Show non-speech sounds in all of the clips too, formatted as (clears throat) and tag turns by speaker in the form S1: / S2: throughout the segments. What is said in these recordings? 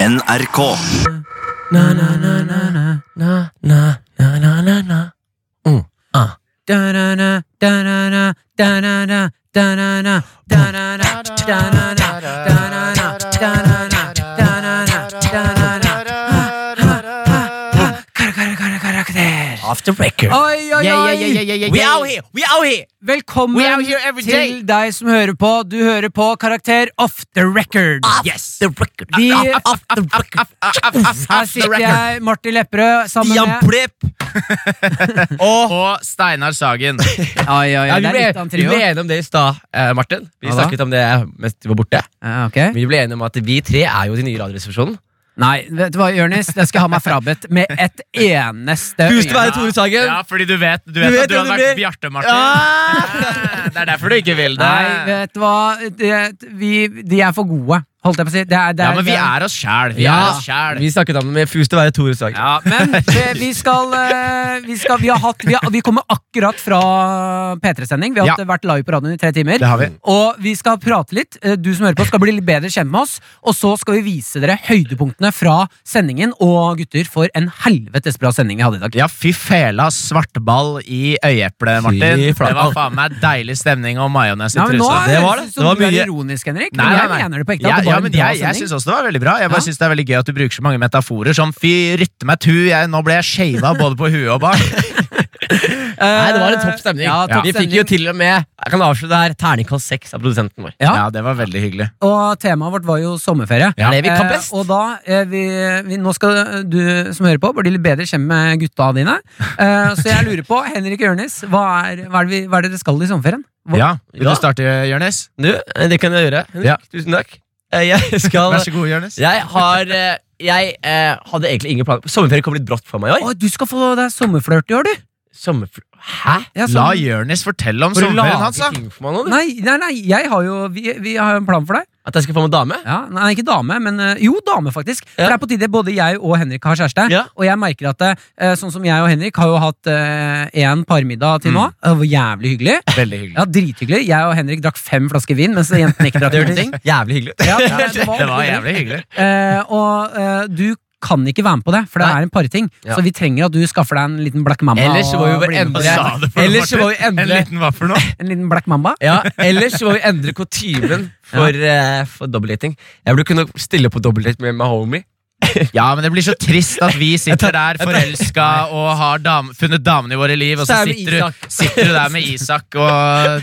S1: NRK.
S2: Na, na, na, na, na, na, na, na, na, na, na. Mm. Ah. Da-da-da, da-da-da, da-da-da, da-da-da, da-da-da, da-da-da, da-da-da, da-da-da, da-da-da, da-da-da. Ha, ha, ha, ha. Kara, kara, kara, kara, karakter.
S3: Off the record.
S2: Oi, oi,
S3: Yeah, yeah,
S2: oi!
S3: yeah, yeah, yeah, yeah,
S2: We
S3: yeah.
S2: out here!
S3: We out here!
S2: Velkommen
S3: We out here every
S2: til
S3: day.
S2: deg som hører på. Du hører på Karakter off the record.
S3: Off
S2: Yes.
S3: the record.
S2: Vi-
S3: off, off, off the record.
S2: Her sitter jeg, Martin Lepperød, sammen
S3: Stian
S2: med
S3: Plepp. Og
S4: Og Steinar Sagen.
S2: Oi, oi, oi,
S4: Ja, vi,
S2: det er
S4: ble,
S2: litt av en
S4: vi
S2: trio.
S4: ble enige om det i stad, eh, Martin. Vi
S2: Hva da?
S4: snakket om det mens du var borte.
S2: Ja, ok.
S4: Vi ble enige om at vi tre er jo de nye Radioresepsjonen.
S2: Nei, vet du hva, Jørnis? Det skal jeg ha meg frabedt med et eneste
S3: Husk
S2: øye.
S3: å være Tore Sagen.
S4: Ja, fordi du vet, du
S3: vet
S4: vet at du
S3: hvem
S4: hadde
S3: det blir.
S4: vært Bjarte, Martin.
S3: Ah!
S4: Det er derfor du ikke vil det.
S2: Nei, vet du hva? Det, vi, de er for gode, holdt jeg på å si. Det er, det
S4: Ja,
S2: er,
S4: men vi
S2: det
S4: er oss sjæl. Vi
S3: Ja,
S4: er oss sjæl.
S3: Vi snakket om det med Fus til å være Tore Sagen.
S2: ja, men
S4: (laughs)
S2: vi, vi skal, eh, vi, skal vi, har hatt, vi, har, vi kommer akkurat fra P3-sending. Vi har
S4: Ja.
S2: hatt- eh, vært live på radioen i tre timer.
S4: har vi.
S2: Og vi skal prate litt. Eh, Du som hører på, skal bli litt bedre kjent med oss. Og så skal vi vise dere høydepunktene fra sendingen. Og gutter, for en helvetes bra sending vi hadde i dag.
S4: Ja, fy fela svartball i øyeeplet, Martin.
S3: Fy
S4: Det
S3: flate.
S4: var faen meg deilig stemning og majones i
S2: Ja, men nå
S4: trusa.
S3: Det var
S2: høres
S3: det.
S2: som
S3: Det var
S2: du er
S3: mye-
S2: ironisk, Henrik.
S4: Nei,
S2: men
S4: nei,
S2: jeg
S4: nei.
S2: mener det på ekte.
S4: Ja,
S2: at det
S4: ja,
S2: var en
S4: men
S2: bra
S4: jeg, jeg
S2: sending.
S4: syns også det var veldig bra. Jeg
S2: Ja.
S4: bare synes det er veldig gøy at du bruker så mange metaforer. Sånn fy, rytte meg tu, jeg, nå ble jeg shava både på huet og bak.
S3: Nei, det var en topp stemning.
S2: Ja, topp
S3: vi fikk jo
S2: stemning.
S3: til og med jeg kan avsløre det her, terningkast seks av produsenten vår.
S2: Ja.
S4: Ja. det var veldig hyggelig.
S2: Og temaet vårt var jo sommerferie.
S3: Ja. Det vi kan best.
S2: og da eh, vi, vi, Nå skal du som hører på, bli litt bedre kjent med gutta dine. Eh, så jeg lurer
S3: (laughs)
S2: på, Henrik og Jørnis, hva er, hva, er det vi, hva er det dere skal i sommerferien? Hva-
S4: Ja, Vil
S3: Ja.
S4: du starte, Jonis?
S3: Du, eh, det kan jeg gjøre. Henrik,
S4: Ja.
S3: Tusen takk. Eh, (laughs) Jeg skal
S4: Vær så god, Jonis.
S3: Jeg har eh, Jeg eh, hadde egentlig ingen planer. Sommerferie kom litt brått for meg i
S2: Å,
S3: år.
S2: du skal få deg sommerflørt i år, du!
S3: Sommerfri... Hæ?
S2: Ja,
S4: La
S2: sånn-
S4: Jonis fortelle om
S3: For å
S4: sommerferien hans,
S3: lage
S4: da.
S3: ting for meg nå, du.
S2: nei, nei, nei, jeg har jo Vi, vi har jo en plan for deg.
S3: At jeg skal få meg dame?
S2: Ja, nei, ikke dame, men eh, jo, dame, faktisk. For
S3: Ja.
S2: det er på tide både jeg og Henrik har kjæreste.
S3: Ja.
S2: Og jeg merker at eh, sånn som jeg og Henrik har jo hatt én parmiddag
S3: Mm.
S2: til nå. Det var jævlig hyggelig.
S4: Veldig hyggelig.
S2: Ja, Drithyggelig. Jeg og Henrik drakk fem flasker vin, mens jentene ikke drakk
S3: (laughs) Det
S2: noen
S3: hørtes
S2: ting.
S3: jævlig hyggelig ut.
S2: Ja,
S4: Ja,
S3: (laughs)
S4: det var jævlig hyggelig.
S2: Eh, og eh, du kan ikke være med på det, for det
S3: Nei.
S2: er en parting.
S3: Ja.
S2: Så vi trenger at du skaffer deg en liten black mamba.
S3: Ellers så må vi
S2: og
S3: bare
S2: blir med på
S3: endre-
S2: det.
S3: Sa du for noe, Ellers Martin? var vi endelig-
S4: En liten vaffel
S2: (laughs)
S4: nå.
S2: En liten black mamba?
S3: Ja, Ellers så må vi endre kutymen for, eh, for dobbeltdating. Jeg burde kunne stille på dobbeltdate med my homie.
S4: Ja, men det blir så trist at vi sitter der forelska og har dam, funnet damene i våre liv, og
S3: Så
S4: så
S3: er vi
S4: sitter du,
S3: Isak.
S4: sitter du der med Isak
S2: (laughs)
S4: og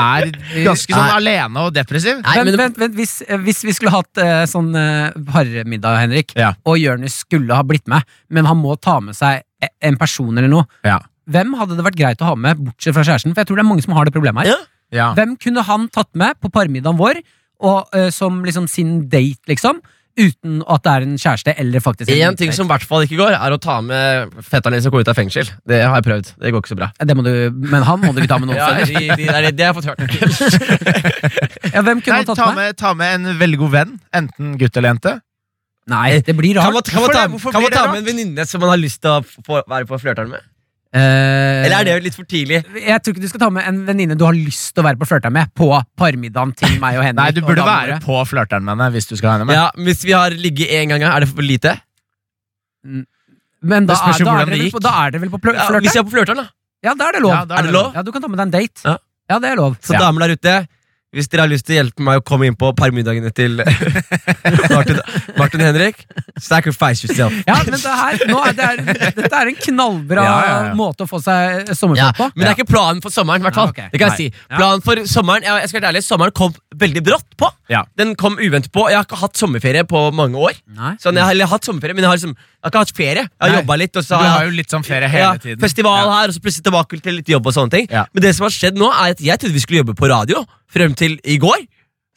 S4: er ganske sånn alene og depressiv.
S3: Nei,
S2: vent,
S3: men det,
S2: vent, vent, hvis, eh, hvis vi skulle hatt eh, sånn eh, parmiddag, Henrik,
S4: Ja.
S2: og Jonis skulle ha blitt med, men han må ta med seg e- en person eller noe,
S4: Ja.
S2: hvem hadde det vært greit å ha med, bortsett fra kjæresten? For jeg tror det er mange som har det problemet her.
S3: Ja.
S4: Ja.
S2: Hvem kunne han tatt med på parmiddagen vår, og, eh, som liksom sin date, liksom, uten at det er en kjæreste eller faktisk en
S3: En ting som i hvert fall ikke går, er å ta med fetteren din som går ut av fengsel. Det har jeg prøvd. Det går ikke så bra.
S2: Det må du, Men han må du ikke ta med noen
S3: (laughs) Ja,
S2: steder.
S3: de, de, det er- det har jeg fått hørt.
S2: Ja, hvem kunne
S4: Nei,
S2: han tatt
S4: ta
S2: med?
S4: med, ta med en veldig god venn, enten gutt eller jente.
S2: Nei, det blir
S3: Kan man,
S2: rart.
S3: kan man ta,
S4: Hvorfor det? Hvorfor
S3: kan man
S4: blir det
S3: ta med en venninne som man har lyst til å få, være på flørteren med?
S2: Eh,
S3: Eller er det litt for tidlig?
S2: jeg tror ikke du skal ta med en venninne du har lyst til å være på flørta med, på parmiddagen til meg og
S3: (laughs)
S2: Henrik.
S4: Nei, du
S2: og
S4: burde
S2: damene
S4: være
S2: våre.
S4: på flørteren med henne hvis du skal ha henne med.
S3: Ja, Hvis vi har ligget én gang, er det for lite?
S2: Men da,
S4: Det spørs
S2: er,
S4: jo
S2: da,
S4: hvordan
S2: er dere
S4: det
S2: vel
S4: gikk.
S2: på, da er dere vel på plø-
S3: Ja,
S2: flørta?
S3: hvis jeg er på flørteren, da.
S2: Ja, da er det lov.
S4: Ja, da er
S3: Er det lov?
S2: Ja, Du kan ta med deg en date.
S3: Ja.
S2: Ja, det er lov.
S3: Så
S4: Ja.
S3: damer der ute, hvis dere har lyst til å hjelpe meg å komme inn på parmiddagene
S4: (laughs)
S3: til Martin, Martin Henrik, sacrifice yourself.
S2: Ja, men det her, nå er det er, dette er en
S3: (laughs)
S2: knallbra
S4: Ja, ja, ja.
S2: måte å få seg sommerflørt på.
S3: Men det er ikke planen for sommeren. i hvert fall
S2: Ja, ok.
S3: Det kan
S2: Nei.
S3: jeg si Planen for sommeren ja, jeg skal være ærlig, sommeren kom veldig brått på.
S4: Ja.
S3: Den kom uventet på. Jeg har ikke hatt sommerferie på mange år.
S2: Nei.
S3: Sånn, jeg, har, eller hatt sommerferie, men jeg har, liksom, jeg har ikke hatt ferie. Jeg har
S4: Nei.
S3: jobbet litt, og
S4: Du
S3: så
S4: har
S3: har
S4: jo
S3: jeg
S4: litt sånn ferie hele
S3: ja,
S4: tiden.
S3: festival
S4: Ja.
S3: her, og så plutselig tilbake til litt jobb og sånne ting.
S4: Ja.
S3: Men det som har skjedd nå, er at jeg trodde vi skulle jobbe på radio frem til i går.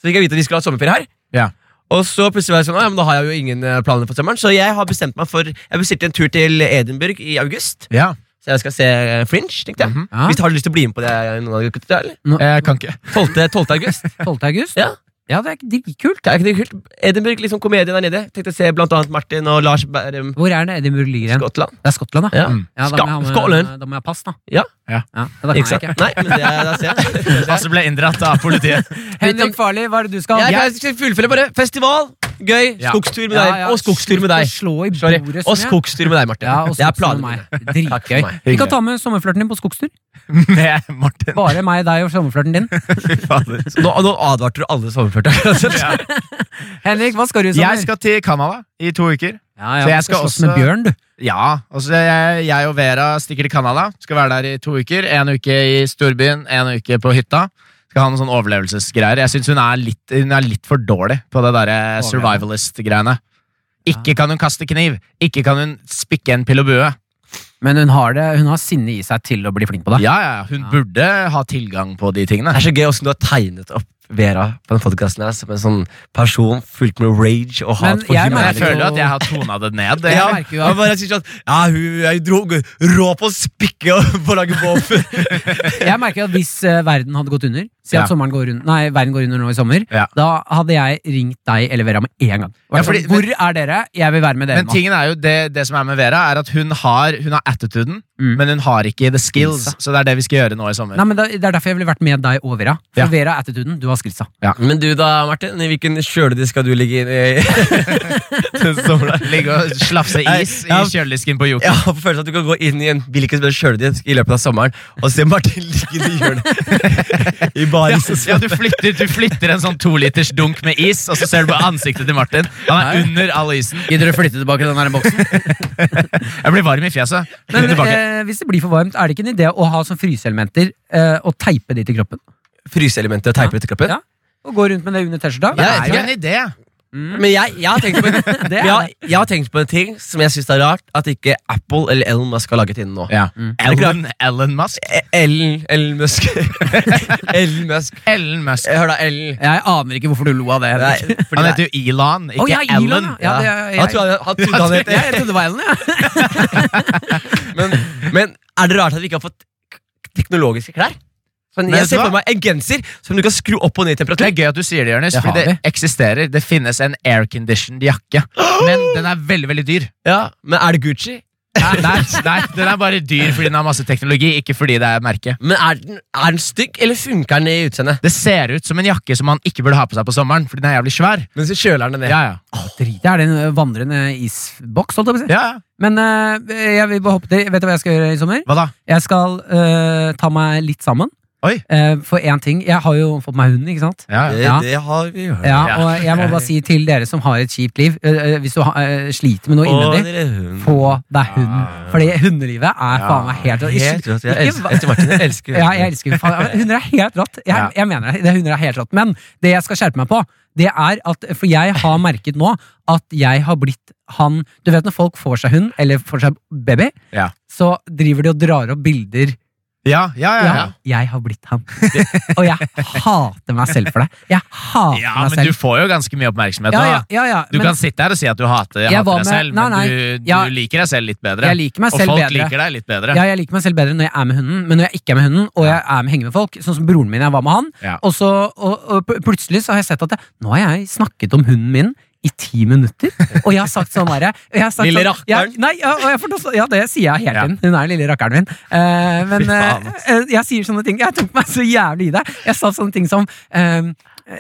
S3: Så fikk jeg vite at vi skulle ha sommerferie her.
S4: Ja.
S3: Og så plutselig var jeg sånn, «Å, ja, men da har jeg jo ingen eh, planer for sommeren Så jeg har bestemt meg for Jeg bestilte en tur til Edinburgh i august.
S4: Ja.
S3: Så jeg skal se eh, Fringe. tenkte jeg
S4: Mhm.
S2: Ja.
S3: eh, Hvis du har lyst til å bli med på det? noen av dere gutter, eller?
S4: Jeg kan ikke.
S3: (laughs) 12. 12. august.
S2: 12. august?
S3: Ja. Ja, det er dritkult. Det er ikke kult. Edinburgh, liksom komedien der nede. Tenkte å se blant annet Martin og Lars Bærum.
S2: Hvor er det Edinburgh ligger hen?
S3: Skottland.
S2: Det er Skottland, ja.
S3: Ja.
S4: Mm.
S2: ja da, må jeg ha med,
S3: Skålen.
S2: da må jeg ha pass, da.
S3: Ja.
S4: Ja.
S2: da kan
S3: Ikke
S2: jeg
S3: sant?
S2: ikke.
S3: Nei, men det er, da ser jeg.
S2: (laughs)
S4: Hasse ble inndratt av politiet. (laughs)
S2: Henrik Farley, hva er det du skal?
S3: sånn- Jeg kan ikke fullføre bare festival, gøy,
S4: Ja.
S3: skogstur med
S2: Ja,
S3: deg.
S2: ja,
S3: Og skogstur med deg.
S2: Slutt å Slå i
S3: Sorry.
S2: bordet,
S3: Og
S2: Sonja.
S3: skogstur med deg, Martin.
S2: Ja, og
S3: det
S2: skogstur
S3: er
S2: med
S3: planene
S2: meg.
S3: mine. Takk for
S2: Dritgøy.
S3: meg.
S2: Vi kan ta med sommerflørten din på skogstur.
S4: Med Martin.
S2: Bare meg, deg og sommerflørten din.
S4: Fy fader.
S3: Så Nå, nå advarte du alle sommerførte.
S4: Ja.
S2: Henrik, hva skal du i sommer?
S4: Jeg skal til Canada i to uker.
S2: ja, ja,
S4: så jeg
S2: du
S4: skal
S2: slåss
S4: også-
S2: med bjørn, du.
S4: Ja, og så jeg, jeg og Vera stikker til Canada. Skal være der i to uker. En uke i storbyen, en uke på hytta. Skal ha noen sånne overlevelsesgreier. Jeg syns hun, er litt- hun er litt for dårlig på det derre survivalist-greiene. Ikke kan hun kaste kniv. Ikke kan hun spikke en pil og bue.
S2: Men hun har, det, hun har sinne i seg til å bli flink på det.
S4: Ja, ja, ja, hun
S2: Ja.
S4: burde ha tilgang på de tingene.
S3: Det er så gøy hvordan du har tegnet opp Vera på den podcasten her som en sånn person fullt med rage og
S2: Men
S3: hat for
S2: jeg
S4: Jeg
S2: merker
S3: humanity.
S4: føler at jeg har tona det ned.
S3: Ja,
S2: jeg merker jo at-
S3: han bare sier sånn Ja, hun er jo dro- rå på å spikke og på å lage våpen.
S2: Jeg merker at Hvis eh, verden hadde gått under, si at
S4: Ja.
S2: sommeren går under, nei, verden går under nå i sommer,
S4: Ja.
S2: da hadde jeg ringt deg eller Vera med en gang. sånn,
S4: Ja, fordi-
S2: Hvor er dere? Jeg vil være med dere
S4: Men
S2: nå.
S4: tingen er jo det, det som er med Vera, er at hun har, hun har attituden,
S2: Mm.
S4: men hun har ikke the skills.
S2: Skillsa.
S4: Så det er det vi skal gjøre nå i sommer.
S2: Nei, men da, Det er derfor jeg ville vært med deg og Vera. For
S4: Ja.
S2: Vera er attituden, du har skillsa.
S3: (laughs) Men du da, Martin? I hvilken kjøledisk skal du ligge inn
S2: (laughs)
S3: i?
S4: (laughs) Ligge og slafse is i
S3: Ja.
S4: kjøledisken på (laughs) Joker.
S3: Jeg har på følelsen at du kan gå inn i en hvilken som helst kjøledisk i løpet av sommeren og se Martin ligge i hjørnet
S2: (laughs)
S3: i
S4: Ja,
S3: baris. og
S4: ja
S3: svette.
S4: du, flytter, du flytter en sånn toliters dunk med is, og så ser du på ansiktet til Martin. Han er under all isen.
S2: Gidder du flytte tilbake den her boksen?
S4: Jeg blir varm i fjeset.
S2: Men (laughs)
S4: Tilbake.
S2: eh, Hvis det blir for varmt, er det ikke en idé å ha som fryseelementer eh, og teipe de til kroppen?
S3: Fryseelementet og teiper etter kroppen.
S2: Ja. Og gå rundt med det under T-skjorta?
S4: Det
S3: jeg-
S4: er jo en idé.
S3: Men jeg, jeg, har tenkt på
S2: (laughs)
S3: en,
S2: Det er
S3: jeg, har- jeg har tenkt på en ting som jeg syns er rart at ikke Apple eller Elon Musk har laget innen nå.
S4: Ja.
S2: Mm.
S3: Er det ikke
S4: Ellen, Ellen Musk.
S3: E- Ellen Ellen
S2: (laughs)
S3: Musk. Ellen Musk.
S4: Ellen Musk.
S3: Hør da, Ellen.
S2: Jeg aner ikke hvorfor du lo av det.
S3: Nei,
S2: Henrik.
S3: fordi
S4: Eh, Han
S3: det er-
S4: heter jo Elon, ikke
S2: Å, ja, Elon,
S4: Ellen.
S2: ja. det er-
S3: Han trodde han- han trodde han het
S2: Jeg, jeg trodde det var Ellen, (laughs) ja.
S3: men, men er det rart at vi ikke har fått k- teknologiske klær? Sånn,
S4: Men
S3: jeg
S4: vet du
S3: ser
S4: hva?
S3: for meg en genser som du kan skru opp og ned i
S4: Det
S3: temperatur.
S4: er gøy at du sier det, Jonis,
S2: Det
S4: for
S2: har
S4: det eksisterer. Det finnes en airconditioned jakke, men den er veldig veldig dyr.
S3: Ja, men er det Gucci?
S4: (laughs) Nei, nei, nei, Den er bare dyr fordi den har masse teknologi, ikke fordi det er merke.
S3: Men er den, er den stygg, eller funker den i utseendet?
S4: Det ser ut som en jakke som man ikke burde ha på seg på sommeren, fordi den er jævlig svær.
S3: Men så kjøler den ned.
S4: Ja, ja.
S2: Drit, det er den eh, vandrende isboks, holdt jeg på å si.
S4: ja. ja.
S2: Men eh, jeg vil bare hoppe til Vet du hva jeg skal gjøre i sommer?
S4: Hva da?
S2: Jeg skal eh, ta meg litt sammen.
S4: Oi.
S2: Eh, for én ting Jeg har jo fått meg hund, ikke sant?
S4: Ja, ja.
S3: Det,
S2: Ja.
S3: det har vi hørt.
S2: Ja,
S4: Ja.
S2: Og jeg må bare si til dere som har et kjipt liv, eh, eh, hvis du ha- eh, sliter med noe
S3: Å,
S2: innvendig
S3: dere hund.
S2: få deg hund. Fordi hundelivet er faen meg helt
S3: Helt rått.
S2: Ikke-
S3: Jeg elsker, etter Martin, jeg elsker
S2: Ja, jeg elsker faen, ja, Hunder er helt rått. Jeg,
S4: Ja.
S2: jeg mener det. det. Hunder er helt rått. Men det jeg skal skjerpe meg på, det er at For jeg har merket nå at jeg har blitt han Du vet når folk får seg hund, eller får seg baby,
S4: Ja.
S2: så driver de og drar opp bilder.
S4: ja, ja, ja, ja.
S2: jeg har blitt han. Og jeg hater meg selv for det. Jeg hater
S4: ja
S2: meg
S4: men du
S2: selv.
S4: får jo ganske mye oppmerksomhet
S2: ja,
S4: nå.
S2: ja,
S4: da.
S2: ja, ja.
S4: Du
S2: men
S4: kan sitte her og si at du hater,
S2: Jeg var
S4: hater deg
S2: med-
S4: selv,
S2: nei,
S4: men du,
S2: ja.
S4: du liker deg selv litt bedre.
S2: jeg liker meg
S4: og
S2: selv
S4: folk
S2: bedre.
S4: liker deg litt bedre.
S2: Ja, jeg liker meg selv bedre når jeg er med hunden, men når jeg ikke er med hunden, og jeg er med henger med folk, sånn som broren min, jeg var med han,
S4: Ja.
S2: og, så, og, og pl- plutselig så har jeg sett at jeg, nå har jeg snakket om hunden min i ti minutter, og jeg har sagt sånn derre jeg har sagt
S3: Lille
S2: sånn- jeg-
S3: rakkeren.
S2: Nei, ja, og jeg, får også- ja, det sier jeg hele
S4: Ja.
S2: tiden. Hun er den lille rakkeren min. Eh, men
S4: faen,
S2: eh, eh, jeg sier sånne ting. Jeg tok meg så jævlig i det. Jeg sa sånne ting som eh,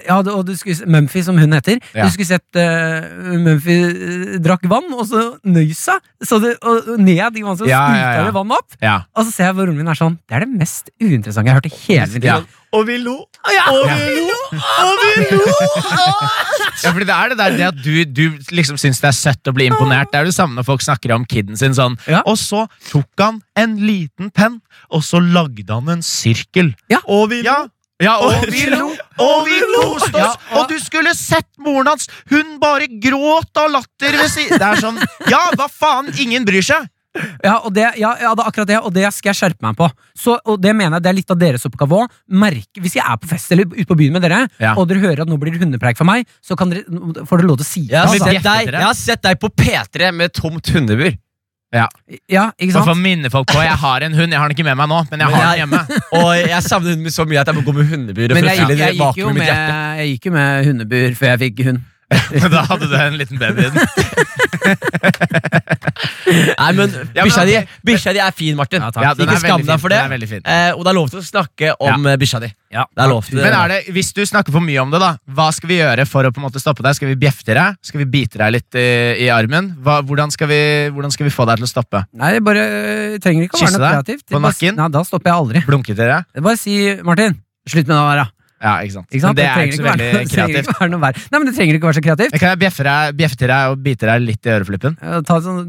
S2: ja, du- og du skulle, Mumphy, som hun heter.
S4: Ja.
S2: Du skulle sett uh, Mumphy eh, drakk vann, og så nøys hun. Så det- og- og ned i vannet, så
S4: Ja, ja,
S2: spruta
S4: ja.
S2: det vann opp.
S4: Ja.
S2: Og så ser jeg hvor broren min er sånn Det er det mest uinteressante jeg har hørt i hele mitt liv.
S4: Ja.
S3: Og vi lo,
S2: Å, ja.
S3: og vi lo, og vi lo!
S4: Ja, fordi det er det der det at du, du liksom syns det er søtt å bli imponert. Det er det samme når folk snakker om kiden sin sånn.
S2: Ja.
S4: Og så tok han en liten penn, og så lagde han en sirkel.
S3: Og vi
S4: Ja, ja og (laughs) vi lo! Og vi koste
S2: Ja,
S4: oss! Og du skulle sett moren hans! Hun bare gråt av latter ved si- Det er sånn Ja, hva faen? Ingen bryr seg!
S2: Ja, og det, ja, ja, det er akkurat det, og det skal jeg skjerpe meg på. Så, og det mener jeg det er litt av deres oppgave òg. Hvis jeg er på fest eller ute på byen med dere,
S4: Ja.
S2: og dere hører at nå blir det hundepreik fra meg, så kan dere, får dere lov til å si det.
S3: Jeg har,
S4: Altså,
S3: sett
S4: bjeffet
S3: deg,
S4: dere?
S3: jeg har sett deg på P3 med tomt hundebur.
S4: Ja.
S2: Ja, ikke
S4: For å
S2: sant?
S4: minne folk på Jeg har en hund, jeg har den ikke med meg nå, men jeg
S3: Men
S4: har den
S3: jeg-
S4: hjemme. (laughs)
S3: Og jeg savner hunden min så mye at jeg må gå med hundeburet
S2: Men
S3: for å
S2: jeg,
S3: fylle
S2: jeg,
S3: det
S2: gikk jo
S3: vakuumet i mitt
S2: med,
S3: hjerte.
S2: jeg gikk jo med hundebur før jeg fikk hund.
S4: Men da hadde du en liten baby i den.
S3: Nei, men
S4: Ja, men
S3: bikkja di,
S4: ok.
S3: bikkja di er fin, Martin.
S2: Ja, takk.
S4: Ja, den
S3: ikke
S4: er
S3: skam
S4: veldig
S3: deg
S4: fin.
S3: for det.
S4: Den er veldig fin.
S3: Eh, og det er lov til å snakke om eh, bikkja di.
S2: Ja.
S3: Det er lov til
S4: Men er det, hvis du snakker for mye om det, da hva skal vi gjøre for å på en måte stoppe deg? Skal vi bjeffe til deg? Skal vi bite deg litt i, i armen? Hva, hvordan, skal vi, hvordan skal vi få deg til å stoppe?
S2: Nei, det bare øh, trenger ikke å være
S4: Kysse
S2: noe
S4: deg
S2: kreativt.
S4: på
S2: Bare-
S4: nakken?
S2: Nei, da stopper jeg aldri.
S4: Blunke til deg?
S2: Bare si, Martin, slutt med det der, da.
S4: Ja, ikke sant?
S2: Ikke sant?
S4: Men det er
S2: trenger
S4: ikke så
S2: være
S4: veldig
S2: noe- (laughs) det trenger
S4: kreativt.
S2: Ikke være noe verre. Nei, men det trenger ikke å være så kreativt.
S4: Men Kan jeg bjeffe, deg, bjeffe til deg og bite deg litt i øreflippen?
S2: Eh, Ta et sånn,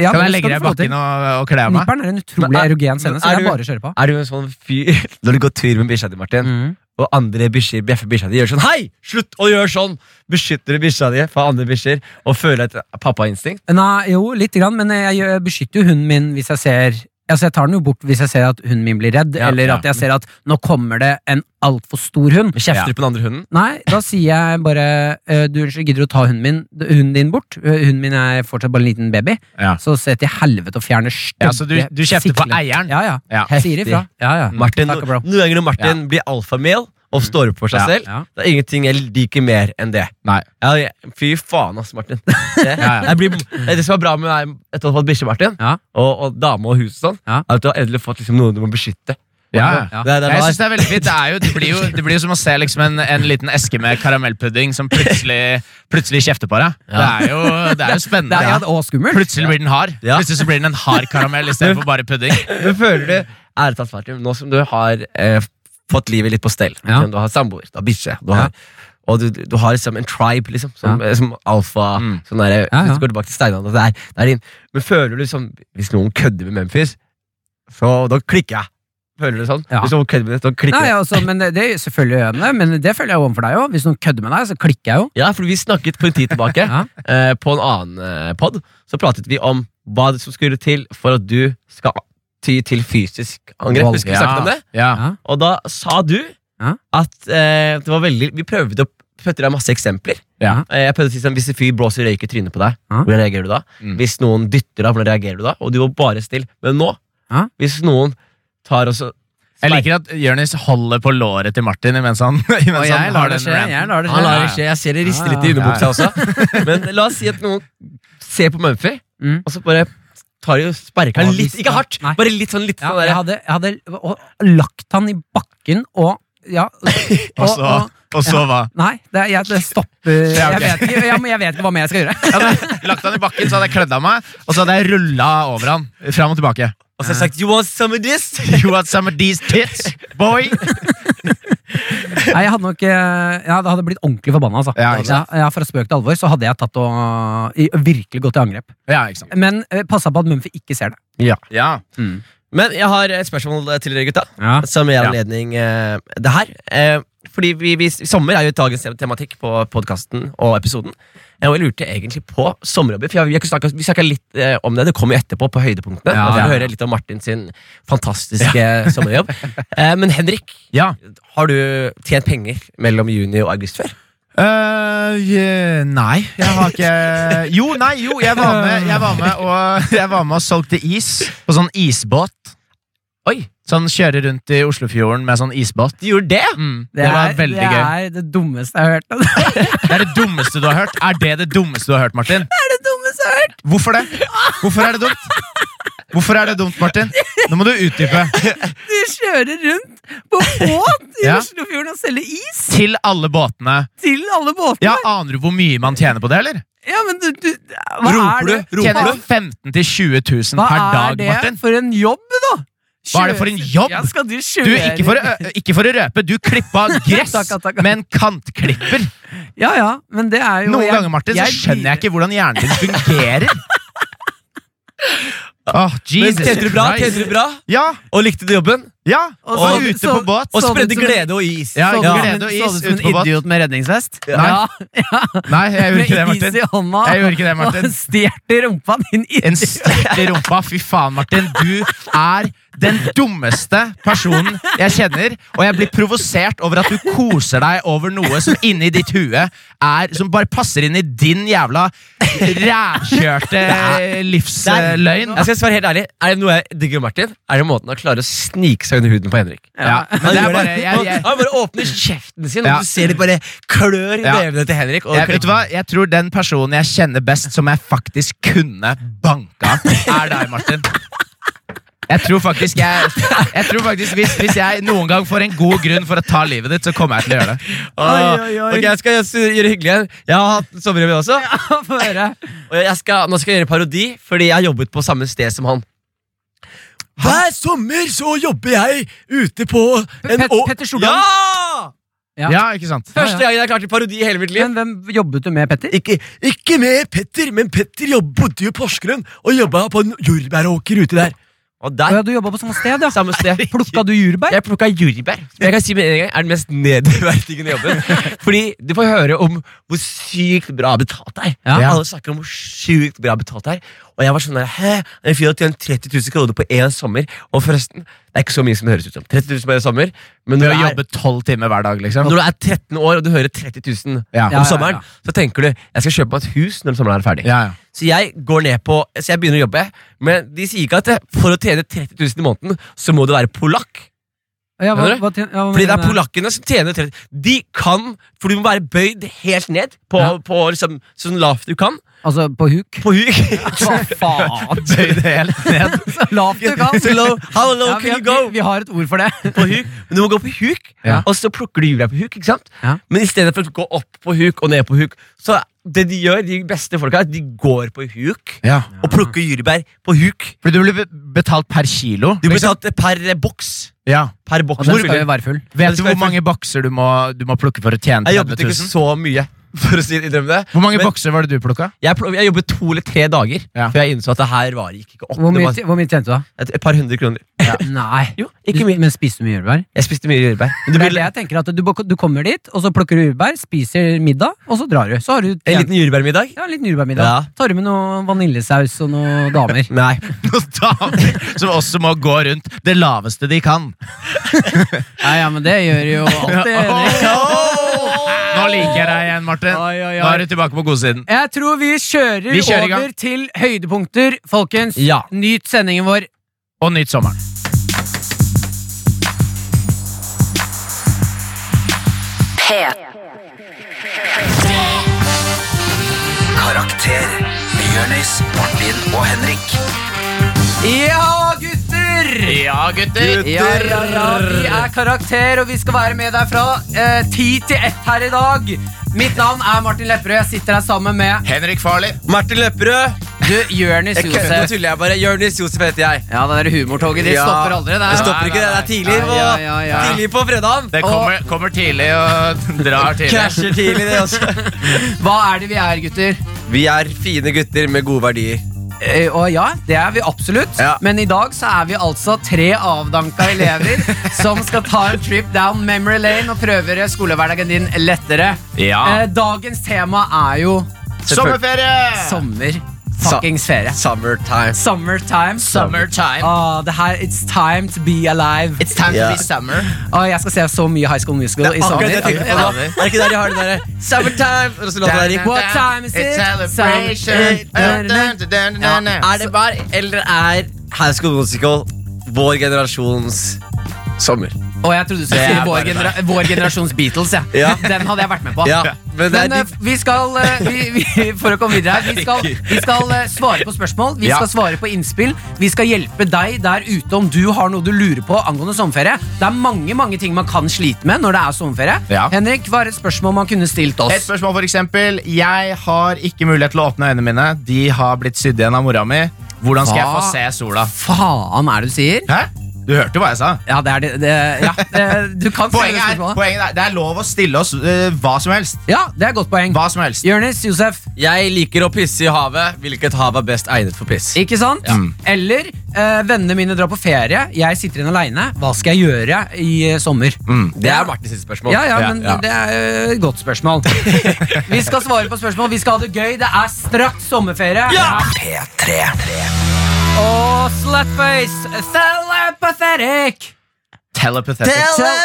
S2: ja,
S4: kan jeg legge deg i bakken og, og kle av meg?
S2: Nipperen er en utrolig
S3: Men er-
S2: erogen scene,
S3: men
S2: så
S3: er
S2: det er
S3: du-
S2: bare å kjøre på.
S3: Er du en sånn fyr (laughs) Når du går tur med bikkja di, Martin,
S2: Mm.
S4: Mm.
S3: og andre bikkjer bjeffer bikkja di, gjør sånn Hei! Slutt å gjøre sånn! Beskytter du bikkja di fra andre bikkjer og føler et pappainstinkt?
S2: Eh, Nei, jo, lite grann, men jeg gjør- beskytter jo hunden min hvis jeg ser Altså Jeg tar den jo bort hvis jeg ser at hunden min blir redd,
S3: Ja,
S2: eller
S4: ja.
S2: at jeg ser at nå kommer det en altfor stor hund.
S3: Kjefter
S4: Ja.
S3: du på den andre hunden?
S2: Nei, da sier jeg bare eh, Du unnskyld, gidder du å ta hunden min Hunden din bort? Eh, Hunden min er fortsatt bare en liten baby.
S4: Ja.
S2: Så se til helvete og fjerne stygge
S4: Ja, så du, du kjefter på
S2: sikle-
S4: eieren?
S2: Ja, ja.
S4: Ja.
S2: Jeg sier ifra. Ja, ja.
S3: Martin,
S2: Takk, bro.
S3: no- noen ganger når Martin blir alfamel og står opp for seg
S4: Ja.
S3: selv,
S2: Ja.
S3: det er ingenting jeg liker mer enn det.
S4: Nei.
S3: Ja, jeg- fy faen, ass,
S2: (laughs)
S3: Martin. Det,
S4: ja.
S3: jeg blir, det som er bra med deg etter å ha fått bikkje, Martin,
S2: Ja.
S3: og, og dame og hus og sånn,
S2: Ja.
S3: er at du har endelig fått liksom, noen du må beskytte.
S4: Ja,
S2: Ja.
S3: Det,
S4: ja.
S3: er- det, er
S4: Jeg
S3: bra.
S4: synes det er veldig fint. Det, er jo, det, blir jo, det blir jo som å se liksom en, en liten eske med karamellpudding som plutselig, plutselig kjefter på deg. Det er jo, det er jo
S2: Det
S4: spennende.
S2: er, ja, det- og skummelt.
S4: Mm. Plutselig blir den hard.
S3: Ja.
S4: Plutselig så blir den en hard karamell istedenfor bare pudding.
S3: Men føler du, ærlig talt, Martin, nå som du har eh, fått livet litt på stell,
S2: Ja.
S3: du har samboer, du har bikkje, du har Og du, du har liksom en tribe, liksom, som, eh, som alfa
S4: Mm.
S3: sånn der,
S2: Ja, ja.
S3: Hvis du går tilbake til Steinan, og det er, det er din. Men føler du liksom Hvis noen kødder med Memphis, så da klikker jeg. Føler du det sånn?
S2: Ja.
S3: Hvis noen kødder med det, så klikker
S2: Nei,
S3: jeg.
S2: ja, altså, men det, det, selvfølgelig gjør jeg det, men det føler jeg overfor deg òg. Hvis noen kødder med deg, så klikker jeg jo.
S3: Ja, for vi snakket på en tid tilbake,
S2: (laughs) Ja.
S3: eh, på en annen eh, pod, så pratet vi om hva det som skulle til for at du skal ty til fysisk angrep.
S2: Vold.
S3: Husker du vi (laughs) snakket om det?
S4: Ja.
S2: Ja.
S3: Og da sa du
S2: Ja.
S3: at eh, det var veldig Vi prøvde å putte deg masse eksempler.
S4: Ja.
S3: Eh, Jeg prøvde å si sånn, Hvis en fyr blåser røyk i trynet på deg,
S2: Ja.
S3: hvordan reagerer du da?
S4: Mm.
S3: Hvis noen dytter deg, hvordan reagerer du da? Og du var bare stille. Men nå,
S2: Ja.
S3: hvis noen tar også
S4: Jeg liker at Jonis holder på låret til Martin mens han, (laughs) mens han har den ranten.
S2: lar
S3: Han
S4: Ja,
S3: lar
S4: ja.
S3: det skje. Jeg ser det rister litt
S2: Ja, ja.
S3: i underbuksa
S2: (laughs)
S3: også. Men la oss si at noen ser på Mumphy,
S2: Mm.
S3: og så bare tar de og sparker han litt.
S2: Avvist,
S3: Ikke
S2: ja.
S3: hardt,
S2: Nei.
S3: bare litt sånn litt
S2: Ja,
S3: sånn
S2: jeg
S3: der,
S2: hadde, jeg hadde og, og lagt han i bakken og Ja.
S4: (laughs)
S2: Og,
S4: Og så,
S2: og,
S4: og så hva?
S2: nei, det, jeg, det stopper
S4: Altså. (laughs) Ja,
S2: jeg,
S4: ok.
S2: vet ikke, ja, men jeg vet ikke hva mer jeg skal
S4: (laughs)
S2: gjøre.
S4: Jeg hadde lagt han i bakken, så hadde jeg klødd av meg, og så hadde jeg rulla over han. Fram og tilbake.
S3: Og så har jeg sagt 'You want some of this?'
S4: You want some of these tits, boy?
S2: Nei, jeg hadde nok eh, ja, Det hadde blitt ordentlig forbanna. Altså.
S4: Ja, ikke sant?
S2: ja, fra spøk til alvor så hadde jeg tatt og i- virkelig gått til angrep.
S4: Ja, ikke sant.
S2: Men eh, passa på at Mumphy ikke ser det.
S4: Ja.
S3: Men jeg har et spørsmål eh, til dere, gutta.
S2: Ja.
S3: som gir
S4: Ja.
S3: anledning eh, det her. Eh, fordi vi, vi, Sommer er jo dagens te- tematikk på podkasten og episoden. Eh, og jeg lurte egentlig på sommerjobber. For jeg, vi har ikke snakket- vi snakka litt eh, om det. Det kommer jo etterpå, på høydepunktene.
S2: Ja,
S3: Ja, ja.
S2: ja.
S3: høre litt om Martin sin fantastiske (laughs) sommerjobb. Eh, men Henrik,
S4: ja.
S3: har du tjent penger mellom juni og august før?
S4: Eh, je- nei, jeg har ikke Jo, nei, jo, jeg var med, jeg var med, og, jeg var med og solgte is på sånn isbåt.
S3: Oi,
S4: Sånn kjører rundt i Oslofjorden med sånn isbåt.
S3: du gjorde det?
S4: Mm, det, var veldig
S2: det
S4: gøy.
S2: er det dummeste jeg har hørt. (laughs)
S4: Det er det dummeste du har hørt. Er det det dummeste du har hørt, Martin?
S2: Det er det dummeste jeg har hørt!
S4: Hvorfor det? Hvorfor er det dumt? Hvorfor er det dumt, Martin? Nå må du utdype.
S2: De kjører rundt på båt i
S4: (laughs) Ja.
S2: Oslofjorden og selger is
S4: Til alle båtene.
S2: til alle båtene.
S4: Ja, Aner du hvor mye man tjener på det, eller?
S2: Ja, men du, du hva
S3: Roper
S2: er det?
S3: du? Roper
S4: Tjener
S3: du?
S4: 15 000-20 000
S2: Hva
S4: per
S2: er
S4: dag,
S2: det
S4: Martin.
S2: for en jobb, da?
S4: Hva er det for en
S2: Kjøre-
S4: jobb?
S2: Ja, skal du kjøre
S4: Du, ikke for, å, ø- ikke for å røpe, du klippa gress
S2: (laughs) Takk, takk, takk.
S4: med en kantklipper.
S2: Ja, ja, men det er (laughs) jo
S4: Noen
S2: jeg-
S4: ganger Martin, så skjønner jeg ikke hvordan hjernen din
S2: (laughs)
S4: fungerer. Åh,
S3: Men
S4: Jesus
S3: tjente du bra?
S4: Christ.
S3: Tjente du bra?
S4: Ja,
S3: Og likte du jobben?
S4: ja.
S2: Og
S4: Og,
S2: så-
S4: ute
S2: så-
S4: på båt.
S3: Og
S2: Så det
S3: spredde
S2: som en-
S3: glede og is?
S4: Ja,
S2: Så du
S4: ja.
S2: som en-
S4: Glede og is
S2: så du som
S4: ute på
S2: en
S4: båt.
S2: idiot med redningsvest?
S3: Ja.
S4: Nei, jeg gjorde ikke det,
S2: med is
S4: Martin.
S2: i hånda
S4: Jeg gjorde ikke det,
S2: og
S4: Martin.
S2: stjert i rumpa din
S4: En
S2: idiot.
S4: stert i rumpa. Fy faen, Martin. Du er den dummeste personen jeg kjenner, og jeg blir provosert over at du koser deg over noe som inni ditt hue er Som bare passer inn i din jævla rævkjørte livsløgn.
S3: Jeg skal svare helt ærlig Er det noe jeg digger med Martin, er det måten han klarer å snike seg under huden på Henrik.
S4: Ja, men
S3: Han,
S4: det
S3: gjør
S4: er bare
S3: det.
S4: jeg, jeg,
S3: han, han bare åpner kjeften sin,
S4: Ja.
S3: og du ser det bare klør i
S4: Ja.
S3: nevene til Henrik. Og
S4: jeg, vet du hva? jeg tror den personen jeg kjenner best, som jeg faktisk kunne banka, er deg, Martin. Jeg tror faktisk, jeg, jeg tror faktisk hvis, hvis jeg noen gang får en god grunn for å ta livet ditt, så kommer jeg til å gjøre det.
S3: Åh,
S2: Oi, oi, oi.
S3: Ok, jeg skal gjøre det hyggelig igjen. Jeg har hatt sommerjobb jeg også.
S2: Få høre.
S3: Og jeg skal, nå skal jeg gjøre parodi, fordi jeg har jobbet på samme sted som han. Hver sommer så jobber jeg ute på
S2: Pet-
S3: å-
S2: Petter Stordalen.
S3: Ja!
S2: Ja.
S4: Ja, ikke sant?
S3: Første gangen jeg klarte parodi i hele mitt liv.
S2: Men hvem jobbet du med, Petter?
S3: Ikke, ikke med Petter, men Petter jobb, bodde jo i Porsgrunn og jobba på en jordbæråker ute der. Og
S2: Å
S3: der,
S2: ja, du jobba på samme sted, ja.
S3: samme sted.
S2: Plukka du jordbær?
S3: Jeg plukka jordbær. Som jeg kan si med en gang er den mest nedverdigende (laughs) jobben. Fordi du får høre om hvor sykt bra betalt det er.
S2: Ja.
S3: Alle snakker om hvor sykt bra betalt det er. Og jeg var sånn der, hæ? En fyr har tjent 30 000 kroner på én sommer. Og forresten, det er ikke så mye som det høres ut som. 30 000 på én sommer. Men
S4: Ved
S3: når
S4: å
S3: du, er,
S4: jobbe tolv timer hver dag, liksom.
S3: når du er 13 år og du hører 30 000
S4: Ja.
S3: om
S2: Ja, ja, ja.
S3: sommeren, så tenker du jeg skal kjøpe meg et hus når sommeren er ferdig.
S4: Ja, ja.
S3: Så jeg går ned på Så jeg begynner å jobbe, men de sier ikke at eh, for å tjene 30 000 i måneden, så må du være polakk.
S2: Ja, hva,
S3: Skjønner du?
S2: hva, tjen- ja, hva
S3: Fordi det er
S2: mener du?
S3: polakkene som tjener 30 De kan, for du må være bøyd helt ned På,
S2: Ja.
S3: på liksom, sånn lavt du kan
S2: Altså, på
S3: (laughs)
S2: huk?
S3: På huk
S2: (laughs) Hva
S3: (laughs)
S2: faen?
S4: Bøy det helt ned.
S2: Så lavt du kan.
S3: Så low, How low
S2: Ja, vi,
S3: can you
S2: vi,
S3: go?
S2: vi har et ord for det.
S3: På huk Men du må gå på huk
S4: Ja.
S3: Og så plukker du jorda på huk, ikke sant?
S2: Ja.
S3: Men i stedet for å gå opp på huk og ned på huk Så det de gjør, de beste folka De går på huk
S4: Ja.
S3: Og plukker jordbær på huk
S4: Fordi du blir be- betalt per kilo.
S3: Du blir
S4: liksom.
S3: tatt per eh, boks
S4: ja.
S3: Per boks
S2: Og den
S3: du
S2: skal
S3: fyller.
S2: jo være full.
S3: Ja, det
S4: Vet du
S3: skal
S4: hvor
S3: jeg-
S4: mange bokser du må, du må plukke for å tjene
S3: Jeg
S4: 30
S3: jobbet ikke
S4: 000?
S3: så mye For å si det i drømmen
S4: Hvor mange
S3: Men-
S4: bokser var det du plukka?
S3: Jeg, pl- jeg jobbet to eller tre dager
S4: Ja.
S3: Før jeg innså at det her var gikk ikke opp
S2: Hvor
S3: Det
S2: mye,
S3: var-
S2: hvor mye tjente du, da?
S3: Et, et par hundre kroner.
S2: (laughs) Nei.
S3: Jo, ikke
S2: Du-
S3: mye.
S2: Men spiste du mye jordbær?
S3: Jeg spiste mye jordbær.
S2: Det
S3: Men det
S2: er det
S3: blir
S2: jeg tenker at du, bok- du kommer dit, og så plukker du jordbær, spiser middag, og så drar du. Så har du
S3: en
S2: tjent-
S3: liten jordbærmiddag?
S2: ja, en liten jordbærmiddag.
S3: Ja.
S2: Tar du med noe vaniljesaus og noen damer.
S3: (laughs) Nei.
S4: Noen damer (laughs) som også må gå rundt det laveste de kan.
S2: Ja, ja, men det gjør jo alltid Henrik.
S4: (laughs) Nå liker jeg deg igjen, Martin.
S2: Oi, oi, oi.
S4: Nå er du tilbake på godsiden.
S2: Jeg tror vi kjører,
S4: Vi kjører i gang.
S2: over til høydepunkter, folkens.
S3: Ja.
S2: Nyt sendingen vår.
S4: Og nytt sommeren.
S1: Karakter med Jonis, Martin og Henrik.
S2: Ja, gutter!
S4: Ja, gutter.
S2: Ja, ja, ja, vi er karakter, og vi skal være med deg fra eh, ti til ett her i dag. Mitt navn er Martin Lepperød. Jeg sitter her sammen med
S4: Henrik Farley.
S3: Martin Lepperød.
S2: du, Jørnis
S3: Jeg kødder, nå
S2: Josef.
S3: tuller jeg bare. Jonis Josef heter jeg.
S2: Ja, det der humortoget det
S3: Ja.
S2: stopper aldri.
S3: Det stopper ikke, det. Det er tidlig på,
S2: Ja, ja, ja, ja.
S3: tidlig på fredagen.
S4: Det kommer, kommer tidlig og (laughs) drar tidlig.
S3: Krasjer tidlig, det også.
S2: Hva er det vi er, gutter?
S3: Vi er fine gutter med gode verdier.
S2: Eh, og ja, det er vi absolutt.
S3: Ja.
S2: Men i dag så er vi altså tre avdanka
S3: (laughs)
S2: elever som skal ta en trip down memory lane og prøve å gjøre skolehverdagen din lettere.
S4: Ja.
S2: Eh, dagens tema er jo
S4: Sommerferie!
S2: sommer. Fuckings ferie.
S3: Summertime.
S2: Summertime.
S4: Summertime.
S2: Ah, det her, It's time to be alive.
S4: It's time
S3: Ja.
S4: to be summer.
S2: Ah, jeg skal se så mye High School Musical i
S3: Akkurat det jeg tenkte på nå.
S2: sommer.
S3: Er det ikke der de har den derre Summertime? Og så låter det der i-
S2: What time is it?
S4: It's celebration.
S2: Dun, dun,
S3: Ja,
S4: Eh,
S3: Er det bare, eller er High School Musical vår generasjons sommer?
S2: Og jeg trodde du skulle
S4: Det
S2: si
S4: er
S2: vår,
S4: bare
S2: genera vår generasjons Beatles. jeg.
S3: Ja.
S2: (laughs) Den hadde jeg vært med på.
S3: Ja, men det er
S2: Men eh,
S3: de-
S2: vi skal eh, vi, vi, (laughs) For å komme videre her Vi skal, vi skal eh, svare på spørsmål, vi
S4: Ja.
S2: skal svare på innspill. Vi skal hjelpe deg der ute om du har noe du lurer på angående sommerferie. Det er mange mange ting man kan slite med når det er sommerferie.
S4: Ja.
S2: Henrik, hva er et spørsmål man kunne stilt
S4: Et
S2: oss?
S4: spørsmål for eksempel Jeg har ikke mulighet til å åpne øynene mine De har blitt sydd igjen av mora mi Hvordan skal jeg få
S2: Hva?
S4: se sola?
S2: Faen er det du sier?
S4: Hæ? Du hørte hva jeg sa
S2: Ja, det er det, det ja. eh, Du kan stille
S4: Poenget
S2: det
S4: er,
S2: spørsmålet.
S4: poenget er Det er lov å stille oss eh, hva som helst
S2: Ja, det er et godt poeng.
S4: Hva som helst
S2: Jonis, Josef,
S3: Jeg liker å pisse i havet. Hvilket hav er best egnet for piss?
S2: Ikke sant?
S4: Ja.
S2: Eller eh, vennene mine drar på ferie, jeg sitter igjen aleine. Hva skal jeg gjøre i eh, sommer?
S3: Det er Martins siste spørsmål.
S2: Ja, ja, men
S4: Mm, Ja, ja.
S2: det er eh, et godt
S4: (laughs)
S2: spørsmål. vi skal svare på spørsmål, vi skal ha det gøy. Det er straks sommerferie.
S3: Ja!
S1: P3.
S2: Og slutface! Telepathetic!
S4: Telepathetic.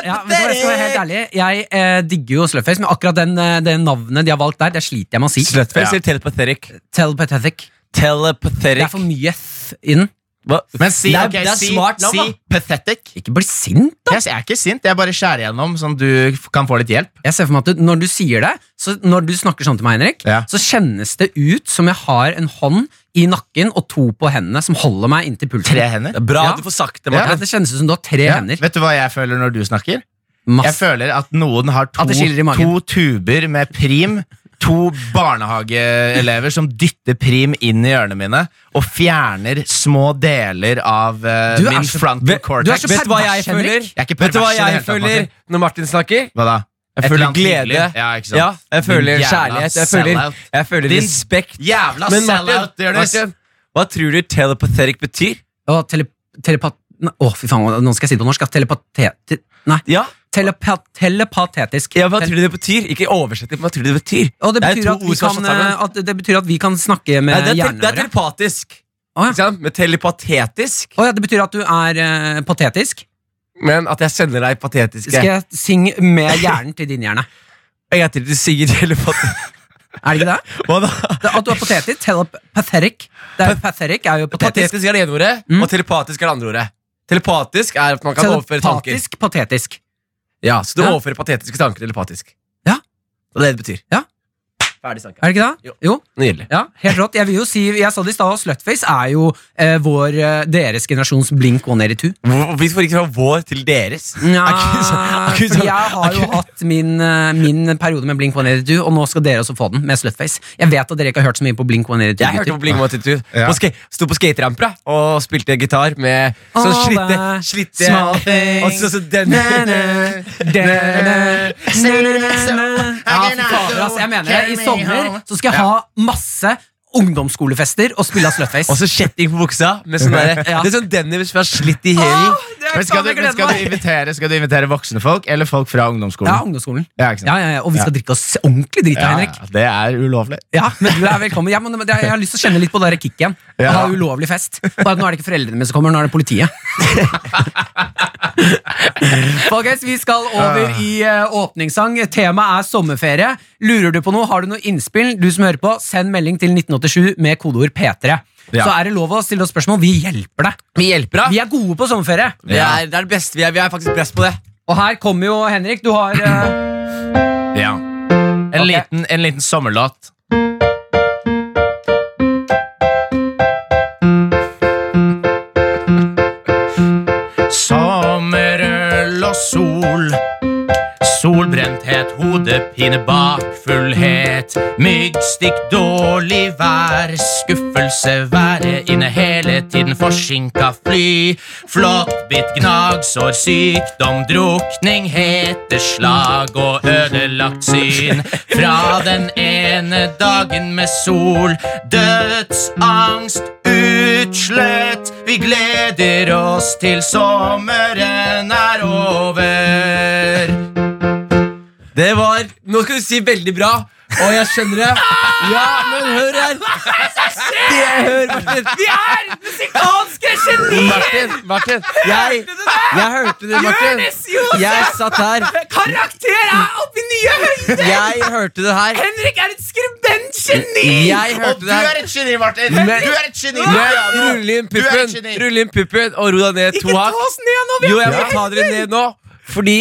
S2: Ja, vet du hva, jeg skal være helt ærlig Jeg eh, digger jo slutface, men akkurat den, eh, det navnet de har valgt der, det sliter jeg med å si.
S3: Slutface
S4: Ja.
S3: eller telepathetic?
S2: Telepathetic. Det er
S3: Telepathetic.
S2: for mye th i den.
S3: Hva?
S4: Men si,
S2: Det er-
S4: ok,
S2: det er
S4: si,
S2: smart navn,
S4: si pathetic.
S2: Ikke bli sint, da!
S4: Yes, jeg er ikke sint, jeg bare skjærer gjennom sånn du f- kan få litt hjelp.
S2: Jeg ser for meg at du, Når du sier det, så når du snakker sånn til meg, Henrik,
S4: Ja.
S2: så kjennes det ut som jeg har en hånd i nakken og to på hendene som holder meg inntil pulsen.
S4: Tre hender.
S3: Det er bra
S2: Ja.
S3: at du får sagt det,
S2: Ja,
S3: Martin.
S2: det kjennes ut som du har tre
S4: Ja.
S2: hender.
S4: Vet du hva jeg føler når du snakker? Jeg
S2: Masse.
S4: føler at noen har to,
S2: At det skiller i magen.
S4: to tuber med prim, to barnehageelever som dytter prim inn i ørene mine og fjerner små deler av eh,
S2: Du er
S4: min
S2: så-
S4: frontal
S3: Vet-
S4: cortex.
S2: du er så
S3: Vet du hva jeg
S2: pervers, Henrik.
S3: føler?
S4: Jeg er ikke
S3: Vet du hva
S4: pervers i det
S3: jeg
S4: hele tatt,
S3: føler når Martin snakker?
S4: Hva da? Et
S3: Jeg
S4: eller
S3: føler
S4: annet hyggelig.
S3: glede.
S4: Ja, ikke sant?
S3: Ja, jeg føler
S4: Din jævla
S3: kjærlighet. Jeg føler,
S4: sellout.
S3: jeg føler
S4: Din
S3: respekt.
S4: Jævla
S3: Men Martin,
S4: sellout, Jonis!
S3: Martin, hva tror du telepathetic betyr?
S2: Å, tele, telepat... Nei, Å, fy faen, nå skal jeg si det på norsk. ass. Telepate... Nei.
S3: Ja,
S2: Telepa, telepatetisk.
S3: ja Hva tror du det betyr? Ikke oversett det, men hva tror du det betyr?
S2: og det
S3: er
S2: betyr,
S3: to
S2: at vi
S3: ord som
S2: kan,
S3: er satt sammen.
S2: eh, at, det betyr at vi kan snakke med
S3: Nei, det, er te,
S2: hjernen
S3: det er
S2: vår.
S3: telepatisk.
S2: Å, ja.
S3: Ikke sant? Men telepatetisk?
S2: Å ja, det betyr at du er eh, patetisk.
S3: Men at jeg sender deg patetiske
S2: Skal jeg synge med hjernen til din hjerne?
S3: Jeg tror du sier
S2: (laughs)
S3: telepatisk.
S2: Er det ikke det?
S3: Hva da?
S2: det at du er patetisk? Telepathetic. Det er, pathetic er jo patetisk.
S3: Patetisk er det ene ordet,
S2: Mm.
S3: og telepatisk er det andre ordet. Telepatisk er at man kan overføre tanker.
S2: Telepatisk, patetisk.
S3: Ja, Så du
S2: Ja.
S3: overfører patetiske tanker telepatisk.
S2: Ja.
S3: Og det er det det betyr.
S2: Ja.
S3: Ferdig snakka.
S2: Er det ikke det?
S3: Jo.
S2: jo.
S3: Nydelig.
S2: Ja, helt rått. Jeg vil jo si, jeg sa det i stad, slutface er jo eh, vår, eh, deres generasjons blink 182.
S3: Hvor- Hvorfor ikke fra vår til deres?
S2: Ja,
S3: Er ikke så- er ikke så-
S2: fordi jeg har jo hatt min, eh, min periode med blink 182, og nå skal dere også få den med slutface. Jeg vet at dere ikke har hørt så mye på blink 182.
S3: Jeg hørte på Bling One Two.
S4: Ja.
S3: Sto på skateramper da, og spilte gitar med sånn
S2: All
S3: slitte,
S2: the
S3: slitte
S2: small
S3: Og så, så den
S2: Ja, fy fader, ass. Jeg mener det. I sommer så skal jeg ha masse ungdomsskolefester og spille av slutface.
S3: (laughs) Og så kjetting på buksa. Med sånn der,
S2: Ja.
S3: Det er sånn Dennis som har slitt i hælen.
S4: Men
S2: sånn
S4: skal du, men skal, du invitere, skal du invitere voksne folk eller folk fra
S2: Ja,
S4: ungdomsskolen?
S2: ungdomsskolen.
S4: Ja, ikke sant?
S2: Ja, ja, ja. Og vi skal drikke oss ordentlig drita,
S4: Ja,
S2: Henrik.
S4: ja, det er ulovlig.
S2: Ja, men du er velkommen. Ja, men det- jeg har lyst til å kjenne litt på det der kicket igjen.
S4: Ja.
S2: Ha ulovlig fest. Bare at nå er det ikke foreldrene mine som kommer, nå er det politiet. Folkens, vi skal over i eh, åpningssang. Temaet er sommerferie. Lurer du på noe, har du noe innspill, du som hører på, send melding til 1987 med kodeord P3.
S4: Ja.
S2: Så er det lov å stille oss spørsmål. Vi hjelper deg.
S3: Vi hjelper
S2: Vi er gode på sommerferie.
S3: Vi er, det er det beste vi er. Vi er faktisk best på det.
S2: Og her kommer jo Henrik. Du har eh,
S4: Ja. En, liten, en liten sommerlåt. Sommerøl og sol. Solbrenthet, hodepine, bakfullhet. Myggstikk, dårlig vær. Skuffelse, været inne hele tiden. Forsinka fly. Flåttbitt, gnagsår, sykdom, drukning, hete slag og ødelagt syn. Fra den ene dagen med sol. Dødsangst, utslett. Vi gleder oss til sommeren er over.
S3: Det var Nå skal du si veldig bra, og jeg skjønner det. Ja, men hør her. Det jeg hører, Martin. Vi er musikalske genier! Martin, Martin, jeg, jeg hørte det, Martin. Jeg satt her. Karakter er oppe i nye høyder! Jeg hørte det her. Henrik er et skribentgeni! Jeg
S4: Og
S3: hørte
S4: du
S3: det her.
S4: er et geni, Martin!
S3: Men-
S4: du er et geni!
S3: Men rull inn
S4: Du er et
S3: puppen
S4: geni.
S3: Rull inn puppen og ro deg ned to hakk.
S2: oss ned nå, vi
S3: Jo,
S2: er
S3: jeg må ta dere ned nå, fordi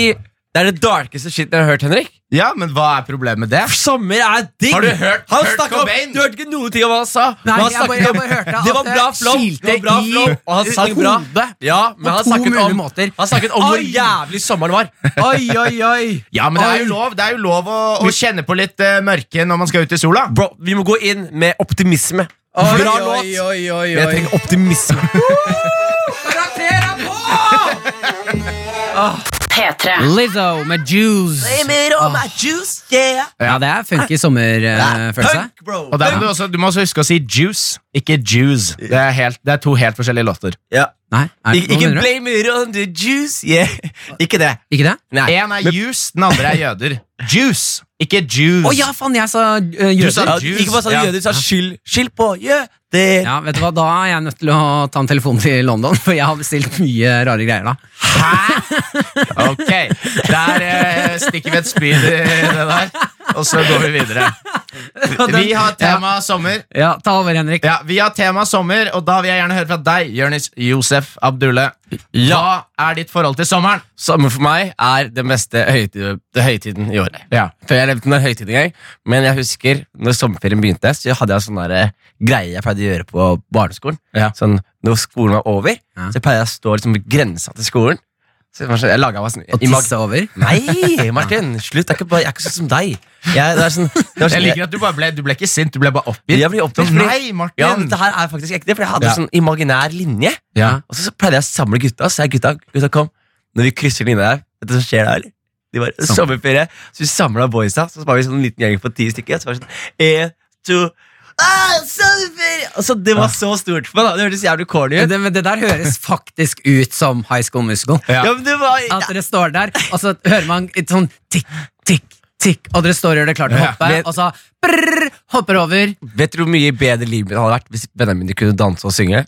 S3: det er det darkeste shit jeg har hørt, Henrik.
S4: Ja, men hva er problemet med det?
S3: Sommer er digg!
S4: Har du hørt
S3: han
S4: Kurt
S3: snakket om,
S4: Cobain?
S3: Du hørte ikke noen ting om hva han sa. Men
S2: Nei,
S3: han
S2: jeg bare-
S3: snakket
S2: jeg bare hørte at
S3: (laughs) det var bra
S2: det
S3: flow, det var bra
S2: kilte i
S3: flow og han sang bra.
S2: hodet
S3: Ja, men
S2: på
S3: han
S2: to
S3: snakket
S2: mulige
S3: om,
S2: måter.
S3: han snakket om hvor
S2: Oi!
S3: jævlig sommeren (laughs) var.
S2: Oi, oi, oi.
S4: Ja, men Det er jo
S2: Oi.
S4: lov, det er jo lov å, å kjenne på litt eh, mørke når man skal ut i sola.
S3: Bro, Vi må gå inn med optimisme. bra låt, men jeg trenger optimisme.
S5: P3.
S2: Lizzo med juice. Ah. Ja, det er funky sommerfølelse.
S3: Punk, bro.
S4: Og der må du, også, du må også huske å si juice, ikke juice. Det er, helt, det er to helt forskjellige låter.
S3: Ja.
S2: Nei, er,
S3: Ik
S2: hva
S3: ikke
S2: mener du?
S3: blame it on the juice. Yeah. (laughs) Ikke det.
S2: Ikke det?
S3: Nei.
S4: Én er juice, den andre er jøder. Juice! Ikke Jews.
S3: Å ja, faen, jeg sa
S2: øh,
S3: eh,
S4: Du
S3: jøder.
S4: sa
S3: Ja,
S4: Jews.
S3: Ikke bare sa
S4: Ja.
S3: jøder, du sa skyld. Skyld på jøder!
S2: Ja, vet du hva, Da er jeg nødt til å ta en telefon til London, (laughs) for jeg har bestilt mye rare greier da.
S4: Hæ?! Ok, der eh, stikker vi et spyd i det der, og så går vi videre. Vi har tema sommer.
S2: Ja, Ta over, Henrik.
S4: Ja, Vi har tema sommer, og da vil jeg gjerne høre fra deg, Jonis Josef Abdulle. Hva er ditt forhold til sommeren?
S3: Sommer for meg er den beste høytid, det høytiden i året.
S4: Ja.
S3: For jeg levde under høytid en gang, men jeg husker når sommerferien begynte, så hadde jeg sånn der, eh, greie jeg pleide å gjøre på barneskolen.
S4: Ja.
S3: Sånn, Når skolen var over,
S2: Ja.
S3: så pleide jeg å stå liksom ved grensa til skolen. Så jeg, var sånn- jeg laget meg sånn
S2: Og
S3: i mag-
S2: tisse over.
S3: Nei, Martin! Slutt! Jeg er ikke, bare, jeg er ikke sånn som deg. Jeg, det er sånn, det var sånn,
S4: Jeg liker at Du bare ble, du ble ikke sint, du ble bare oppgitt.
S3: Jeg blir oppgitt,
S4: Sånn,
S3: fordi-
S4: Nei, Martin!
S3: Ja, men det her er faktisk ekte, for jeg hadde
S4: Ja.
S3: sånn imaginær linje.
S4: Ja.
S3: Og så, så pleide jeg å samle gutta. Så jeg, gutta, gutta kom Når vi krysser linja der, vet du hva som skjer da? eller? De var sommerferie, så vi samla boysa. Så var vi sånn en liten gjeng på ti stykker. Så var det sånn en, to ah, sommerferie! Og så Det var så stort for meg. da Ah. Det hørtes jævlig corny ut.
S2: Det, men det der høres faktisk ut som High School Musical.
S4: Ja.
S3: Ja, men det var
S2: At dere står der, og så hører man et sånn tikk, tikk, tikk, og dere står og gjør dere klart til å
S4: Ja,
S2: hoppe,
S3: men-
S2: og så brrr, hopper over.
S3: Vet dere hvor mye bedre livet mitt hadde vært hvis vennene mine kunne danse og synge?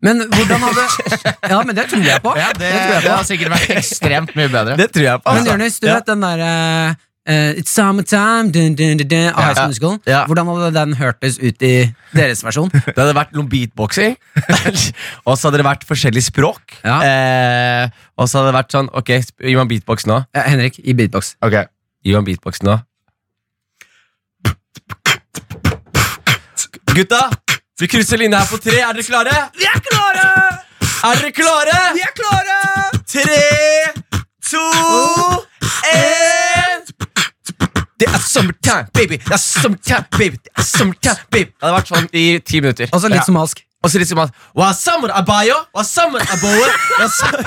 S2: Men hvordan hadde
S4: (laughs)
S2: Ja, men det tror jeg på.
S4: Ja, det,
S2: det tror jeg
S4: det
S2: på.
S4: har sikkert vært ekstremt mye bedre.
S3: (laughs) Det tror jeg på.
S2: Men
S3: altså.
S2: Jonis, du
S3: Ja.
S2: vet den derre It's summertime dun, dun, dun, dun, av High School Musical.
S3: Ja.
S2: Hvordan hadde den hørtes ut i deres versjon?
S3: Det hadde vært noen beatboxing, (laughs) og så hadde det vært forskjellig språk.
S2: Ja.
S3: Eh, og så hadde det vært sånn Ok, sp- gi meg en beatbox nå.
S2: Eh, Henrik, i beatbox.
S4: Ok.
S3: Gi meg en beatbox nå. Gutta, vi krysser linja her på tre. Er dere klare? Vi er klare! Er dere klare? Vi er klare! Tre, to, én Det er summertime, baby! Det er summertime, baby! Det er summertime, baby! Det hadde vært sånn i ti minutter.
S2: Og så Altså litt somalisk.
S3: Og så litt som at Hva sammen er bayo? Hva sammen er boe? Hva sam-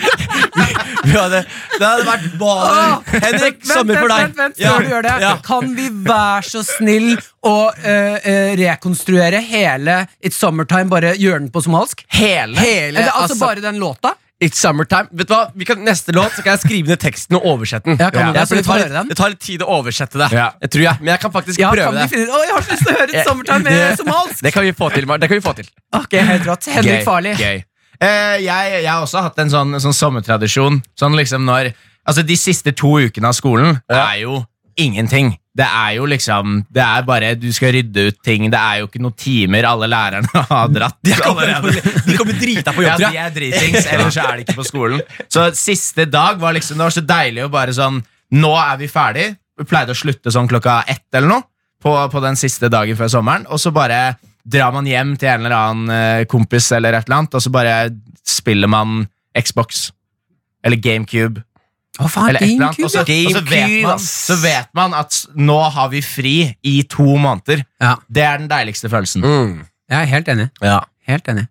S3: Vi- vi hadde- Det hadde vært bare Henrik,
S2: Vent,
S3: sommer for deg.
S2: Vent, vent, vent,
S3: Ja,
S2: før du gjør det.
S3: ja.
S2: Kan vi være så snill å eh, eh, rekonstruere hele It's Summertime, bare gjøre den på somalisk?
S3: Hele,
S2: Eller altså
S3: altså,
S2: bare den låta?
S3: It's summertime. Vet du hva? Vi kan, neste låt så kan jeg skrive ned teksten og oversette den.
S2: Ja, kan du det?
S3: for det,
S2: Så vi får
S3: tar,
S2: høre den.
S3: litt- det tar litt tid å oversette det.
S4: Ja.
S3: Jeg tror jeg, Men jeg kan faktisk
S2: Ja,
S3: prøve
S2: kan vi
S3: det.
S2: finne, å, jeg har så lyst til å høre It's Summertime med
S3: Det-
S2: somalisk!
S3: Det kan vi få til. Mar- Det kan vi få til.
S2: Ok, helt rått. Henrik
S4: Gøy,
S2: Farli.
S4: Gøy. Eh, jeg, jeg har også hatt en sånn, sånn sommertradisjon. Sånn liksom når, altså De siste to ukene av skolen er jo ingenting. Det er jo liksom Det er bare Du skal rydde ut ting. Det er jo ikke noen timer. Alle lærerne (laughs) har dratt.
S3: De kommer,
S4: allerede.
S3: de kommer drita på jobb,
S4: Ja,
S3: tror
S4: de
S3: jeg.
S4: er dritings, ellers er de ikke på skolen. Så siste dag var liksom Det var så deilig å bare sånn Nå er vi ferdig. Vi pleide å slutte sånn klokka ett eller noe på, på den siste dagen før sommeren. Og så bare drar man hjem til en eller annen eh, kompis eller et eller annet, og så bare spiller man Xbox eller GameCube.
S2: Å, faen,
S4: Eller et eller annet.
S2: GameCube,
S4: Og så, og så, vet,
S3: Ah, GameCube,
S4: man,
S3: ass.
S4: så vet man at s- nå har vi fri i to måneder.
S2: Ja,
S4: Det er den deiligste følelsen.
S3: Mm.
S2: jeg er helt enig.
S3: Ja.
S2: Helt enig.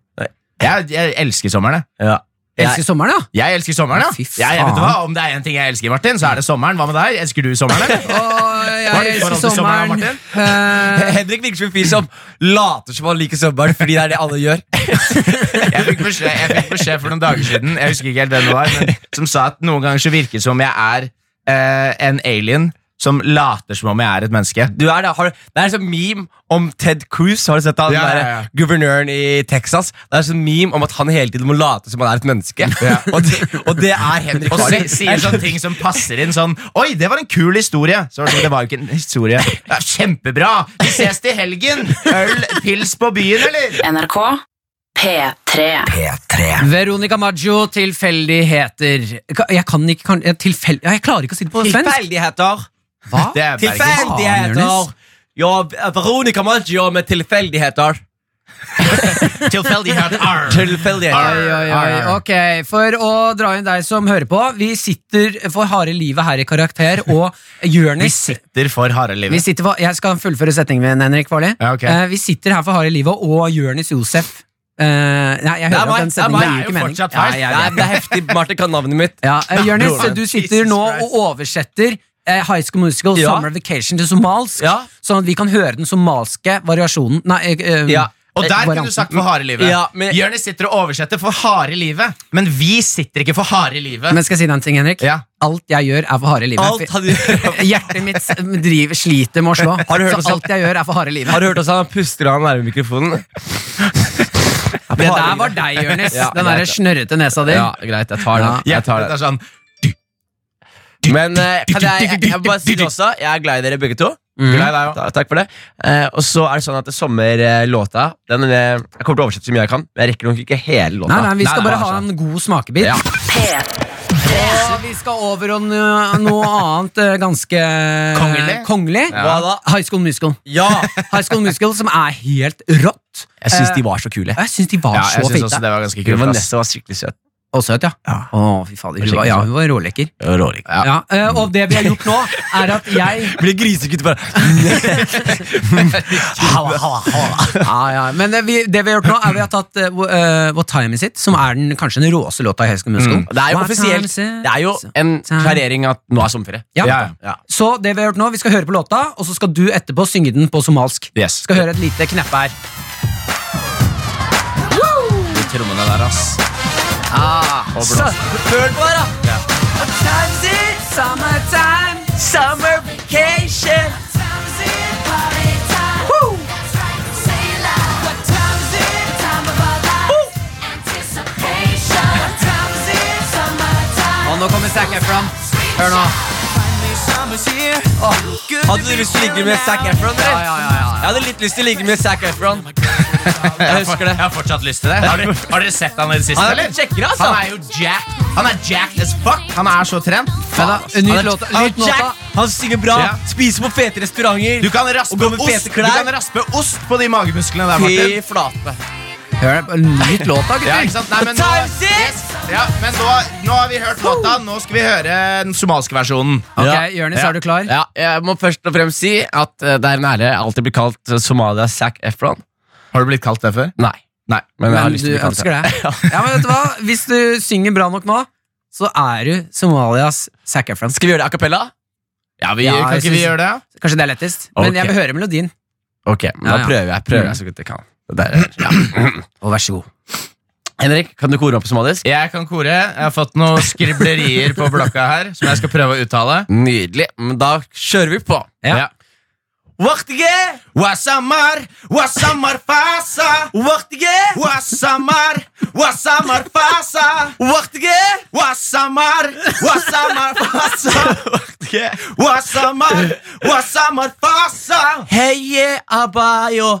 S4: Jeg, jeg elsker sommeren. jeg.
S3: ja.
S2: Elsker sommeren, ja.
S4: Jeg elsker sommeren, ja.
S2: Fy
S4: Jeg, jeg vet du
S2: faen.
S4: hva, Om det er én ting jeg elsker, Martin, så er det sommeren. Hva med deg? Elsker du sommeren? eller?
S2: (laughs) Å,
S4: (laughs) Hva er
S2: jeg
S4: ditt forhold
S2: elsker
S4: til sommeren,
S2: sommeren. Eh,
S3: Henrik virker som en fyr som later som han liker sommeren fordi det er det alle gjør.
S4: Jeg fikk beskjed, jeg fikk beskjed for noen dager siden Jeg husker ikke helt hvem det var men, som sa at noen ganger så virker det som jeg er eh, en alien som later som om jeg er et menneske.
S3: du er det, har, du- det er en sånn meme om Ted Cruz, har du sett han,
S4: Ja,
S3: den
S4: ja,
S3: der
S4: ja.
S3: guvernøren i Texas? Det er en sånn meme om at han hele tiden må late som han er et menneske. (laughs) og, det, og det er Henrik
S4: Og si,
S3: Farley.
S4: sier sånne ting som passer inn sånn Oi, det var en kul historie! Så var det, sånn, det var jo ikke en historie. Ja, kjempebra! Vi ses til helgen! Øl, pils på byen, eller?
S5: NRK P3
S1: P3
S2: Veronica Maggio, tilfeldigheter. Ka- Jeg kan ikke kan, jeg, tilfel, ja, jeg klarer ikke å si det på svensk.
S3: Tilfeldigheter!
S2: Hva?
S4: Det er Bergen.
S2: Jonas.
S3: Tilfeldigheter! Ja, Veronica Maggio med tilfeldigheter.
S4: Tilfeldighet. Arr.
S2: Oi,
S3: Tilfeldigheter.
S2: oi, oi. Ok, For å dra inn deg som hører på, vi sitter for harde livet her i Karakter, og
S4: Vi
S2: Jonis
S4: sitter for harde
S2: vi
S4: livet.
S2: sitter for, Jeg skal fullføre setningen min, Henrik Farli.
S4: Ja, ok.
S2: Eh, vi sitter her for harde livet, og Jonis Josef eh, Nei, jeg
S3: Det er
S2: hører
S3: meg,
S2: at den
S3: det er
S2: setningen gir
S3: meg.
S4: Det er
S2: ikke
S4: jo
S2: mening.
S4: fortsatt
S2: Ja,
S4: feil.
S2: jeg
S3: Det er,
S2: vet.
S3: det er heftig. Martin kan navnet mitt.
S2: (laughs) Ja, eh, Jonis,
S4: Bror,
S2: du sitter
S4: Jesus
S2: nå
S4: Christ.
S2: og oversetter eh, High School Musical
S3: Ja.
S2: Summer Vacation til somalsk,
S3: Ja.
S2: sånn at vi kan høre den somalske variasjonen Nei, eh, eh,
S3: Ja.
S4: Og der kunne
S2: varianten.
S4: du sagt for harde livet.
S3: Ja, men-
S4: Jonis Eh, sitter og oversetter for harde livet, men vi sitter ikke for harde livet.
S2: Men skal jeg si deg en ting, Henrik?
S4: Ja.
S2: Alt jeg gjør, er for harde livet.
S3: Alt han (laughs) gjør
S2: Hjertet mitt s- driver, sliter med å slå.
S3: Har du hørt oss-
S2: så alt jeg gjør, er for harde livet.
S3: Har du hørt oss han puster av nærme mikrofonen?
S2: det der var deg,
S3: (laughs)
S2: Jonis.
S3: Ja,
S2: Den derre snørrete nesa di.
S3: Ja, greit, jeg tar den. Jeg tar
S4: Hjertet
S3: den.
S4: er sånn
S3: Men eh, kan jeg, jeg, jeg må bare si det også, jeg er glad i dere begge to.
S2: Mm.
S4: Glad i deg òg.
S3: Ta- Mhm. Takk for det. Eh, og så er det sånn at sommerlåta den, eh, Jeg kommer til å oversette så mye jeg kan, men jeg rekker nok ikke hele låta.
S2: Nei, nei, vi skal
S3: Nei,
S2: bare
S3: nei,
S2: ha
S3: altså.
S2: en god smakebit.
S3: Ja.
S5: P3.
S2: Så Vi skal over og noe, noe annet eh, ganske
S4: Kongelig.
S2: kongelig.
S3: Hva da?
S2: High School Musical.
S3: Ja!
S2: High School Musical som er helt rått.
S3: Jeg syns de var så kule.
S2: Og Jeg syns de var
S4: Ja, jeg
S2: så
S4: syns også
S2: fete.
S4: det var ganske
S3: Hun
S4: kult.
S3: var
S4: ass.
S3: nesten var skikkelig søt.
S2: Og søt, ja.
S3: Ja.
S2: Å, fy fader. Hun
S3: Skikkelig
S2: var, ja,
S3: søt.
S2: hun var rålekker.
S3: Råring.
S4: Ja.
S2: Ja, eh, og det vi har gjort nå, er at jeg
S3: Blir grisegutt (laughs) bare
S2: ja, ja. Men det vi, det vi har gjort nå, er vi har tatt eh, wh- eh, What Time Is It, som er den, kanskje den råeste låta i High School Musical.
S3: Mm. Det er jo
S2: What time
S3: offisielt.
S2: is it?
S3: Det er jo en klarering at nå er sommerferie.
S2: Ja.
S4: Ja.
S3: Ja.
S2: Så det vi har gjort nå, vi skal høre på låta, og så skal du etterpå synge den på somalsk.
S4: Yes.
S2: Skal høre et lite kneppe her.
S4: De trommene der, ass.
S3: Ah,
S4: Og blå.
S3: Føl på det, da! Summer vacation!
S2: Og nå kommer Zac Efron. Hør nå.
S3: Hadde du lyst til å ligge med Zac Efron? eller? Jeg hadde litt lyst til å ligge med Zac Efron. (laughs) Jeg husker det.
S4: Jeg har fortsatt lyst til det. Har dere, har dere sett han i det siste?
S3: Han er
S4: eller?
S3: litt kjekkere, altså.
S4: Han er jo jack. Han er jacked as fuck. Han er så trent.
S2: Men da, en
S3: Han
S2: ny
S3: er-
S2: låt.
S3: han er
S2: Nytt låta.
S3: Jack, han synger bra,
S4: Ja.
S3: spiser på fete restauranter.
S4: Du kan raspe
S3: Og gå med
S4: ost
S3: fete
S4: Du
S3: klær.
S4: kan raspe ost på de magemusklene der, Martin.
S3: Fy flate.
S2: Hør,
S3: (laughs)
S2: nytt låta,
S4: Ja,
S2: gutter.
S4: ikke sant? Nei, men nå,
S3: Times it!
S4: ja, men nå, nå har vi hørt låta. Nå skal vi høre den somaliske versjonen.
S3: Ja.
S2: Ok, Jonis,
S4: Ja.
S2: er du klar?
S3: Ja, jeg må først og fremst si at eh, det er en ære jeg alltid blir kalt eh, Somalias Zac Efron.
S4: Har du blitt kalt det før?
S3: Nei.
S4: Nei.
S3: Men jeg har
S2: Men
S3: lyst
S2: du
S3: til å bli kalt
S2: ønsker det?
S3: (laughs) Ja.
S2: Ja, men vet du hva? Hvis du synger bra nok nå, så er du Somalias Zac Efron.
S3: Skal vi gjøre det a cappella?
S4: Ja, vi,
S2: Ja,
S4: Kan
S2: jeg
S4: ikke vi
S2: synes-
S4: gjøre det?
S2: Kanskje det er lettest.
S3: Ok.
S2: Men jeg vil høre melodien.
S3: Ok, men
S2: Ja,
S3: da
S2: ja.
S3: prøver jeg, prøver jeg så godt jeg kan. Det Der, er- ja.
S2: Og vær så god.
S3: Henrik, kan du kore opp på somalisk?
S4: Jeg kan kore. Jeg har fått noen skriblerier på blokka her som jeg skal prøve å uttale.
S3: Nydelig. Men da kjører vi på.
S2: Ja.
S3: Waktige!
S4: Wasamar, wasamar fasa.
S3: Waktige!
S4: Wasamar, wasamar fasa.
S3: Waktige!
S4: Wasamar, wasamar fasa.
S3: (laughs)
S4: Wasamar, wasamar fasa.
S3: Heye abayo.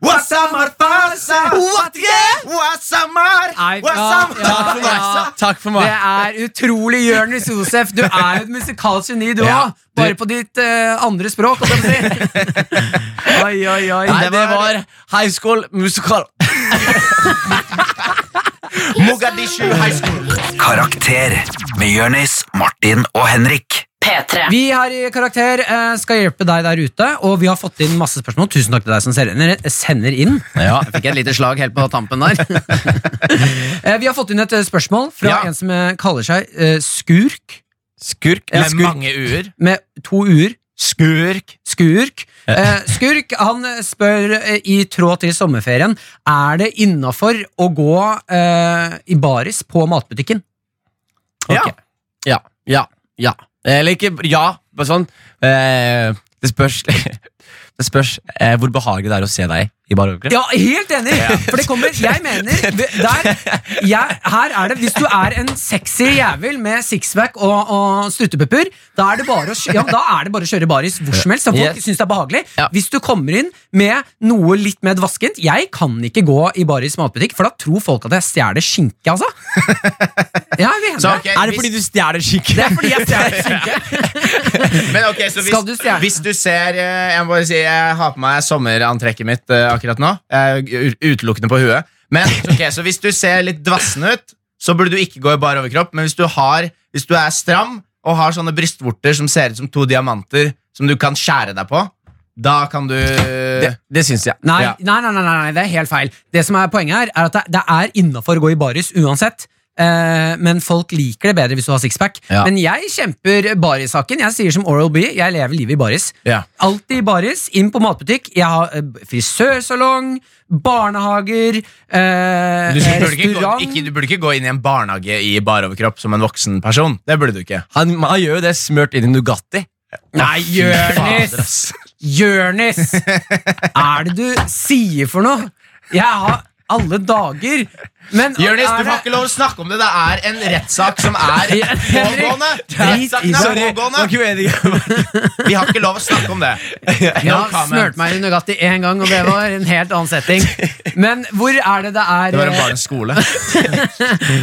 S4: wasamar fasa.
S3: Waktige!
S4: Wasamar,
S2: Nei, ja,
S4: wasamar
S2: ja,
S3: Takk for meg.
S2: Ja.
S3: Takk for
S2: Det
S3: meg.
S2: er utrolig Jonis Josef. Du er jo et musikalsk geni, du òg.
S3: Ja, du-
S2: Bare på ditt eh, andre språk. holdt (laughs) jeg på å Si. Oi, oi, oi.
S3: Nei, det var High School Musical.
S4: Mogadishu High School.
S1: Karakter med Jørnis, Martin og Henrik.
S5: P3.
S2: Vi her i Karakter eh, skal hjelpe deg der ute, og vi har fått inn masse spørsmål. Tusen takk til deg som sender, sender inn.
S4: Ja.
S2: Jeg fikk et lite slag helt på tampen der. (laughs) Eh, vi har fått inn et eh, spørsmål fra
S4: Ja.
S2: en som eh, kaller seg eh, Skurk,
S3: Skurk?
S4: Med mange u-er.
S2: med to u-er.
S4: Skurk.
S2: Skurk. Eh, skurk han spør eh, i tråd til sommerferien Er det innafor å gå eh, i baris på matbutikken.
S3: Ja. Ja. Ja. ja. Eller ikke ja, bare sånn. Eh, det spørs (laughs) Det spørs eh, hvor behagelig det er å se deg i bar overkropp.
S2: Ja, helt enig! For det kommer Jeg mener der, jeg, Her er det Hvis du er en sexy jævel med sixpack og, og struttepupper, da er det bare å, kjø- ja, da er det bare å kjøre baris hvor som helst. Da folk
S3: Yes.
S2: synes det er behagelig
S3: Ja.
S2: Hvis du kommer inn med noe litt mer dvaskent Jeg kan ikke gå i baris matbutikk, for da tror folk at jeg stjeler skinke, altså. Ja, jeg mener
S4: Så,
S2: det.
S4: ok,
S3: Er det
S4: hvis-
S3: fordi du stjeler skinke?
S2: Det er fordi jeg stjeler skinke.
S4: Men ok, så hvis,
S2: Skal du stjerne?
S4: hvis du ser eh, Jeg må bare si, jeg har på meg sommerantrekket mitt eh, akkurat nå. Jeg er u- Utelukkende på huet. Men ok, Så hvis du ser litt dvassen ut, så burde du ikke gå i bar overkropp. Men hvis du, har, hvis du er stram og har sånne brystvorter som ser ut som to diamanter som du kan skjære deg på, Da kan du
S3: Det, det syns jeg.
S2: Nei,
S4: Ja.
S2: nei, nei, nei, nei, nei, det er helt feil. Det som er Poenget her er at det, det er innafor å gå i baris uansett. Eh, men folk liker det bedre hvis du har sixpack.
S4: Ja.
S2: Men jeg kjemper barissaken. Jeg sier som Oral B, jeg lever livet i baris.
S4: Ja.
S2: Alltid i baris, inn på matbutikk. Jeg har eh, frisørsalong, barnehager, eh,
S4: Du burde ikke, gå,
S2: restaurant
S4: ikke, du burde ikke gå inn i en barnehage i bar overkropp som en voksen person. Det burde du ikke.
S3: Han, han gjør jo det smørt inn i Nugatti.
S2: Nei, Jørnis! Jørnis! Er det du sier for noe? Jeg har alle dager Men
S4: Jonis,
S2: er
S4: du får
S2: det-
S4: ikke lov å snakke om det. Det er en rettssak som er
S2: Ja, Henrik,
S4: pågående.
S2: drit i
S4: Rettssaken
S2: det.
S4: er pågående. Vi har ikke lov å snakke om det.
S2: Jeg
S4: No
S2: har
S4: comment.
S2: smurt meg i Nugatti én gang, og det var en helt annen
S4: (laughs)
S2: setting. Men hvor er det det
S4: Det var
S2: er eh,
S4: en barnens skole.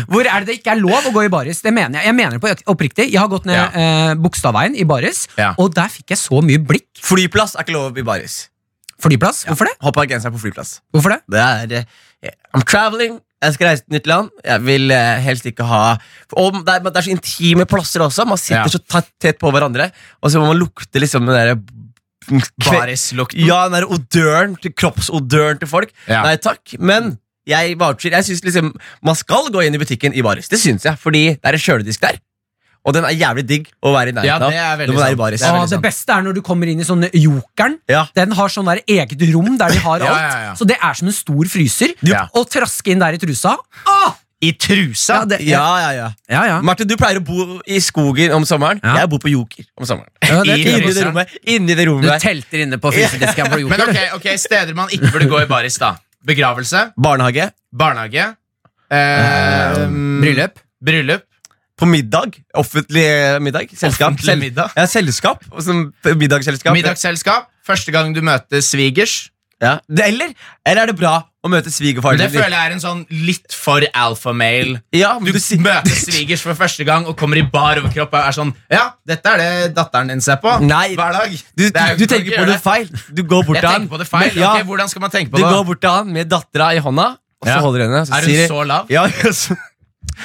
S2: Hvor er det det ikke er lov å gå i baris? Det mener jeg. Jeg mener det på oppriktig. Jeg har gått ned
S4: Ja.
S2: eh, Bogstadveien i baris,
S4: Ja.
S2: og der fikk jeg så mye blikk.
S3: (laughs) Flyplass er ikke lov å bli baris.
S2: Flyplass? Hvorfor det?
S3: Hopp av genseren på flyplass.
S2: Hvorfor det?
S3: Det er eh, I'm traveling. Jeg skal reise til et nytt land. Jeg vil eh, helst ikke ha Og det er, det er så intime plasser også. Man sitter
S4: Ja.
S3: så tett, tett på hverandre, og så må man lukte liksom den derre
S4: Barislukten.
S3: Ja, den derre odøren til kroppsodøren til folk.
S4: Ja.
S3: Nei takk. Men jeg voucher. Jeg synes liksom Man skal gå inn i butikken i baris. Det syns jeg, fordi det er en kjøledisk der. Og den er jævlig digg å være i
S4: Ja,
S3: nærheten av.
S4: det er veldig
S3: når man er i
S4: sant.
S3: baris.
S4: Det er
S2: Det,
S4: veldig
S2: det
S4: sant.
S2: beste er når du kommer inn i sånne Jokeren.
S3: Ja.
S2: Den har sånn der eget rom der de har alt.
S4: (laughs) Ja, ja, ja.
S2: Så det er som en stor fryser.
S4: Ja.
S2: Å traske inn der i trusa Åh!
S4: I trusa.
S2: Ja, det-
S3: Ja, ja, ja.
S2: Ja, ja.
S3: Martin, du pleier å bo i skogen om sommeren.
S2: Ja.
S3: Jeg bor på Joker om sommeren.
S2: Ja, det er
S3: inni,
S2: fint.
S3: det rommet, inni det
S2: Du
S3: rommet der.
S2: telter inne på
S4: (laughs)
S2: frysedisken på
S4: Men
S2: Jokeren.
S4: ok, ok, steder man ikke burde gå i baris, da. Begravelse,
S3: Barnehage.
S4: barnehage, eh,
S3: Ehm,
S2: Bryllup.
S4: bryllup.
S3: På middag. Offentlig middag. Selskap.
S4: Offentlig middag.
S3: Ja, selskap. og sånn Middagsselskap.
S4: Middagsselskap. Første gang du møter svigers.
S3: Ja. Det, eller, eller er det bra å møte svigerfaren
S4: Det føler jeg er en sånn litt for alfamale.
S3: Ja,
S4: Du,
S3: du, si-
S4: møter svigers for første gang og kommer i bar overkropp og er sånn Ja, dette er det datteren din ser på
S3: Nei.
S4: hver dag.
S3: du,
S4: Det er jo
S3: du, du
S4: ikke- kan
S3: tenker
S4: ikke
S3: på
S4: gjøre
S3: det feil. Du går bort
S4: Jeg
S3: til han.
S4: tenker på det feil.
S3: Ja,
S4: Ok, hvordan skal man tenke på
S3: du
S4: det?
S3: går bort til han med dattera i hånda, og så
S4: Ja.
S3: holder du henne. Så
S4: Er
S3: sier
S4: hun
S3: de-
S4: så lav?
S3: Ja, (laughs) så-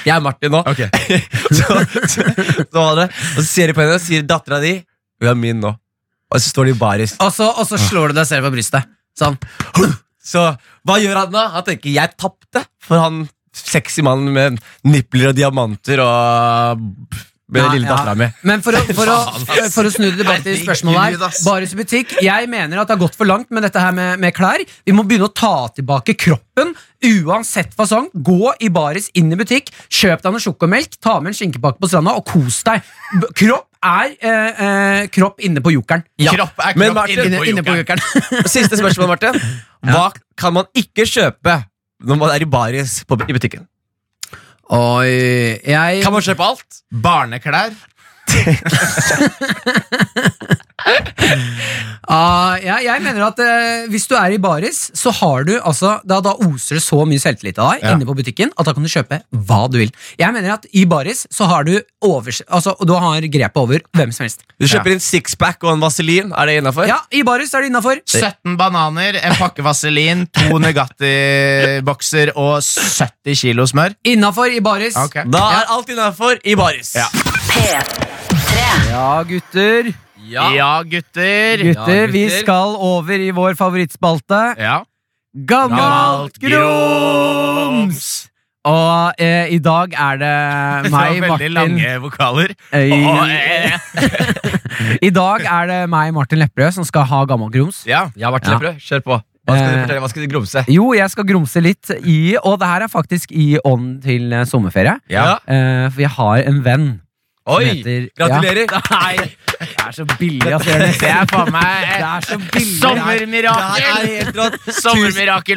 S3: jeg er Martin nå.
S4: (laughs) Ok.
S3: (laughs) så, så, så holder jeg. og så ser de på henne og sier dattera di Hun er min nå. Og så står de i baris.
S2: Og så, og så slår du deg selv på brystet. Sånn.
S3: Så hva gjør han da? Han tenker jeg tapte for han sexy mannen med nipler og diamanter og med
S2: Nei,
S3: lille
S2: ja.
S3: dattera mi.
S2: Men for å, for, å,
S4: Faen, ass.
S2: for å snu det tilbake til spørsmålet
S4: Herregud,
S2: her
S4: ass.
S2: Baris i butikk, jeg mener at det har gått for langt med dette her med, med klær. Vi må begynne å ta tilbake kroppen, uansett fasong. Gå i baris, inn i butikk, kjøp deg noe sjokomelk, ta med en skinkepakke på stranda og kos deg. B kropp er eh, eh, kropp inne på jokeren.
S4: Kropp er
S3: Men
S4: kropp
S3: Martin,
S4: inne, på
S2: inne på
S4: jokeren.
S3: Siste spørsmål, Martin. Hva kan man ikke kjøpe når man er i baris på, i butikken?
S2: Oi, jeg
S3: Kan man kjøpe alt?
S4: Barneklær.
S2: Ah, jeg, jeg mener at eh, hvis du er i baris, så har du altså Da, da oser det så mye selvtillit av deg
S4: Ja.
S2: inne på butikken at da kan du kjøpe hva du vil. Jeg mener at i baris så har du overs... Altså, du har grepet over hvem som helst.
S3: Du kjøper en sixpack og en vaselin. Er det innafor?
S2: Ja, i baris er det innafor.
S4: 17 bananer, en pakke vaselin, (laughs) to Nugatti-bokser og 70 kilo smør.
S2: Innafor i baris.
S4: Ok.
S3: Da er alt innafor i baris.
S4: Ja.
S5: P3.
S2: Ja, gutter.
S4: Ja, gutter.
S2: Gutter, vi
S3: gutter.
S2: skal over i vår favorittspalte.
S4: Ja.
S2: Gammalt
S4: Gammalt
S2: grums! Og eh, i dag er det
S4: (laughs) Det var
S2: meg,
S4: veldig
S2: Martin
S4: lange vokaler.
S2: Øy-
S4: Åh, eh, eh.
S2: I dag er det meg, Martin Lepperød, som skal ha gammel grums.
S4: Ja.
S3: Ja, Martin
S2: Ja.
S3: Lepperød, kjør på. Hva skal du
S2: Eh.
S3: fortelle? Hva skal du grumse?
S2: Jo, jeg skal grumse litt i Og det her er faktisk i ånd til eh, sommerferie.
S4: Ja.
S2: Eh, for jeg har en venn
S3: Oi!
S2: som heter
S3: Gratulerer.
S2: Ja. (laughs) Nei! Det er så billig, altså. Jonis.
S4: Det er faen meg
S2: Det er så billig.
S3: Det her
S4: sommermirakel!
S3: er helt rått.
S4: Sommermirakel,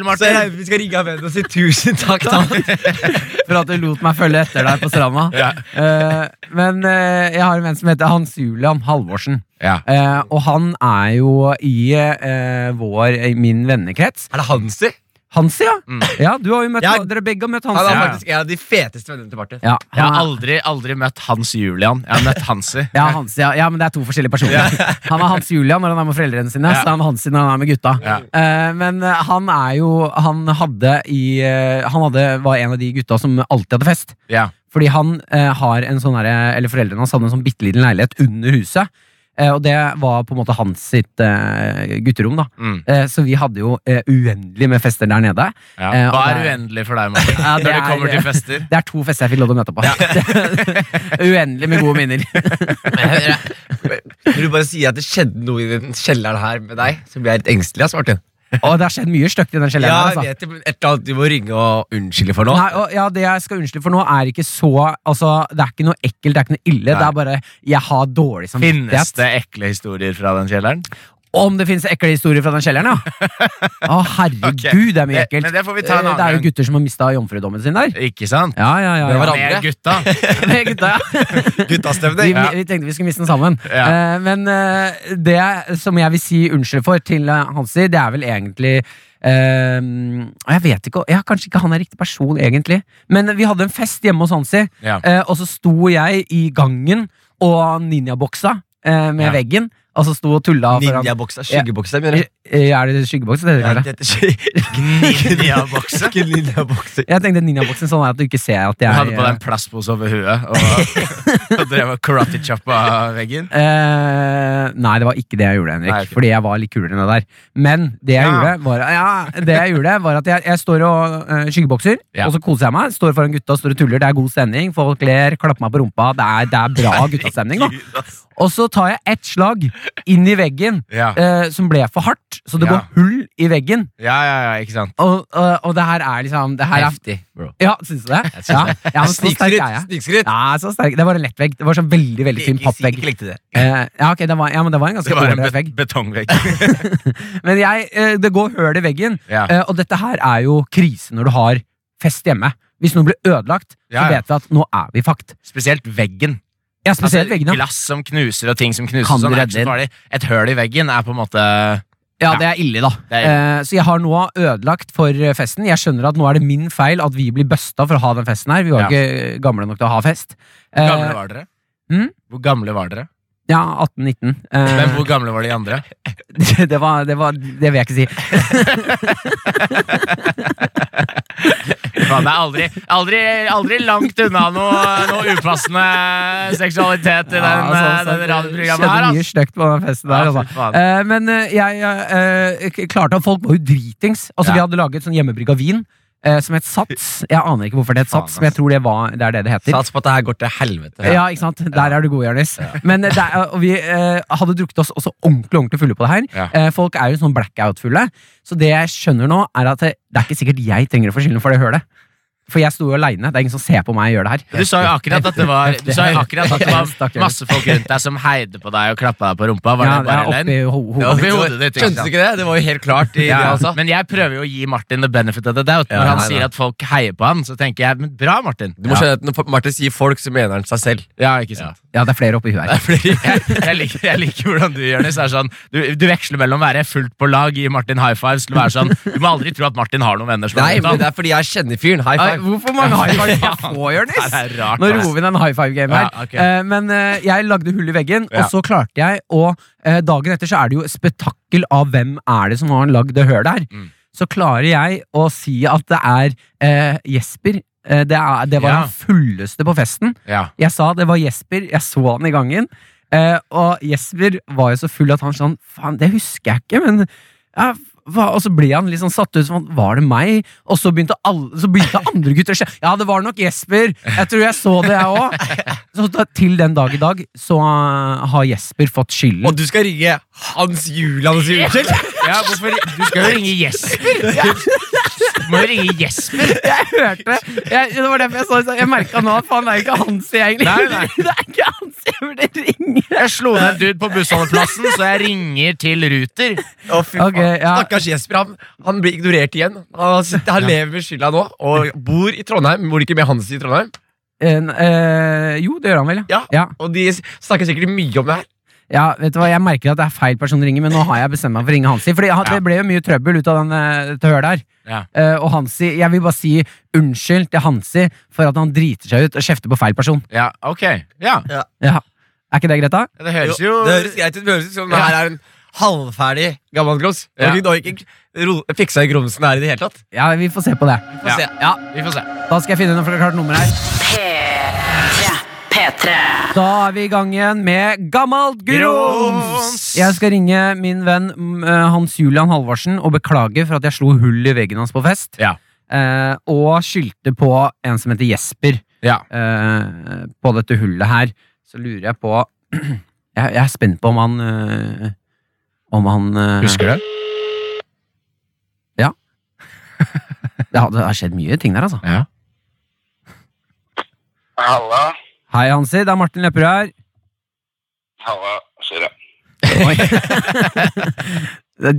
S3: (laughs) Så jeg,
S4: Martin.
S3: vi skal ringe av vennen og si tusen takk.
S2: (laughs) Takk for at du lot meg følge etter deg på stranda.
S4: Ja.
S2: Eh, men eh, jeg har en venn som heter Hans Julian Halvorsen.
S4: Ja.
S2: Eh, og han er jo i eh, vår, i min vennekrets.
S3: Er det Hansi?
S2: Hansi, ja. Ja, du har jo møtt,
S3: Jeg-
S2: Dere begge har møtt
S3: Han
S2: Hansi.
S3: er
S4: Ja.
S3: faktisk en av de feteste vennene til Martin. (laughs)
S2: Ja,
S4: Jeg har
S2: han er,
S4: aldri, aldri møtt Hans Julian. Jeg har møtt Hansi.
S2: ja, Hansi, ja, ja, men det er to forskjellige personer. (laughs) Han er Hans Julian når han er med foreldrene sine.
S4: Ja.
S2: Så er han Hansi når han er med gutta.
S4: Ja.
S2: Eh, men eh, han er jo Han hadde i eh, Han hadde, var en av de gutta som alltid hadde fest.
S4: Ja.
S2: Fordi han eh, har en sånn herre- Eller foreldrene hans hadde en sånn bitte liten leilighet under huset. Eh, Og det var på en måte hans sitt eh, gutterom, da.
S4: Mm.
S2: Eh, Så vi hadde jo eh, uendelig med fester der nede.
S4: Ja.
S2: Eh, og
S4: Hva er
S2: det er-
S4: uendelig for deg,
S2: (laughs)
S4: Martin?
S2: Ja, det
S4: Når det
S2: er-
S4: kommer til fester?
S2: (laughs) Det er to fester jeg fikk lov til å møte på. (laughs) uendelig med gode minner.
S4: (laughs)
S3: Når eh, du bare sier at det skjedde noe i den kjelleren her med deg, så blir jeg litt engstelig. ass, Martin.
S2: Og det har skjedd mye stygt i den
S3: Ja,
S2: kjelleren. her, altså.
S3: jeg vet det, men Et eller annet du må ringe og unnskylde for nå.
S2: Nei, og, ja, Det jeg skal unnskylde for nå, er ikke så altså, Det er ikke noe ekkelt, det er ikke noe ille. Det er bare jeg har dårlig
S4: Finnes
S2: samvittighet.
S4: det ekle historier fra den kjelleren?
S2: Om det finnes ekle historier fra den kjelleren, ja! Å, herregud,
S4: (laughs) Ok,
S2: det er mye
S4: det-
S2: ekkelt.
S4: men det får vi ta en
S2: Eh,
S4: annen
S2: er jo
S4: gang.
S2: gutter som har mista jomfrudommen sin der.
S4: Ikke sant?
S2: Ja, ja, ja.
S3: Det var
S2: ja. (laughs)
S3: andre.
S4: Med gutta.
S2: Med gutta, ja. Vi,
S3: Guttastevning.
S2: vi tenkte vi skulle miste den sammen.
S4: Ja.
S2: Eh, men eh, det som jeg vil si unnskyld for til eh, Hansi, det er vel egentlig eh, og Jeg vet ikke, ja, Kanskje ikke han er riktig person, egentlig. Men vi hadde en fest hjemme hos Hansi,
S4: Ja.
S2: eh, og så sto jeg i gangen og ninjaboksa eh, med
S4: Ja.
S2: veggen. Og så sto og tulla foran
S3: Ninjaboksa, skyggeboksa, mener du?
S2: Eh, Er det skyggeboksen? Det,
S3: Ja,
S2: heter det, kanskje?
S3: dette (laughs) skjer.
S4: Ninjabokse.
S3: Ikke ninjabokser.
S2: Jeg tenkte ninjaboksen sånn er at du ikke ser at
S4: Du
S2: jeg
S4: hadde på deg en plastpose over huet
S2: (laughs)
S4: og, og drev og karate-choppa veggen.
S2: Eh, nei, det var ikke det jeg gjorde, Henrik.
S4: Nei, ok.
S2: Fordi jeg var litt kulere enn det der. Men det jeg,
S4: Ja.
S2: gjorde, var, ja, det jeg gjorde, var at jeg, jeg står og eh, skyggebokser,
S4: Ja.
S2: og så koser jeg meg. Står foran gutta, står og tuller. Det er god stemning. Folk ler, klapper meg på rumpa. Det er, det er bra
S4: (laughs)
S2: guttastemning. Da. Og så tar jeg ett slag inn i veggen.
S4: Ja.
S2: eh, som ble for hardt, så det
S4: Ja.
S2: går hull i veggen.
S4: ja, ja, ja, ikke sant.
S2: Og, og, og det her er liksom det her er,
S3: Heftig, bro.
S2: Ja, syns du det? Ja, ja, men så sterk er jeg.
S3: Snikskritt.
S2: Ja, så sterk. Det var en lett vegg. Det var sånn veldig veldig fin pappvegg.
S3: Ikke likte det.
S2: Eh, ja, ok, det var, ja, men det var en ganske
S4: Det var en
S2: dårlig
S4: be
S2: vegg.
S4: betongvegg.
S2: Men jeg, eh, det går høl i veggen,
S4: Ja.
S2: eh, og dette her er jo krise når du har fest hjemme. Hvis noe blir ødelagt, så
S4: Ja, ja.
S2: vet vi at nå er vi fucked.
S4: Spesielt veggen.
S2: Ja, spesielt
S4: Altså,
S2: veggene.
S4: Glass som knuser og ting som knuser.
S2: Kan du
S4: sånn, er
S2: redde
S4: ikke så farlig. Et høl i veggen er på en måte
S2: Ja, det er ille, da.
S4: Det er
S2: Eh, så jeg har nå ødelagt for eh, festen. Jeg skjønner at nå er det min feil at vi blir busta for å ha den festen her. Vi var
S4: Ja.
S2: ikke gamle nok til å ha fest. Eh,
S4: Hvor gamle var dere?
S2: Mm?
S4: Hvor gamle var dere?
S2: Ja, 18-19. Eh,
S4: Men hvor gamle var de andre?
S2: (laughs) det, var, det var Det vil jeg ikke si.
S4: Faen, det er aldri, aldri, aldri langt unna noe, noe upassende seksualitet i den,
S2: Ja, altså,
S4: eh, den
S2: skjedde
S4: radioprogrammet her.
S2: mye
S4: Altså.
S2: stygt på den festen der.
S4: Ja, fy
S2: Altså.
S4: faen.
S2: Eh, men eh, jeg eh, k- klarte at folk var jo dritings. Altså, Vi
S4: Ja.
S2: hadde laget sånn hjemmebrygga vin eh, som het Sats. Jeg aner ikke hvorfor det het
S4: Faen,
S2: Sats, men jeg tror det, var, det er det det heter.
S3: Sats på Altså, at det her går til helvete.
S2: Ja, ikke sant? Der er du god, Jonis. Men eh, der, og vi eh, hadde drukket oss også ordentlig ordentlig fulle på det her.
S4: Ja.
S2: Eh, folk er jo sånn blackout-fulle. Så det jeg skjønner nå, er at eh, det, det er ikke sikkert jeg trenger å få skylden for det hølet. For jeg sto jo aleine. Det er ingen som ser på meg gjøre det her.
S4: Du sa jo akkurat at det var, du sa jo akkurat at det var
S2: (laughs) Stakkars.
S4: masse folk rundt deg som heide på deg og klappa deg på rumpa. Var
S2: Ja,
S4: det
S2: det er
S4: bare
S2: oppi
S4: den?
S2: ho hodet.
S4: Oppi hodet ditt, ikke
S3: Skjønte du
S4: sant?
S3: ikke det? Det var jo helt klart. I, det, altså.
S4: Ja,
S3: han sa.
S4: men jeg prøver jo å gi Martin the benefit of the doubt. Når
S3: Ja,
S4: han
S3: nei,
S4: sier
S3: nei.
S4: at folk heier på han, så tenker jeg men bra, Martin.
S3: Du må skjønne at når Martin sier folk, så mener han seg selv.
S4: Ja, ikke sant.
S2: Ja, det er flere oppi huet her.
S4: Fordi (laughs) jeg, jeg, liker, jeg liker hvordan du gjør det. Så er det sånn, du, du veksler mellom å være fullt på lag, gi Martin high fives, til å være sånn Du må aldri tro at Martin har noen venner som
S3: Nei,
S4: er sånn.
S3: men
S4: rundt han.
S3: det er fordi jeg kjenner fyren. High
S2: Nei,
S3: five.
S2: Hvorfor mange high
S4: (laughs)
S2: fives jeg får,
S4: Nei,
S2: Jonis?
S4: Det er rart.
S2: Nå
S4: ass.
S2: roer vi den high five-gamen her.
S4: Ja, ok.
S2: Eh, men eh, jeg lagde hull i veggen,
S4: Ja.
S2: og så klarte jeg Og eh, dagen etter så er det jo et spetakkel av hvem er det som har lagd det hølet her.
S4: Mm.
S2: Så klarer jeg å si at det er eh, Jesper. Eh, det, er, det var
S4: Ja.
S2: han fulleste på festen.
S4: Ja.
S2: Jeg sa det var Jesper, jeg så han i gangen. Eh, og Jesper var jo så full at han sånn Faen, det husker jeg ikke, men ja, hva? Og så ble han litt sånn satt ut som han, Var det meg? Og så begynte, alle, så begynte andre gutter å skje Ja, det var nok Jesper! Jeg tror jeg så det, jeg òg. Så da, til den dag i dag så eh, har Jesper fått
S3: Og
S2: skylden.
S3: du skal ringe Hans Julian og si unnskyld?
S4: ja, hvorfor Du skal jo ringe Jesper! Du må jo ringe Jesper!
S2: Jeg hørte det! Jeg, det var derfor jeg så det. så Jeg merka nå at faen, det er ikke Hansi jeg egentlig
S4: Nei, nei.
S2: (laughs) Det er ikke Hansi jeg burde ringe!
S4: Jeg slo ned en dude på bussholdeplassen, så jeg ringer til Ruter.
S3: Å, fy
S2: Ok,
S3: faen.
S2: ja.
S3: Stakkars Jesper. Han, han blir ignorert igjen. Han, sitter, han lever med skylda nå og bor i Trondheim. Bor ikke med Hans i Trondheim?
S2: En, eh, jo, det gjør han vel,
S3: Ja.
S2: ja.
S3: Og de snakker sikkert mye om det her.
S2: Ja, vet du hva, Jeg merker at det er feil person å ringe, men nå har jeg bestemt meg for å ringe Hansi. Fordi han,
S4: Ja.
S2: Det ble jo mye trøbbel ut av den eh, dette hølet her.
S4: Ja.
S2: Eh, og Hansi, jeg vil bare si unnskyld til Hansi for at han driter seg ut og kjefter på feil person.
S4: Ja, ok. Ja,
S2: Ja. Er ikke det greit, da?
S4: det høres jo
S3: Jo, det høres greit ut. Det høres ut som det
S4: Ja.
S3: her er en halvferdig gammel grums.
S4: Ja.
S3: Og du har ikke ro- fiksa grumsen her i det hele tatt.
S2: Ja, Vi får se på det.
S3: Få
S4: Ja.
S3: se.
S2: Ja,
S4: Vi får se.
S2: Da skal jeg finne noe klart nummer her.
S5: P3. P3. P3.
S2: Da er vi i gang igjen med Gammalt grums!
S4: Grums!
S2: Jeg skal ringe min venn mm, eh, Hans Julian Halvorsen og beklage for at jeg slo hull i veggen hans på fest.
S4: Ja.
S2: Eh, og skyldte på en som heter Jesper
S4: Ja.
S2: eh, på dette hullet her. Så lurer jeg på (clears throat) jeg, jeg er spent på om han eh, Om han eh,
S4: Husker du?
S2: Ja, det har skjedd mye ting der, altså.
S4: Ja.
S6: Halla.
S2: Hei, Hansi. Det er Martin Lepperød her.
S6: Halla. Sorry.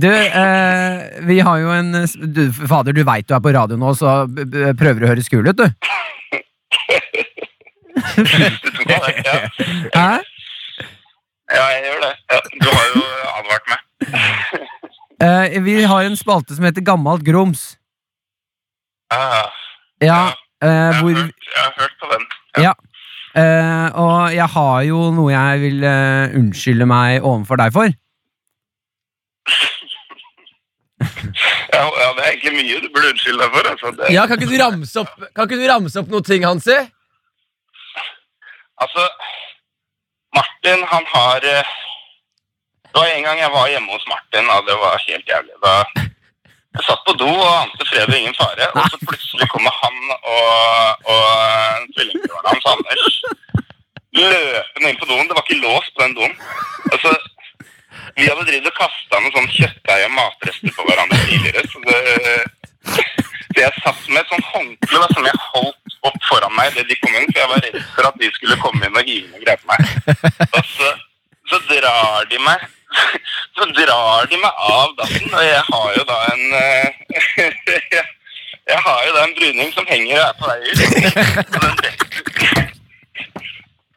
S2: Du, eh, vi har jo en du, Fader, du veit du er på radio nå, så b b prøver du å høres kul ut, du?
S6: Ja, ja.
S2: Hæ?
S6: ja, jeg gjør det. Ja, du har jo advart meg.
S2: Eh, vi har en spalte som heter Gammalt grums.
S6: Ah,
S2: Ja, eh,
S6: jeg, har
S2: hvor
S6: hørt, jeg har hørt på den.
S2: eh, Og jeg har jo noe jeg vil eh, unnskylde meg overfor deg for.
S6: Ja, ja, det er egentlig mye du burde unnskylde deg for. Altså, det,
S3: Ja, kan ikke du ramse opp, kan ikke du ramse opp noen ting, Hansi?
S6: altså Martin, han har eh, Det var en gang jeg var hjemme hos Martin, og det var helt jævlig. Da jeg satt på do og ante fred og ingen fare, og så plutselig kommer han og, og eh, tvillingbroren hans, Anders, løpende inn på doen. Det var ikke lås på den doen. Altså, vi hadde drevet og kasta noen sånn kjøttdeig og matrester på hverandre tidligere, så det Så jeg satt med et sånt håndkle da, som jeg holdt opp foran meg idet de kom inn, for jeg var redd for at de skulle komme inn og hive noe greier på meg. Og så, så drar de meg så drar de meg av dassen, og jeg har jo da en eh, (laughs) jeg, har jo da en bruning som henger og er på vei ut. Og den detter,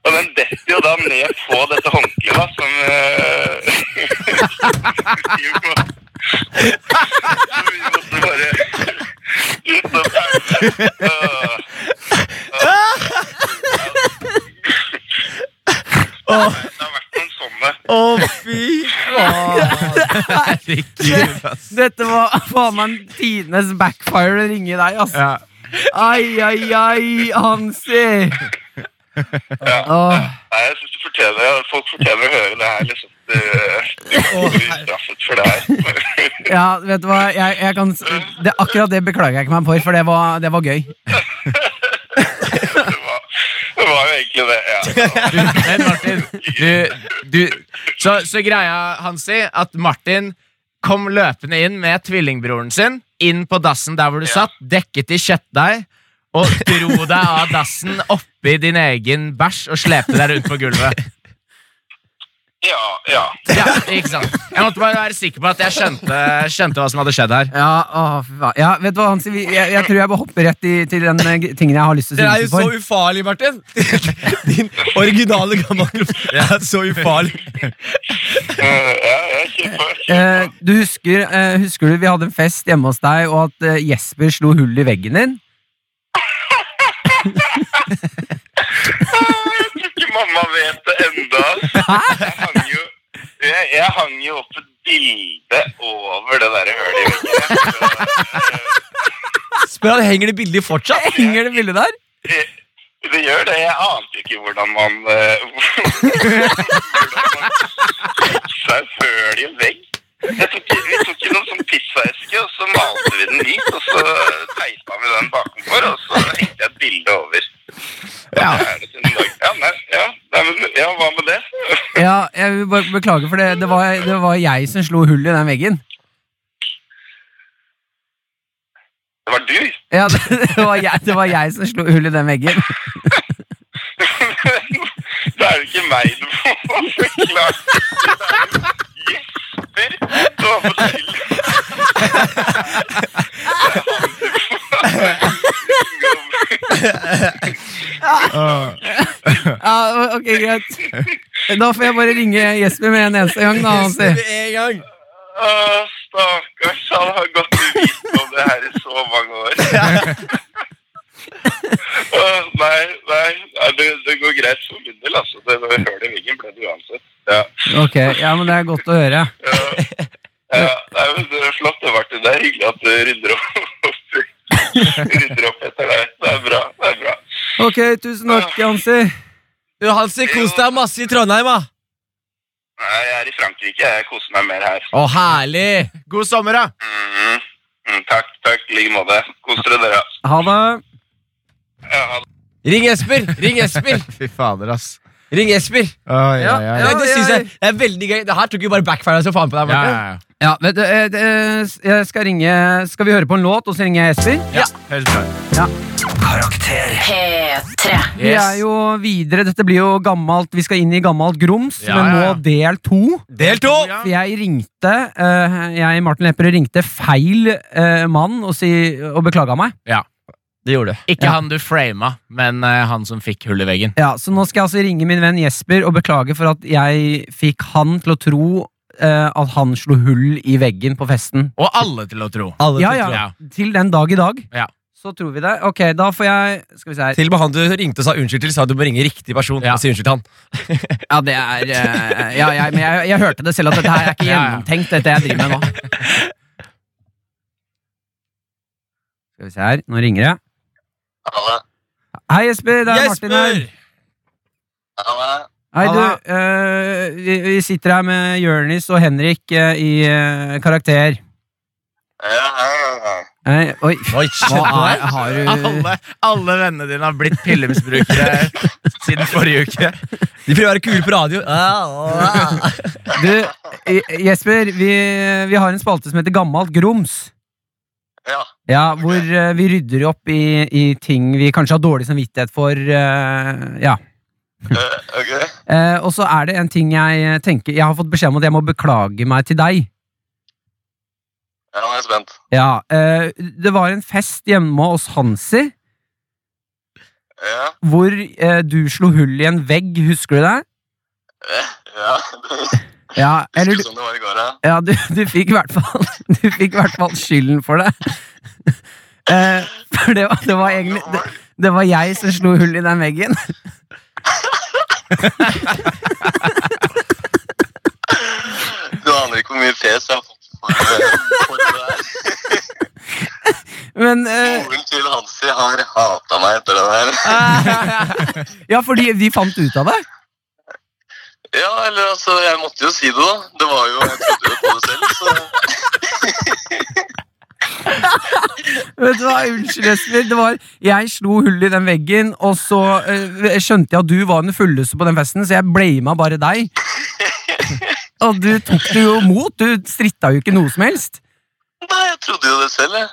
S6: og den detter jo da ned på dette håndkleet, da, som (laughs) eh, vi må- så vi måtte bare ut og pælme. Åh. Åh. Det har vært noen sånne.
S3: Å, fy
S4: Herregud, ass.
S2: Dette var (laughs) faen meg tidenes backfire å ringe deg, altså.
S4: Ja.
S2: Ai, ai, ai, Hansi! Åh,
S6: Nei, jeg synes du fortjener, folk fortjener å høre det her, liksom. Du, du blir straffet for det her.
S2: ja, vet du hva, jeg, jeg kan, s- det, akkurat det beklager jeg ikke meg for, for det var, det var gøy.
S6: (laughs) Det var, det var jo egentlig det, ja.
S4: Du, men Martin, du, du så, så greia, Hansi, at Martin kom løpende inn med tvillingbroren sin, inn på dassen der hvor du
S6: Ja.
S4: satt, dekket i kjøttdeig, og dro deg av dassen oppi din egen bæsj og slepte deg rundt på gulvet.
S6: Ja, ja.
S4: Ja, ikke sant? Jeg måtte bare være sikker på at jeg skjønte, skjønte hva som hadde skjedd her.
S2: Ja, åh, fy faen. ja vet du hva, Hansi, vi- jeg, jeg tror jeg bare hopper rett i, til den eh, g- tingen jeg har lyst til å
S3: Dere er jo
S2: si
S3: så
S2: for.
S3: ufarlige, Martin! (laughs) Din originale gammelkropp er så ufarlig.
S6: Eh, ja, ja, kjempe,
S2: Eh,
S6: kjempe.
S2: du husker, eh, husker du vi hadde en fest hjemme hos deg, og at eh, Jesper slo hull i veggen din?
S6: Ah, Jeg tror ikke mamma vet det enda. Jeg hang jo, jeg, jeg hang jo opp et bilde over det der hølet i veggen. Så, eh,
S3: Spør han, Henger det bildet fortsatt?
S2: Henger det bildet der?
S6: Det- Det gjør det. Jeg ante ikke hvordan man eh, (laughs) Hvordan man fikk seg søl i en vegg. Jeg tok, vi tok jo noen sånn pizzaeske, og så malte vi den hvit. Og så teipa vi den bakenfor, og så hengte jeg et bilde over. Og
S4: Ja.
S6: så er det siden i dag. Ja, nei, ja, nei, men, ja, hva med det?
S2: Ja, jeg vil bare beklage, for det, det, var, det var jeg som slo hull i den veggen.
S6: Det var du!
S2: Ja, (laughs) det, det, var jeg, det var jeg som slo hull i den veggen.
S6: Da er det ikke meg du må forklare. Det er jo Jesper du har fått til.
S2: Ja, ok, greit. Da får jeg bare ringe Jesper med en eneste gang, da, Hansi.
S3: Med en gang.
S6: Å, stakkars, han har gått uvitende om det her i så mange år. Å, nei, nei, nei det, det går greit for min del, altså. Det det hølet i veggen ble det uansett. Ja,
S2: Ok, ja, men det er godt å høre.
S6: ja, ja, nei, men det er flott det, Martin. Det er hyggelig at du rydder opp, rydder opp etter deg. Det er bra, det er bra.
S2: Ok, tusen takk, Hansi.
S3: Du, Hansi, kos deg masse i Trondheim, da.
S6: Nei, Jeg er i Frankrike. Jeg koser meg mer her.
S3: Å, herlig.
S4: God sommer, da!
S6: Mhm. Mm, takk, takk. I like måte. Kos dere, dere. ass.
S3: Ha det.
S6: Ja, ha det.
S3: Ring Jesper. Ring Jesper.
S4: Fy fader, ass.
S3: Ring Jesper.
S4: Oi,
S3: Ja,
S4: oi,
S3: ja,
S4: oi.
S3: det, det synes jeg det er veldig gøy. Det her tok jo bare backfire så faen på deg,
S4: Ja,
S3: Martin.
S4: ja, ja.
S2: Ja, vet du, eh, eh, s- jeg skal ringe Skal vi høre på en låt, og så ringer jeg Jesper?
S4: Høres bra ut.
S7: Karakter.
S5: P3.
S2: Vi er jo videre. Dette blir jo gammelt Vi skal inn i gammelt grums,
S4: Ja,
S2: men
S4: ja, ja.
S2: nå del to.
S3: Del to!
S4: Ja.
S2: For jeg ringte eh, Jeg, Martin Lepperød, ringte feil eh, mann og, si, og beklaga meg.
S3: Det gjorde du.
S4: Ikke han du frama, men eh, han som fikk hull i veggen.
S2: Ja, Så nå skal jeg altså ringe min venn Jesper og beklage for at jeg fikk han til å tro eh, at han slo hull i veggen på festen.
S4: Og alle til å tro.
S3: Alle
S2: Ja,
S3: til
S2: ja.
S3: tro.
S2: Til den dag i dag.
S4: Ja.
S2: Så tror vi det. Ok, da får jeg Skal vi se her.
S3: Til og med han du ringte og sa unnskyld til, sa du må ringe riktig person.
S4: Ja.
S3: og si unnskyld til han.
S2: Ja, det er eh, ja, jeg, Men jeg, jeg hørte det selv at dette her er ikke
S4: Ja, ja.
S2: gjennomtenkt, dette jeg driver med
S4: (laughs)
S2: nå. Skal vi se her. Nå ringer jeg.
S6: Hallo.
S2: Hei, Jesper. Det er Martin her.
S6: Hallo.
S2: Hei, du.
S3: Halla.
S2: eh, vi, vi sitter her med Jonis og Henrik eh, i eh, Karakter.
S6: Ja, hei, hei.
S2: Hei, oi.
S3: Oi,
S2: Hva er, har du
S4: Alle, alle vennene dine har blitt pillemisbrukere siden forrige uke.
S3: De prøver å være kule på radio. Ah, ah.
S2: Du, eh, Jesper, vi, vi har en spalte som heter Gammalt grums.
S6: Ja.
S2: Ja, hvor eh, vi rydder opp i, i ting vi kanskje har dårlig samvittighet for. eh, ja.
S6: eh, Ok.
S2: Eh, og så er det en ting jeg eh, tenker Jeg har fått beskjed om at jeg må beklage meg til deg.
S6: Ja, nå er jeg spent.
S2: Ja, eh, Det var en fest hjemme hos Hansi
S6: Ja.
S2: hvor eh, du slo hull i en vegg, husker du det?
S6: Ja.
S2: Ja, eller
S6: Husker
S2: du,
S6: som det var i går, ja.
S2: ja, du, du fikk i hvert fall (laughs) Du fikk i hvert fall skylden for det. (laughs) Eh, for det var, det var egentlig det, det var jeg som slo hull i den veggen. (laughs)
S6: Du aner ikke hvor mye fes jeg har fått for, for det der.
S2: Men eh, (laughs)
S6: Moren til Hansi har hata meg etter det der.
S2: Ja, fordi vi fant ut av det.
S6: Ja, eller altså, jeg måtte jo si det, da. Det var jo Jeg trodde jo på det selv, så
S2: Vet du hva, Unnskyld, Jesper. Det var, jeg slo hull i den veggen, og så eh, skjønte jeg at du var den fulleste på den festen, så jeg blama bare (laughs) deg. Og du tok det jo imot. Du stritta jo ikke noe som helst.
S6: Nei, jeg trodde jo det selv, jeg.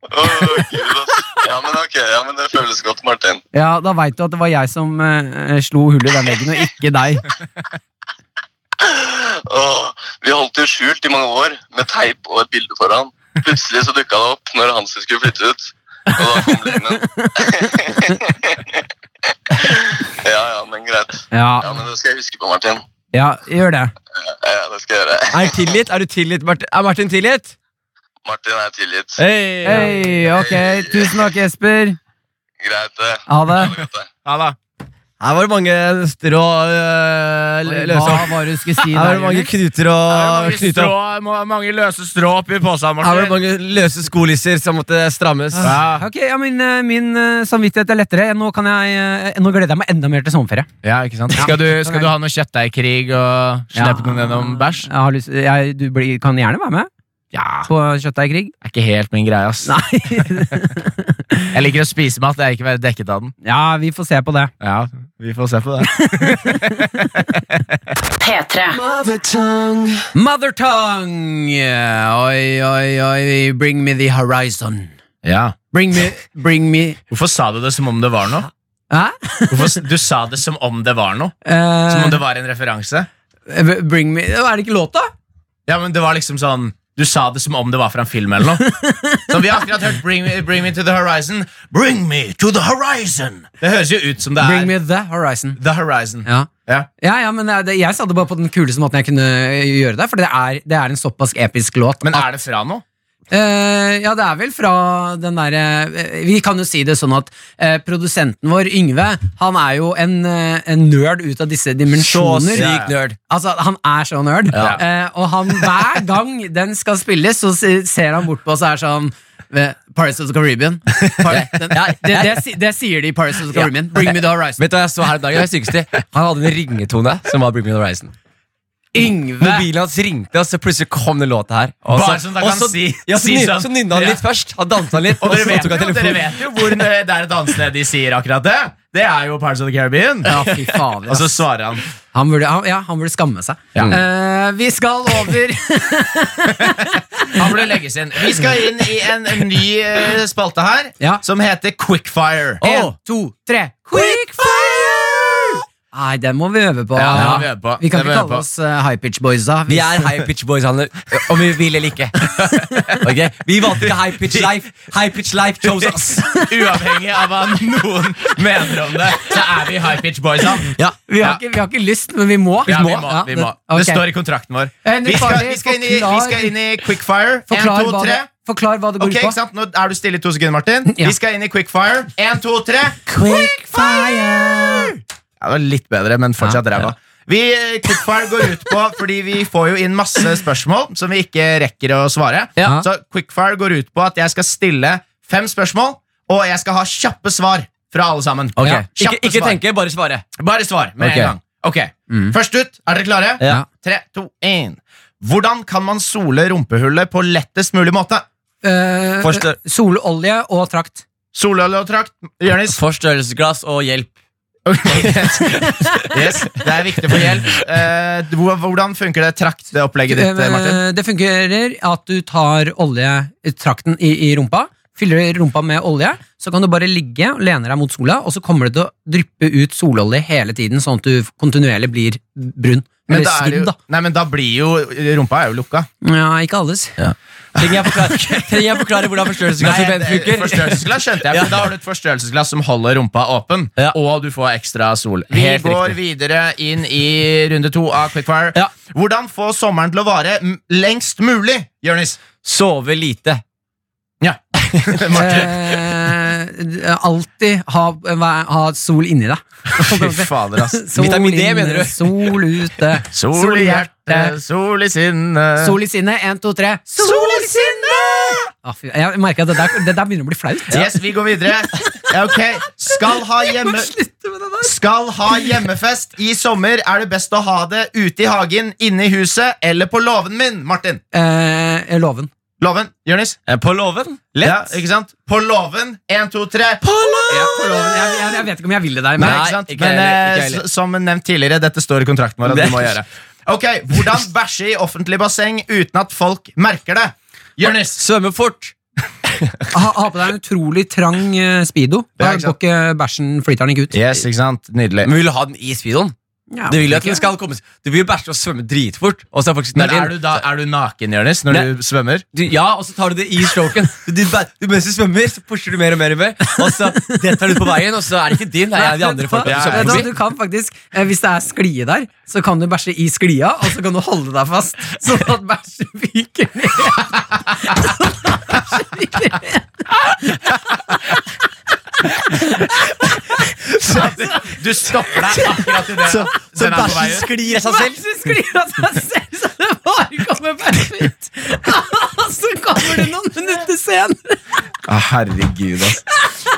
S6: Åh, Gud, altså. Ja, men ok, ja, men det føles godt, Martin.
S2: Ja, Da veit du at det var jeg som eh, slo hull i den veggen, og ikke deg.
S6: Åh, vi holdt det jo skjult i mange år, med teip og et bilde foran. Plutselig så dukka det opp når Hansi skulle flytte ut. Og da kom løgnen. (laughs) ja, ja, men greit. Ja,
S2: Ja,
S6: men Det skal jeg huske på, Martin.
S2: ja gjør det.
S6: Ja, det skal jeg gjøre.
S3: Er, det tillit? er du tillit, Martin? Er Martin tilgitt?
S6: Martin er tilgitt.
S3: Hey.
S2: Hei, ok. Tusen takk, Jesper.
S6: Greit, det.
S2: Ha det.
S6: Ha det godt, det.
S4: Ja da.
S3: Her var det mange strå øh,
S2: Hva
S3: lø- løse opp.
S2: var det du skulle si
S3: Her var det
S2: der?
S3: mange
S2: Jonis?
S3: knuter
S4: Her er
S3: og
S4: det mange,
S3: knyte
S4: strå,
S3: opp.
S4: ma- mange løse strå oppi posen,
S3: Her var det
S4: Martin.
S3: mange løse skolisser som måtte strammes.
S4: Ja,
S2: Ok, ja, Min, eh, min eh, samvittighet er lettere. Nå, kan jeg, eh, nå gleder jeg meg enda mer til sommerferie.
S4: ja ikke sant? Skal du, skal du ha noe kjøttdeigkrig og slippe noen gjennom bæsj?
S2: Jeg har lyst, jeg, du blir, kan gjerne være med
S4: Ja,
S2: på (laughs) kjøttdeigkrig.
S4: det er ikke helt min greie, ass. Jeg liker å spise mat, jeg er ikke være dekket av den.
S2: ja, vi får se på det.
S4: Ja, vi får se på det.
S5: P3.
S2: Mothertongue! Oi, oi, oi, bring me the horizon.
S4: Ja.
S2: Bring me, bring me
S4: Hvorfor sa du det som om det var noe?
S2: Hæ?
S4: Hvorfor, s- du sa det som om det var noe? Som om det var en referanse?
S2: Eh, bring me Er det ikke låta?
S4: Ja, men det var liksom sånn Du sa det som om det var fra en film eller
S2: (laughs)
S4: noe. Så vi har akkurat hørt Bring me, bring me to the horizon. Bring me to the horizon! Det høres jo ut som det
S2: Bring
S4: er
S2: me the horizon.
S4: The Horizon.
S2: Ja.
S4: Ja.
S2: Ja, ja, men eh, det, jeg sa det bare på den kuleste måten jeg kunne eh, gjøre det. For det er, det er en såpass episk låt.
S4: Men er det fra noe?
S2: Eh, ja, det er vel fra den derre eh, Vi kan jo si det sånn at eh, produsenten vår, Yngve, han er jo en, eh, en nerd ut av disse dimensjoner.
S4: syk
S3: nerd.
S2: Altså, Han er så nerd.
S4: Ja.
S2: Eh, og han, hver gang den skal spilles, så se- ser han bort på oss og er sånn Med Pirates of the
S3: (laughs)
S2: Caribbean. Par den, ja, det, det, si- det sier de i Pirates of the Caribbean. Bring me the horizon.
S3: Vet du hva jeg så her om dagen? Det er det sykeste. Han hadde en ringetone som var Bring Me The Horizon.
S2: Yngve!
S3: Mobilen hans ringte, og så plutselig kom den låta her. Og
S4: Bare
S3: så-
S4: sånn at
S3: og
S4: han
S3: så-
S4: si-
S3: ja, så
S4: si
S3: nyn-
S4: sånn.
S3: så nynna han litt først. Han dansa han litt,
S4: Og dere vet,
S3: tok
S4: jo,
S3: han
S4: dere
S3: telefonen.
S4: vet jo hvor det det er et annet sted de sier akkurat det. Det er jo Pirates of the Caribbean.
S2: Ja, fy faen.
S4: Og så svarer han.
S2: Han burde, han, ja, han burde skamme seg. Eh, vi skal (laughs) over
S4: Han burde legges inn. Vi skal inn i en ny eh, spalte her,
S2: Ja.
S4: som heter Quickfire.
S2: En, to, tre. Quickfire! Nei, den må vi øve på.
S4: Ja, den må vi øve på.
S2: Vi kan
S4: Den må
S2: ikke
S4: vi øve
S2: kalle
S4: på.
S2: oss eh, High Pitch Boysa.
S3: Vi er High Pitch Boys, Hanne, om vi vil eller
S2: (laughs)
S3: ikke. Ok? Vi valgte ikke High Pitch Life. High Pitch Life chose us.
S4: Uavhengig av hva noen mener om det, så er vi High Pitch Boys. da.
S3: Ja.
S2: vi, har ikke, vi har ikke lyst, men vi må.
S4: Ja, vi må.
S2: Ja,
S4: Vi må.
S2: ok.
S4: Det står i kontrakten vår.
S2: Eh, Henrik
S4: Vi skal,
S2: Farley,
S4: vi skal, inn, i, vi
S2: forklar-
S4: skal inn i Quickfire. En,
S2: Forklar,
S4: to,
S2: hva det,
S4: tre.
S2: forklar hva det går
S4: Ok, ikke
S2: ut på.
S4: sant? Nå er du stille i to sekunder, Martin.
S2: Ja.
S4: Vi skal inn i Quickfire. En, to, tre.
S2: Quickfire!
S4: Ja, det var litt bedre, men fortsatt ræva. Vi, eh, Quickfire går ut på Fordi vi får jo inn masse spørsmål som vi ikke rekker å svare.
S2: Ja.
S4: Så Quickfire går ut på at jeg skal stille fem spørsmål, og jeg skal ha kjappe svar fra alle sammen.
S3: Ok.
S4: Ja,
S3: Ikke,
S4: kjappe
S3: ikke
S4: svar.
S3: tenke, bare svare.
S4: Bare svar med
S3: Ok.
S4: en gang. Ok, Først ut. Er dere klare?
S3: Ja.
S4: Tre, to, én. Hvordan kan man sole rumpehullet på lettest mulig måte?
S2: Eh,
S3: Forstør-
S2: sololje og trakt.
S4: Sololje og trakt. Jonis?
S3: (laughs) Forstørrelsesglass og hjelp.
S4: (laughs) Yes, det er viktig for hjelp. Eh, hvor- hvordan funker det trakteopplegget ditt, eh, Martin?
S2: Eh, det fungerer at du tar olje, trakten i, i rumpa, fyller rumpa med olje, så kan du bare ligge og lene deg mot sola, og så kommer det til å dryppe ut sololje hele tiden, sånn at du kontinuerlig blir brun.
S4: Men
S2: Eller
S4: da, er det
S2: svidd,
S4: jo,
S2: da.
S4: nei, men da blir jo Rumpa er jo lukka.
S2: Ja, ikke alles.
S3: Trenger jeg forklare,
S4: (laughs)
S3: trenger jeg forklare hvordan forstørrelsesglass og
S4: Nei, det-
S3: benfunker?
S4: forstørrelsesglass skjønte jeg, for da har du et forstørrelsesglass som holder rumpa åpen,
S3: Ja.
S4: og du får ekstra sol. Vi
S3: Helt
S4: går videre inn i runde to av Quickfire.
S3: Ja.
S4: Hvordan få sommeren til å vare m- lengst mulig, Jonis?
S3: Sove lite.
S4: Ja. Martin.
S2: Eh, alltid ha, væ- ha sol inni deg.
S4: Fy fader, ass.
S2: (laughs) Sol
S3: Vitamin D,
S2: inne,
S3: mener du?
S2: Sol ute.
S4: Sol i hjertet, sol i
S3: Eh.
S4: sinnet.
S2: Sol i sinnet. Én, to, tre.
S4: Sol i sinnet!
S2: Ah, fy- jeg merker at det der, det der begynner å bli flaut.
S4: Yes, vi går videre. Ja, Ok, skal ha, hjemme, skal ha hjemmefest i sommer. Er det best å ha det ute i hagen, inne i huset eller på låven min? Martin.
S2: Eh, loven.
S4: Låven. Jonis?
S3: På låven?
S4: Ja, ikke sant? På låven. Én, to, tre.
S2: Ja, på loven. Jeg, jeg, jeg vet ikke om jeg vil det der.
S4: Nei,
S2: Men
S4: ikke sant?
S3: ikke
S4: Men
S3: heller, ikke
S4: eh,
S3: heller.
S4: s- som nevnt tidligere, dette står i kontrakten vår at
S3: Det-
S4: du må gjøre. Ok, Hvordan bæsje i offentlig basseng uten at folk merker det? Jonis.
S3: Svømme fort.
S2: ha, ha på deg en utrolig trang eh, speedo. Da
S4: Ja, ikke
S2: går
S4: sant.
S2: ikke bæsjen, flyter den ikke ut.
S4: Yes, ikke sant? Nydelig.
S3: Men vil du ha den i speedoen?
S2: Ja,
S3: Du vil jo at
S2: ikke.
S3: den skal komme Du vil jo bæsje og svømme dritfort. Og så er folk sånn,
S4: Men
S3: "Det er
S4: er
S3: din."
S4: du, da, er du naken, Jonis, når
S3: Nei.
S4: du svømmer?
S3: du, Ja, og så tar du det i (laughs) stroken. Du, du, bæ- du, mens du svømmer, så pusher du mer og mer, og mer og så detter du ut på veien, og så er det ikke din. Det er de andre folka
S4: Ja,
S3: du
S4: ja,
S3: svømmer
S2: Vet du hva,
S3: forbi.
S2: du kan faktisk, eh, Hvis det er sklie der, så kan du bæsje i sklia, og så kan du holde deg fast, (laughs) sånn at bæsjen fyker ned.
S4: Du stopper deg akkurat i det.
S3: Så, så
S4: Den er på vei
S3: bæsjen
S4: ut.
S3: sklir av seg selv.
S2: Bæsjen sklir av seg selv, så det bare kommer bæsj ut. (laughs) Og så kommer det noen minutter senere.
S4: herregud,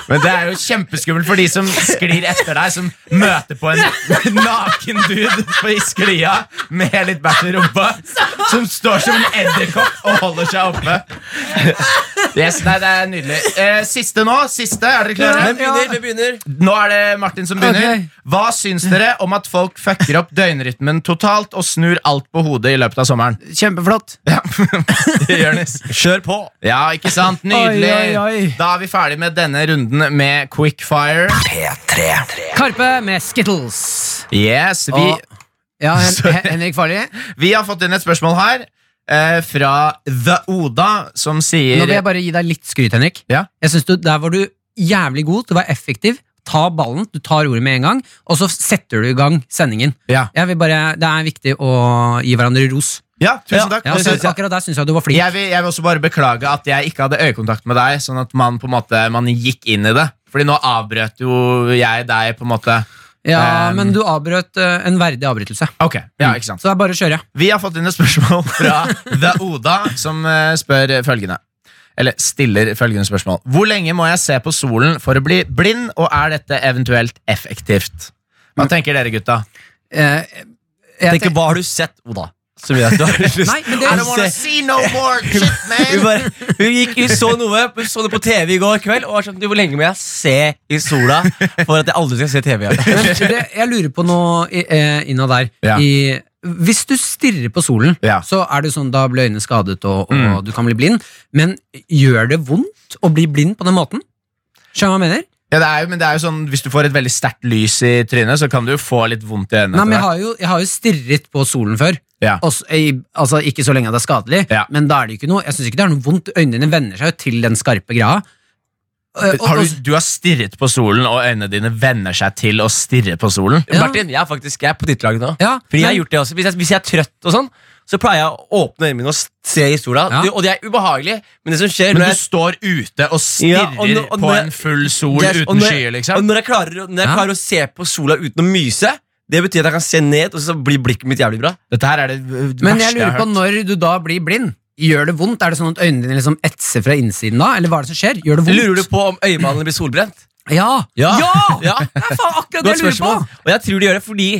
S4: Men det er jo kjempeskummelt for de som sklir etter deg, som møter på en naken dude på i sklia med litt bæsj i rumpa, som står som en edderkopp og holder seg oppe. Yes, nei, det er nydelig. Eh, siste nå. Siste, er dere klare?
S3: Hvem begynner? Hvem begynner?
S4: Nå er det Martin som begynner.
S2: Ok.
S4: Hva syns dere om at folk fucker opp døgnrytmen totalt og snur alt på hodet i løpet av sommeren?
S2: Kjempeflott.
S4: Jonis.
S3: Kjør på.
S4: Ja, ikke sant? Nydelig.
S2: Oi, oi, oi.
S4: Da er vi ferdig med denne runden med Quickfire.
S8: P3.
S2: Karpe med Skittles.
S4: Yes, vi,
S2: Og-
S4: (laughs)
S2: Ja, Hen Hen- Henrik Farley.
S4: vi har fått inn et spørsmål her eh, fra The Oda, som sier
S2: Nå vil jeg bare gi deg litt skryt, Henrik.
S4: Ja.
S2: Jeg synes du, Der var du jævlig god. Du var effektiv. Ta ballen, du tar ordet med en gang, og så setter du i gang sendingen.
S4: Ja.
S2: Jeg vil bare, Det er viktig å gi hverandre ros.
S4: Ja, tusen takk.
S2: Ja,
S4: Det
S2: så
S4: synes jeg.
S2: akkurat der syns jeg du var flink.
S4: Jeg vil, jeg vil også bare beklage at jeg ikke hadde øyekontakt med deg, sånn at man på en måte man gikk inn i det. Fordi nå avbrøt jo jeg deg, på en måte.
S2: Ja,
S4: Um,
S2: Men du avbrøt eh, en verdig avbrytelse.
S4: Ok, ja, ikke sant
S2: Så det er bare å kjøre.
S4: Vi har fått inn et spørsmål fra The Oda, som eh, spør følgende. eller stiller følgende spørsmål. Hvor lenge må jeg se på solen for å bli blind, og er dette eventuelt effektivt?
S2: Mm.
S4: Hva tenker dere, gutta?
S2: Eh, jeg
S3: Tenk, hva har du sett, Oda? Som gjør at
S4: (laughs)
S3: du har lyst
S2: Nei, men det-
S3: til
S2: I
S3: å
S2: don't
S3: se-
S4: see no more shit,
S3: Hun, bare, hun gikk, hun så noe hun så det på TV i går kveld og var sånn du, Hvor lenge må jeg se i sola for at jeg aldri skal se TV igjen?
S2: Men det, jeg lurer på noe i- eh, inna der.
S4: Ja.
S2: I, hvis du stirrer på solen,
S4: Ja. Mm.
S2: så er det sånn da blir øynene skadet, og, og du kan bli blind. Men gjør det vondt å bli blind på den måten? Skjønner du hva jeg mener?
S4: (laughs) Ja, det er jo, men det er jo sånn, Hvis du får et veldig sterkt lys i trynet, så kan du jo få litt vondt i
S2: Nei,
S4: øynene.
S2: men jeg
S4: etter hvert.
S2: har, jo, jeg har jo stirret på solen før.
S4: Ja.
S2: Og så- i, altså, ikke så lenge at det er skadelig,
S4: Ja.
S2: men da er det jo ikke noe. Jeg syns ikke det er noe vondt. Øynene dine venner seg jo til den skarpe greia. Eh, og-
S4: har
S2: og-
S4: du, du har stirret på solen, og øynene dine venner seg til å stirre på solen.
S2: Ja.
S3: Martin, jeg er faktisk jeg er på ditt lag nå.
S2: Ja,
S3: Fordi jeg har
S2: men-
S3: gjort det også Hvis jeg, hvis jeg er trøtt og sånn, så pleier jeg å åpne øynene mine og se i sola.
S2: Ja.
S3: Det- Og det er ubehagelig, men det som skjer
S4: Men
S3: når
S4: du
S3: jeg
S4: står ute og
S3: Ja,
S4: stirrer
S3: og nå- og
S4: på
S3: når jeg-
S4: en full sol
S3: Det er- og
S4: uten
S3: når jeg-
S4: skyer,
S3: Og
S4: liksom.
S3: når jeg klarer, når jeg
S2: Ja.
S3: klarer å se på sola uten å myse, det betyr at jeg kan se ned, og så blir blikket mitt jævlig bra.
S4: Dette her er det øh,
S2: Men jeg
S4: verste jeg
S2: lurer
S4: har
S2: på
S4: hørt.
S2: når du da blir blind. Gjør det vondt? Er det sånn at øynene dine liksom etser fra innsiden da? Eller hva er det som skjer? Gjør det vondt?
S3: Lurer du på om øyemalene blir solbrent?
S2: (laughs) Ja!
S3: Ja.
S2: (laughs) Ja! Det er faen akkurat det
S3: Godt
S2: jeg lurer
S3: spørsmål.
S2: på!
S3: Og jeg tror de gjør det fordi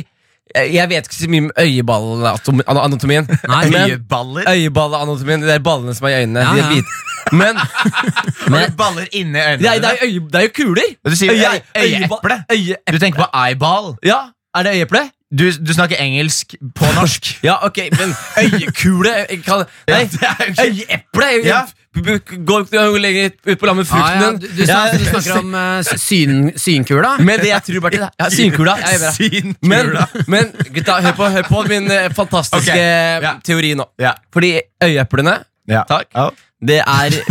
S3: eh, jeg vet ikke så mye om øyeballeanatomien.
S2: (laughs) Nei,
S3: men
S4: Øyeballer?
S3: øyeballeanatomien, det er ballene som er i øynene.
S2: Ja,
S3: de er
S2: ja.
S3: hvite.
S2: (laughs)
S3: (laughs) Men
S4: Har du baller inni øynene?
S3: det er, det,
S4: dine?
S3: er øye, det er jo kuler!
S4: Du sier
S3: Øye-
S4: øye- øyeeple.
S3: øyeba- øye-
S4: Du tenker på eyeball.
S3: ja, er det øyeeple?
S4: Du, du snakker engelsk på norsk.
S3: (laughs) Ja, ok, men øyekule jeg kan, Nei, øyeeple er jo
S4: Ja.
S3: b- b- Går ikke noe lenger ut på land med
S2: Ja, ja,
S3: frukten
S2: du,
S3: din.
S2: du, snakker, du snakker om eh, syn, synkula?
S3: (laughs) Men det jeg tror, Bertil ja, Synkula. Jeg er med deg. Men, men gutta, hør på, hør på min eh, fantastiske
S4: Ok, ja.
S3: teori nå.
S4: Ja.
S3: Fordi øyeeplene
S4: Ja.
S3: Takk.
S4: Ja.
S3: Det er det,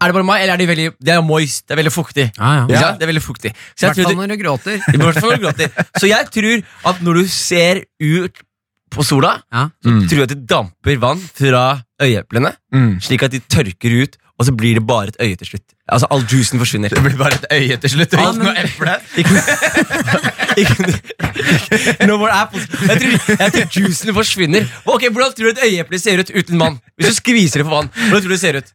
S3: Er det bare meg, eller er de veldig Det er moist. Det er veldig fuktig.
S2: Ja, Ah. ja.
S3: Ikke sant? Det er veldig fuktig.
S2: I
S3: Så jeg
S2: hvert fall
S3: tror,
S2: når du gråter.
S3: du, i hvert fall når du gråter. Så jeg tror at når du ser ut på sola,
S2: Ja.
S3: så tror jeg at det damper vann fra øyeeplene,
S4: Mm.
S3: slik at de tørker ut, og så blir det bare et øye til slutt. Altså All juicen forsvinner.
S4: Det blir bare et øye til slutt.
S2: Ja,
S4: og ikke
S2: men-
S4: noe
S3: (laughs)
S4: eple.
S3: No more apples. Jeg tror, jeg tror juicen forsvinner. Ok, Hvordan tror du et øyeeple ser ut uten vann? Hvis du skviser det for vann, hvordan tror du det ser ut?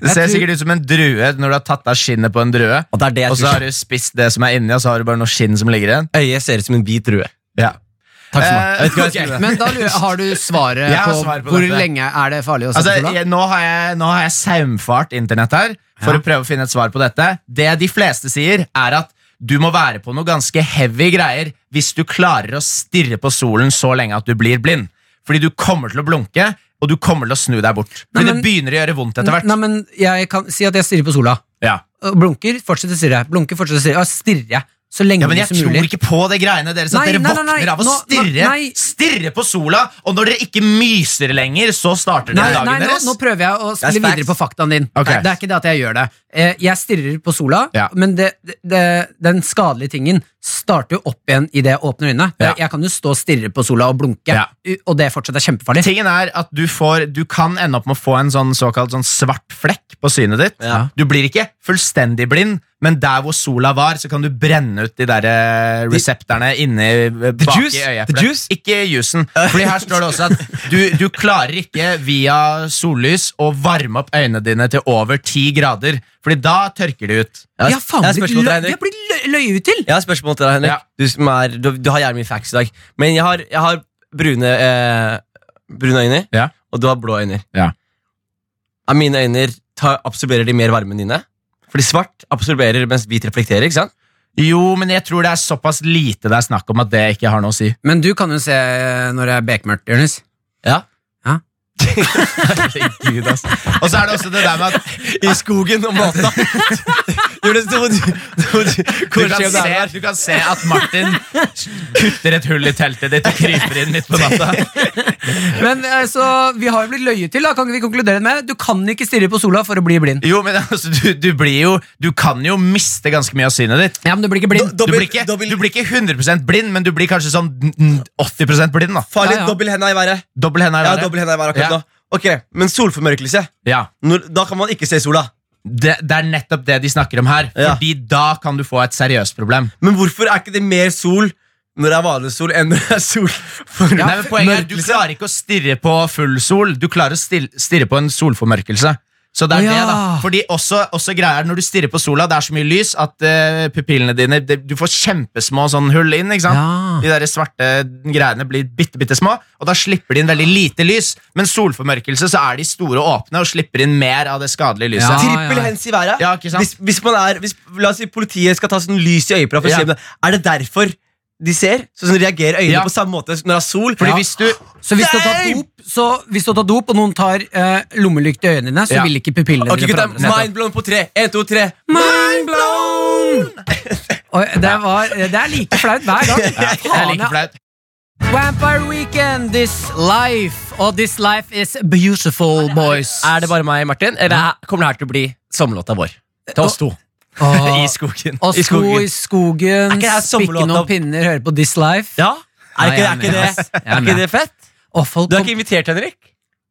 S4: Det ser sikkert ut som en drue når du har tatt av skinnet på en drue.
S3: Og det er det
S4: Og
S3: jeg
S4: så har
S3: tror.
S4: du spist det som er inni, og så har du bare noe skinn som ligger igjen.
S3: Øyet ser ut som en hvit drue.
S4: Ja.
S3: Takk for meg.
S4: Eh,
S3: Jeg vet ikke hva jeg
S4: ok.
S3: skulle-
S2: Men da lurer, jeg- har du svaret
S4: Jeg har
S2: på,
S4: svar på
S2: hvor
S4: dette.
S2: lenge er det farlig å se
S4: Altså,
S2: på sola?
S4: jeg, nå, har jeg, nå har jeg saumfart internett her for å prøve å finne et svar på dette. Det de fleste sier, er at du må være på noe ganske heavy greier hvis du klarer å stirre på solen så lenge at du blir blind. Fordi du kommer til å blunke, og du kommer til å snu deg bort.
S2: Nei,
S4: Fordi
S2: men-
S4: det begynner å gjøre vondt etter hvert.
S2: Nei, men jeg kan si at jeg stirrer på sola.
S4: Ja.
S2: Og Blunker, fortsetter å stirre. Blunker, fortsetter å stirre. Ja, stirrer jeg. Så lenge
S4: Ja, men jeg
S2: som
S4: tror
S2: mulig.
S4: ikke på det greiene deres at
S2: Nei,
S4: dere
S2: nei, nei, nei.
S4: våkner av å
S2: Nå- nå-
S4: stirre,
S2: nei.
S4: stirre på sola, og når dere ikke myser lenger, så starter
S2: Nei,
S4: dere
S2: nei
S4: dagen
S2: nå,
S4: deres.
S2: nå prøver jeg å spille
S3: facts.
S2: videre på faktaen din.
S4: Ok.
S2: Nei, Det er ikke det at jeg gjør det. Eh, Jeg stirrer på sola,
S4: Ja.
S2: men det, det, det- den skadelige tingen starter jo opp igjen idet jeg åpner øynene.
S4: Ja.
S2: Jeg kan jo stå og stirre på sola og blunke,
S4: Ja.
S2: u- og det fortsatt er kjempefarlig.
S4: Tingen er at du, får, du kan ende opp med å få en sånn såkalt sånn svart flekk på synet ditt.
S3: Ja.
S4: Du blir ikke fullstendig blind, men der hvor sola var, så kan du brenne ut de der eh, resepterne inni eh, bak
S3: juice?
S4: i
S3: The
S4: øyeeplet.
S3: juice?
S4: Ikke juicen. Fordi her står det også at du, du klarer ikke via sollys å varme opp øynene dine til over ti grader. Fordi da tørker de ut.
S2: Ja, faen,
S3: Jeg har
S2: det
S3: spørsmål til deg,
S2: løy-
S3: Henrik.
S2: jeg blir løy- løyet til!
S3: Jeg har et spørsmål til deg, Henrik.
S4: Ja.
S3: Du, som er, du, du har jævlig mye facts i dag. Men jeg har, jeg har brune, eh, brune øyne,
S4: Ja.
S3: og du har blå øyne.
S4: Ja.
S3: Er mine øyne ta, Absorberer de mer varme enn dine? Fordi svart absorberer mens hvit reflekterer. ikke sant?
S4: Jo, men jeg tror det er såpass lite det er snakk om at det ikke har noe å si.
S2: Men du kan jo se eh, når det er bekmørkt, Jonis.
S3: Ja.
S2: Ja.
S4: Herregud, ass. Og så er det også det der med at (laughs)
S3: I skogen om natta. Jonas, du må- du- du må- du-
S4: du
S3: kanskje
S4: kan,
S3: om det
S4: se,
S3: er-
S4: du kan se at Martin kutter et hull i teltet ditt og kryper inn midt på natta.
S2: Men eh, så vi har jo blitt løyet til, da. Kan ikke vi konkludere med Du kan ikke stirre på sola for å bli blind.
S4: Jo, men altså, du, du blir jo Du kan jo miste ganske mye av synet ditt.
S2: Ja, men du blir ikke blind.
S4: Du blir ikke, du blir ikke 100 blind, men du blir kanskje sånn mm, 80 blind. da
S3: Farlig.
S2: Ja, ja.
S3: Dobbel henda i været.
S4: Dobbel henne
S3: Ja,
S4: er
S3: dobbel
S4: verre.
S3: henda i været akkurat
S4: Ja.
S3: nå. Ok, Men solformørkelse?
S4: Ja.
S3: Når, da kan man ikke se sola.
S4: Det, det er nettopp det de snakker om her.
S3: Ja.
S4: Fordi da kan du få et seriøst problem.
S3: Men hvorfor er ikke det mer sol når det er vanlig sol, enn når det er sol? For
S4: Nei, men poenget er Du klarer ikke å stirre på full sol. Du klarer å stil- stirre på en solformørkelse. Så det er
S2: Å, ja.
S4: det, da. Fordi også, også greier Når du stirrer på sola, det er så mye lys at eh, pupillene dine det, Du får kjempesmå sånn hull inn. ikke sant? De der svarte greiene blir bitte, bitte små, og da slipper de inn veldig lite lys. Men solformørkelse så er de store og åpne og slipper inn mer av det skadelige lyset.
S2: Ja,
S3: Trippel
S2: ja.
S3: hands i været.
S4: Ja, ikke sant?
S3: Hvis, hvis man er, hvis, la oss si politiet skal ta sånn lys i øyet for å
S4: Ja.
S3: se om det- Er det derfor de ser? Så sånn reagerer øynene
S4: Ja.
S3: på samme måte som når det er sol?
S4: Fordi
S3: Ja.
S4: hvis du
S2: Så hvis du har tatt
S3: Damn!
S2: dop, så hvis du har tatt dop og noen tar eh, lommelykt i øynene dine, så
S4: Ja.
S2: vil ikke pupillene
S3: Ok,
S2: dine
S3: gutta.
S2: forandre seg.
S3: Mind blown på tre. En, to, tre.
S2: Mind blown! Oi, det, var, eh, det er like flaut hver gang.
S4: Det er like
S2: Faen, ja.
S4: flaut.
S2: Vampire Weekend, this life. Og this life is beautiful, boys.
S3: Er det bare meg, Martin? Eller er- kommer det her til å bli sommerlåta vår? Til oss to.
S2: Åh,
S3: I skogen.
S2: Og sko
S3: I
S2: i
S3: skogen.
S2: skogen,
S3: ikke det her
S2: spikke
S3: sommerlåta?
S2: noen pinner, høre på This Life.
S3: Ja? Er
S2: Nei,
S3: ikke,
S2: jeg
S3: er
S2: er
S3: ikke,
S2: med, ass.
S3: det,
S2: Jeg er
S3: er ikke
S2: med.
S3: det fett?
S2: Og folk
S3: Du er
S2: kom-
S3: ikke invitert, Henrik?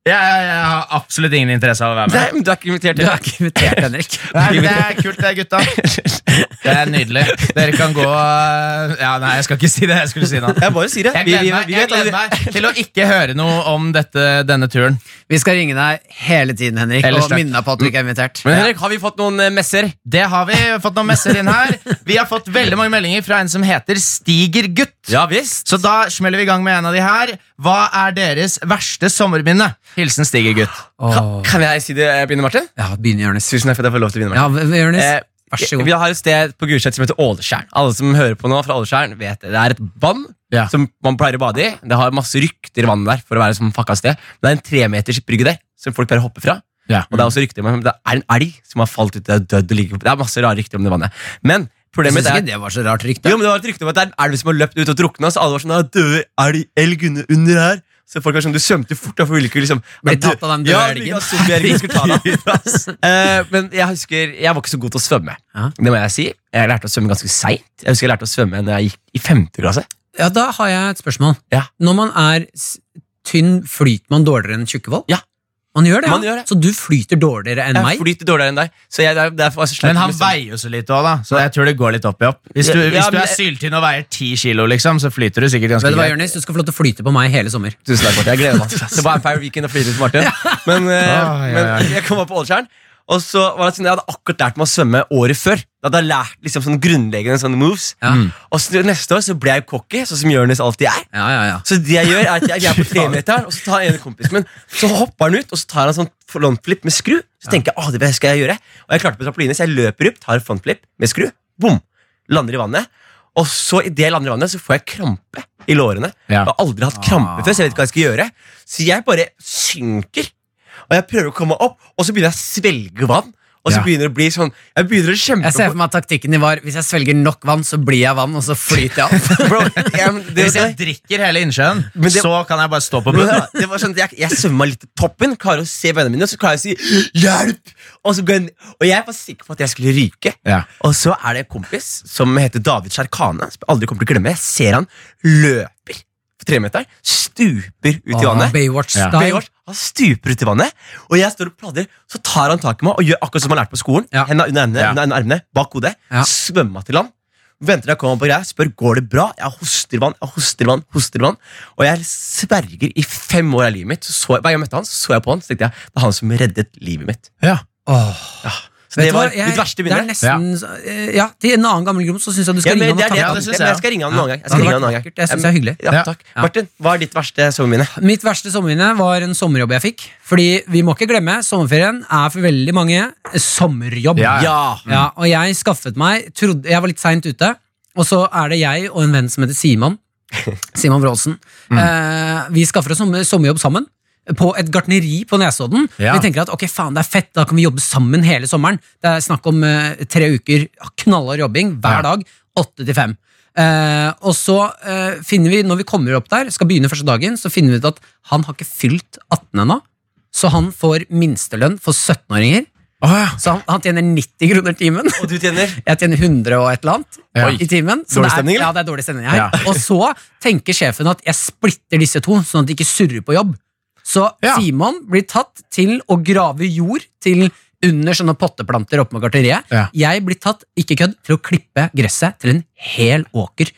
S4: Jeg, jeg, jeg har absolutt ingen interesse av å være med.
S3: Nei, men du er ikke invitert.
S2: Du er ikke invitert, Henrik.
S4: Nei, men det er kult, det, gutta. Det er nydelig. Dere kan gå øh, Ja, nei, jeg skal ikke si det. Jeg skulle si noe.
S3: Jeg bare sier det.
S4: Jeg
S3: Vi-
S4: gleder
S3: vi-
S4: meg,
S3: vi
S4: jeg
S3: vet at
S4: gleder meg til å ikke høre noe om dette, denne turen.
S2: Vi skal ringe deg hele tiden, Henrik,
S4: Ellers
S2: og
S4: takk.
S2: minne deg på at du ikke er invitert.
S3: Men Henrik, har vi fått noen eh, messer?
S4: Det har vi fått noen messer inn her. Vi har fått veldig mange meldinger fra en som heter Stigergutt.
S3: Ja visst.
S4: Så da smeller vi i gang med en av de her. Hva er deres verste sommerminne? Hilsen Stigergutt.
S2: Åh.
S3: Kan jeg si det, eh, begynne, Martin?
S2: Ja, begynn, Jonis.
S3: Tusen takk for at jeg får lov til å begynne,
S2: Ja,
S3: Martin.
S2: v- Jonis.
S3: Eh,
S2: Vær så god.
S3: Vi har et sted på Gulset som heter Åleskjern. Alle som hører på nå fra Åleskjern, vet det. Det er et vann
S4: Ja.
S3: som man pleier å bade i. Det har masse rykter i vannet der for å være som fucka sted. Men det er en tremeters brygge der som folk pleier å hoppe fra.
S4: Ja.
S3: Og det er også rykter om men det er en elg som har falt ut og er dødd. og ligger på- Det er masse rare rykter om det vannet. Men
S2: Jeg
S3: problemet
S2: syns
S3: er
S2: ikke det var så rart rykte.
S3: Jo, men det var et rykte om at det er en elv som har løpt ut og drukna. Så alle var sånn, «Ah, døde elg, elg under, under her Så folk var sånn, du svømte fort da, for vi ville ikke liksom
S2: Ble
S3: Ja, dø-
S2: tatt av den døde
S3: ja,
S2: elgen.
S3: Ja, zombie elgen skulle ta
S4: (laughs)
S3: deg Eh, Men jeg husker, jeg var ikke så god til å svømme
S2: Ja.
S3: Det må jeg si Jeg lærte å svømme ganske sent Jeg husker jeg lærte å svømme når jeg gikk i femte klasse
S2: Ja, Da har jeg et spørsmål.
S3: Ja.
S2: Når man er s- tynn, flyter man dårligere enn tjukkevold?
S3: Ja.
S2: Man gjør det, ja.
S3: Man gjør det.
S2: Så du flyter dårligere enn meg?
S3: Jeg flyter dårligere enn deg Så jeg, der- derfor var jeg så slett
S4: Men han
S3: med svømming.
S4: veier jo så lite òg, da. Så jeg tror det går litt opp i opp. Hvis du,
S3: liksom- Ja,
S4: hvis du
S3: men-
S4: er syltynn og veier ti kilo, liksom, så flyter du sikkert ganske
S2: Vet du hva,
S4: greit.
S2: Jonis? Du skal få lov til å flyte på meg hele sommer.
S3: Tusen takk, Martin. Jeg gleder meg. Det var Empire Weekend og flytet til (laughs) Martin. Men, eh,
S4: Ah, ja, ja.
S3: men jeg kom opp på Åleskjern, og så var det sånn, jeg hadde akkurat lært meg å svømme året før. Da hadde jeg lært liksom sånn grunnleggende sånne moves.
S2: Ja.
S3: Og så neste år så ble jeg cocky, sånn som Jonis alltid er.
S2: Ja, ja, ja.
S3: Så det jeg gjør er at jeg, vi er på tremeteren, og så tar en kompisen min Så hopper han ut, og så tar han en sånn frontflip med skru. Så tenker jeg, ah, det skal jeg gjøre Og jeg klarte på trampoline, så jeg løper opp, tar en frontflip med skru, bom, lander i vannet. Og så idet jeg lander i vannet, så får jeg krampe i lårene. Jeg
S4: Ja.
S3: har aldri hatt krampe før, så jeg vet ikke hva jeg skal gjøre. Så jeg bare synker, og jeg prøver å komme meg opp, og så begynner jeg å svelge vann. Og så
S4: Ja.
S3: begynner det å bli sånn Jeg begynner å kjempe
S2: Jeg ser for meg at taktikken din var hvis jeg svelger nok vann, så blir jeg vann, og så flyter jeg opp.
S3: på Bro, jeg, det,
S4: Hvis jeg drikker hele innsjøen,
S3: Men det-
S4: så kan jeg bare stå på
S3: Men
S4: bunnen.
S3: da, det var sånn at Jeg, jeg svømmer meg litt til toppen, klarer å se vennene mine, og så klarer jeg å si 'hjelp'! Og, så går jeg, ned- og jeg var sikker på at jeg skulle ryke.
S4: Ja.
S3: Og så er det en kompis som heter David Sjarkane, som jeg aldri kommer til å glemme. Jeg ser han løper på tremeteren, stuper (laughs) ut i vannet.
S2: Baywatch-style.
S3: Baywatch, han stuper ut i vannet, og jeg står og pladrer. Så tar han tak i meg og gjør akkurat som han lærte på skolen.
S2: Ja.
S3: Hendene under, hendene,
S4: Ja.
S3: under armene, bak hodet.
S2: Ja.
S3: Svømmer meg til land. Venter jeg kommer på greia, spør går det bra. Jeg hoster vann, jeg hoster vann, hoster vann. Og jeg sverger i fem år av livet mitt. Så så jeg, hver gang jeg møtte han, så så jeg på han, så tenkte jeg, det er han som reddet livet mitt.
S2: Åh.
S3: Så det
S2: Vet du hva,
S3: var
S2: jeg-
S3: mitt verste
S2: Det er
S3: minne.
S2: nesten, så- eh, ja, til en annen gammel grom så syns jeg du skal
S3: Ja, men
S2: ringe
S3: det
S2: han og
S3: er det,
S2: ta
S4: Ja,
S3: jeg
S4: det
S2: kontakt.
S4: synes
S3: tenkte, men
S4: jeg.
S3: jeg skal ringe han
S2: Ja,
S3: noen gang. Jeg
S2: det
S3: skal
S2: hadde
S3: ringe han
S2: vært
S3: noen gang.
S2: vakkert. Jeg synes det er hyggelig.
S3: Ja,
S4: Ja.
S3: takk. Martin, hva er ditt verste sommerminne?
S2: Mitt verste sommerminne var en sommerjobb jeg fikk. Fordi vi må ikke glemme, sommerferien er for veldig mange sommerjobb.
S4: Ja,
S3: Ja.
S2: Ja, og jeg skaffet meg trodde, Jeg var litt seint ute, og så er det jeg og en venn som heter Simon. Simon Wroldsen. Eh, vi skaffer oss sommer, sommerjobb sammen. På et gartneri på Nesodden.
S4: Ja.
S2: Vi tenker at ok, faen, det er fett, da kan vi jobbe sammen hele sommeren. Det er snakk om eh, tre uker knallhard jobbing hver dag. Åtte til fem. Eh, og så eh, finner vi, når vi kommer opp der, skal begynne første dagen, så finner vi ut at han har ikke fylt 18 ennå. Så han får minstelønn for 17-åringer. Så han, han tjener 90 kroner timen.
S3: Og du
S2: (laughs)
S3: tjener?
S2: Jeg tjener 100 og et eller annet
S4: Ja.
S2: i timen.
S3: Dårlig
S2: det er-
S3: stemning, eller?
S2: Ja, det er dårlig stemning her.
S4: Ja.
S2: Og så tenker sjefen at jeg splitter disse to, sånn at de ikke surrer på jobb. Så
S4: Ja.
S2: Simon blir tatt til å grave jord til under sånne potteplanter oppe med garteriet.
S4: Ja.
S2: Jeg blir tatt, ikke kødd, til å klippe gresset til en hel åker.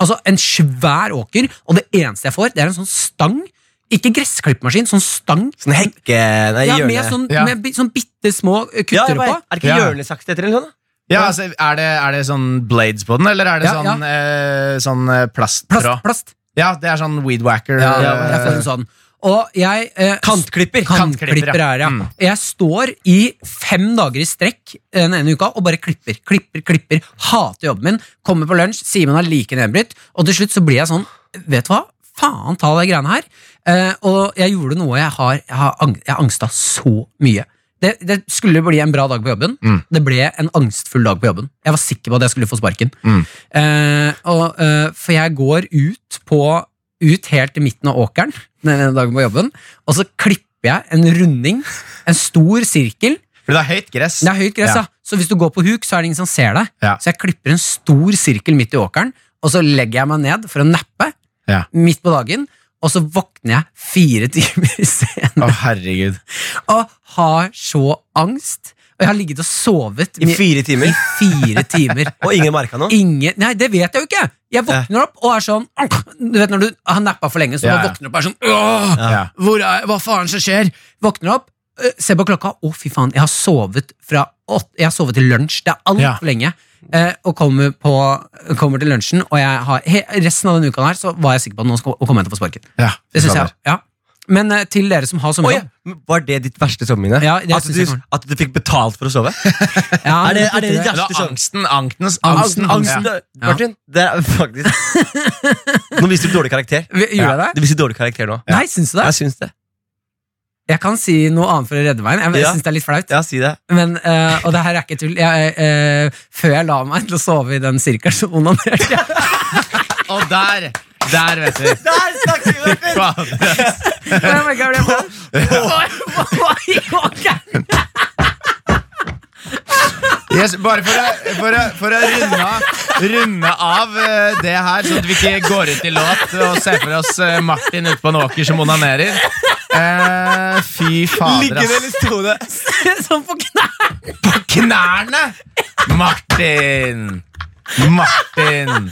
S2: Altså en svær åker, og det eneste jeg får, det er en sånn stang Ikke gressklippemaskin, sånn stang.
S3: Sånn hekke... Nei,
S2: Ja,
S3: hjørne...
S2: med sånn,
S4: Ja.
S2: med bi- sånn bitte små
S3: Ja, jeg
S2: kutter
S3: bare-
S2: på.
S3: Er det ikke
S4: Ja.
S3: hjørnesaks det heter? eller noe sånt?
S4: Ja, altså, er det, er det sånn blades på den, eller er det
S2: Ja, ja.
S4: sånn, eh, sånn eh, plasttråd?
S2: Plast. plast.
S4: Ja, det er sånn weed whacker.
S2: Ja,
S4: eh,
S2: jeg får en sånn. Og jeg eh, Kantklipper
S3: Kantklipper.
S4: Kantklipper, ja.
S2: er det, ja.
S4: Mm.
S2: Jeg står i fem dager i strekk eh, den ene uka og bare klipper, klipper, klipper. Hater jobben min. Kommer på lunsj, sier man er like nedbrytt. Og til slutt så blir jeg sånn, vet du hva? Faen ta de greiene her. Eh, og jeg gjorde noe jeg har, jeg har ang jeg angsta så mye. Det, det skulle bli en bra dag på jobben.
S4: Mm.
S2: Det ble en angstfull dag på jobben. Jeg var sikker på at jeg skulle få sparken.
S4: Mm.
S2: Eh, og, eh, for jeg går ut på ut helt til midten av åkeren den ene dagen på jobben, og så klipper jeg en runding, en stor sirkel.
S4: Fordi det er høyt gress.
S2: Det er høyt gress,
S4: Ja.
S2: da. Så hvis du går på huk, så er det ingen som ser deg.
S4: Ja.
S2: Så jeg klipper en stor sirkel midt i åkeren, og så legger jeg meg ned for å nappe
S4: Ja.
S2: midt på dagen, og så våkner jeg fire (laughs) timer senere
S4: Å, herregud.
S2: og har så angst. Og jeg har ligget og sovet
S3: I fire
S2: i
S3: timer.
S2: fire
S4: (laughs)
S2: timer.
S3: Og ingen merka noe.
S2: Ingen, nei, det vet jeg jo ikke! Jeg våkner opp og er sånn Du vet når du har nappa for lenge, så
S4: Ja,
S2: du
S4: ja.
S2: våkner opp og er sånn Åh!
S4: Ja.
S2: Hvor er, hva faen som skjer? Våkner opp, øh, ser på klokka. Å, fy faen, jeg har sovet fra åtte Jeg har sovet til lunsj. Det er altfor
S4: Ja.
S2: lenge. Eh, og kommer, på, kommer til lunsjen, og jeg har, he, resten av denne uka her, så var jeg sikker på at nå skal, å komme hjem til å få sparken.
S4: Ja,
S2: Det synes
S4: sånn
S2: jeg, ja. Men eh, til dere som har
S3: Oi, ja.
S2: sommerjobb
S3: Men Var det ditt verste sommerminne?
S2: Ja, det
S3: at,
S2: synes
S3: du-
S2: jeg var.
S3: at du fikk betalt for å sove?
S2: Ja,
S3: er det-
S2: men
S3: er det-
S2: jeg-
S4: er. Eller angsten, angstens,
S2: Angsten,
S4: (laughs)
S3: Angsten,
S4: angsten, angsten.
S3: det- Martin, det er
S4: (laughs)
S3: faktisk Nå viste du dårlig karakter.
S2: Vi- Gjorde jeg det?
S3: Du viser dårlig karakter nå.
S2: Nei, syns du det?
S3: Jeg syns det.
S2: Jeg kan si noe annet for å redde veien. Jeg, jeg
S3: Ja.
S2: syns det er litt flaut.
S3: Ja, si det.
S2: Men, eh, og det her er ikke tull. Jeg, eh, før jeg la meg til å sove i den sirkelen, så onanerte jeg.
S4: Og der, der vet vi.
S3: Der snakker vi, Martin!
S4: Fader.
S2: Og jeg merket jeg ble sånn, Hva hva i åkeren?
S4: Yes, bare for å, for å, for å runde, av- runde av eh, det her, sånn at vi ikke går ut i låt og ser for oss eh, Martin ute på en åker som onanerer. Eh, fy fader,
S3: Ligger det
S4: ass.
S3: eller sto det?
S2: (laughs) Sånn på knær.
S4: På knærne! Martin! Martin!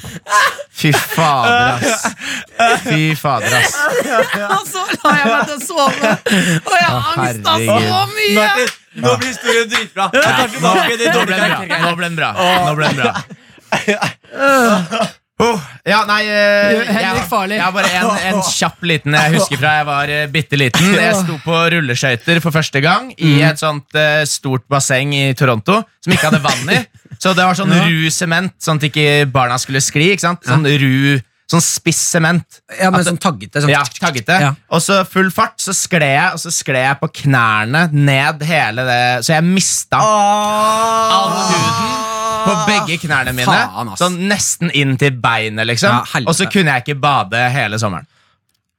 S4: Fy fader, ass. Fy fader, ass.
S2: Og så la jeg meg til å sove. Og jeg angsta så
S4: herregud.
S2: mye!
S3: Martin, nå blir historien dritbra. Jeg tar tilbake det
S4: Nå ble
S3: dårlige
S4: den bra.
S3: karakteren.
S4: Nå ble den bra. Nå ble den bra. Oh, ja, nei eh,
S2: Henrik Farley.
S4: Jeg, jeg har bare en, en kjapp liten jeg husker fra jeg var eh, bitte liten. Jeg sto på rulleskøyter for første gang i et sånt eh, stort basseng i Toronto som ikke hadde vann i. Så det var sånn ru sement, sånn at ikke barna skulle skli. ikke sant? Sånn ru, sånn spiss sement.
S2: Ja, men sånn taggete. Sånn.
S4: Ja, taggete.
S2: Ja.
S4: Og så full fart, så skled jeg, og så skled jeg på knærne ned hele det Så jeg mista all huden på begge knærne mine.
S2: Faen, ass.
S4: sånn nesten inn til beinet, liksom.
S2: Ja, helvete.
S4: og så kunne jeg ikke bade hele sommeren.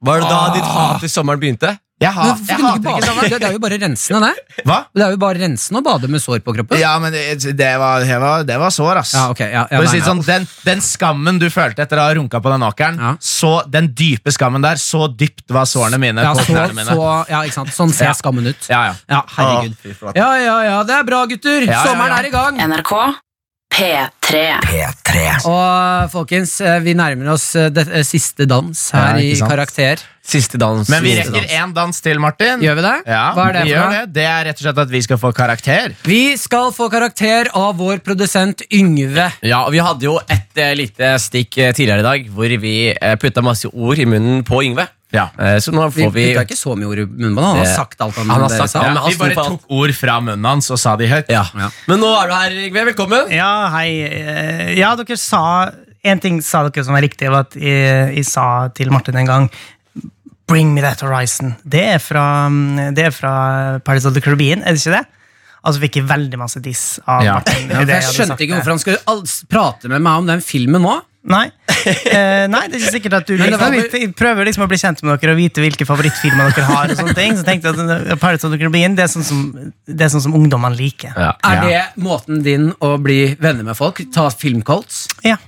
S3: Var det da ditt hat til sommeren begynte?
S4: Jeg, ha,
S2: Men hvorfor
S4: jeg
S2: kunne du ikke sånn.
S4: hater
S2: bade? Det,
S4: ikke
S2: det er jo bare rensende, det.
S4: Hva?
S2: Det er jo bare rensende å bade med sår på kroppen.
S4: Ja, men det, det, var, det, var, det var sår, ass.
S2: Ja, ok, ja, ja,
S4: For å
S2: nei,
S4: si det
S2: ja.
S4: sånn, den, den skammen du følte etter å ha runka på den åkeren,
S2: Ja.
S4: så, den dype skammen der, så dypt var sårene mine
S2: Ja,
S4: på
S2: så,
S4: knærne mine.
S2: så, ja, ikke sant? Sånn ser
S4: Ja.
S2: skammen ut.
S4: Ja, ja.
S2: Ja, herregud. Ja, ja, ja, det er bra, gutter!
S4: ja, ja.
S2: Sommeren er i gang!
S5: NRK P3.
S9: P3.
S2: Og folkens, eh, vi nærmer oss eh, det eh, siste dans her
S3: Ja,
S2: i
S3: ikke sant.
S2: Karakter.
S3: Siste dans.
S4: Men vi
S3: Siste
S4: rekker
S3: dans.
S4: én dans til, Martin.
S2: Gjør vi det?
S4: Ja,
S2: Hva er det for
S4: vi gjør
S2: noe?
S4: det. Det er rett og slett at vi skal få karakter.
S2: Vi skal få karakter av vår produsent Yngve.
S3: Ja, og Vi hadde jo et eh, lite stikk eh, tidligere i dag hvor vi eh, putta masse ord i munnen på Yngve.
S4: Ja.
S3: Eh, så nå
S2: Vi
S3: får vi
S2: putta ikke så mye ord i munnen på han. Han har
S3: Det-
S2: sagt alt han,
S3: Han har
S2: dere
S3: sagt
S2: sa.
S3: alt.
S4: Ja,
S3: men han
S4: vi bare
S3: sto på alt.
S4: tok ord fra munnen hans og sa de høyt.
S3: ja. Men nå er du her, Yngve. Velkommen.
S10: Ja, hei. Eh, Ja, dere sa En ting sa dere som var riktig, var at eh, jeg, jeg sa til Martin en gang Bring me that horizon. Det er fra, mm, det er fra Paris of the Caribbean, er det ikke det? Altså fikk jeg veldig masse diss av
S4: Ja.
S10: Martin.
S2: Ja, for jeg skjønte ikke hvorfor han skulle all- s- prate med meg om den filmen nå.
S10: Nei. Eh, nei, det er ikke sikkert at du
S2: (laughs) Men det
S10: liksom,
S2: var vel-
S10: Jeg prøver liksom å bli kjent med dere og vite hvilke favorittfilmer dere har. og sånne ting, Så tenkte jeg at eh, Pirates of the Caribbean det er sånn som, det er sånn som ungdommene liker.
S2: Er det måten din å bli venner med folk? Ta filmcolts?
S10: Ja,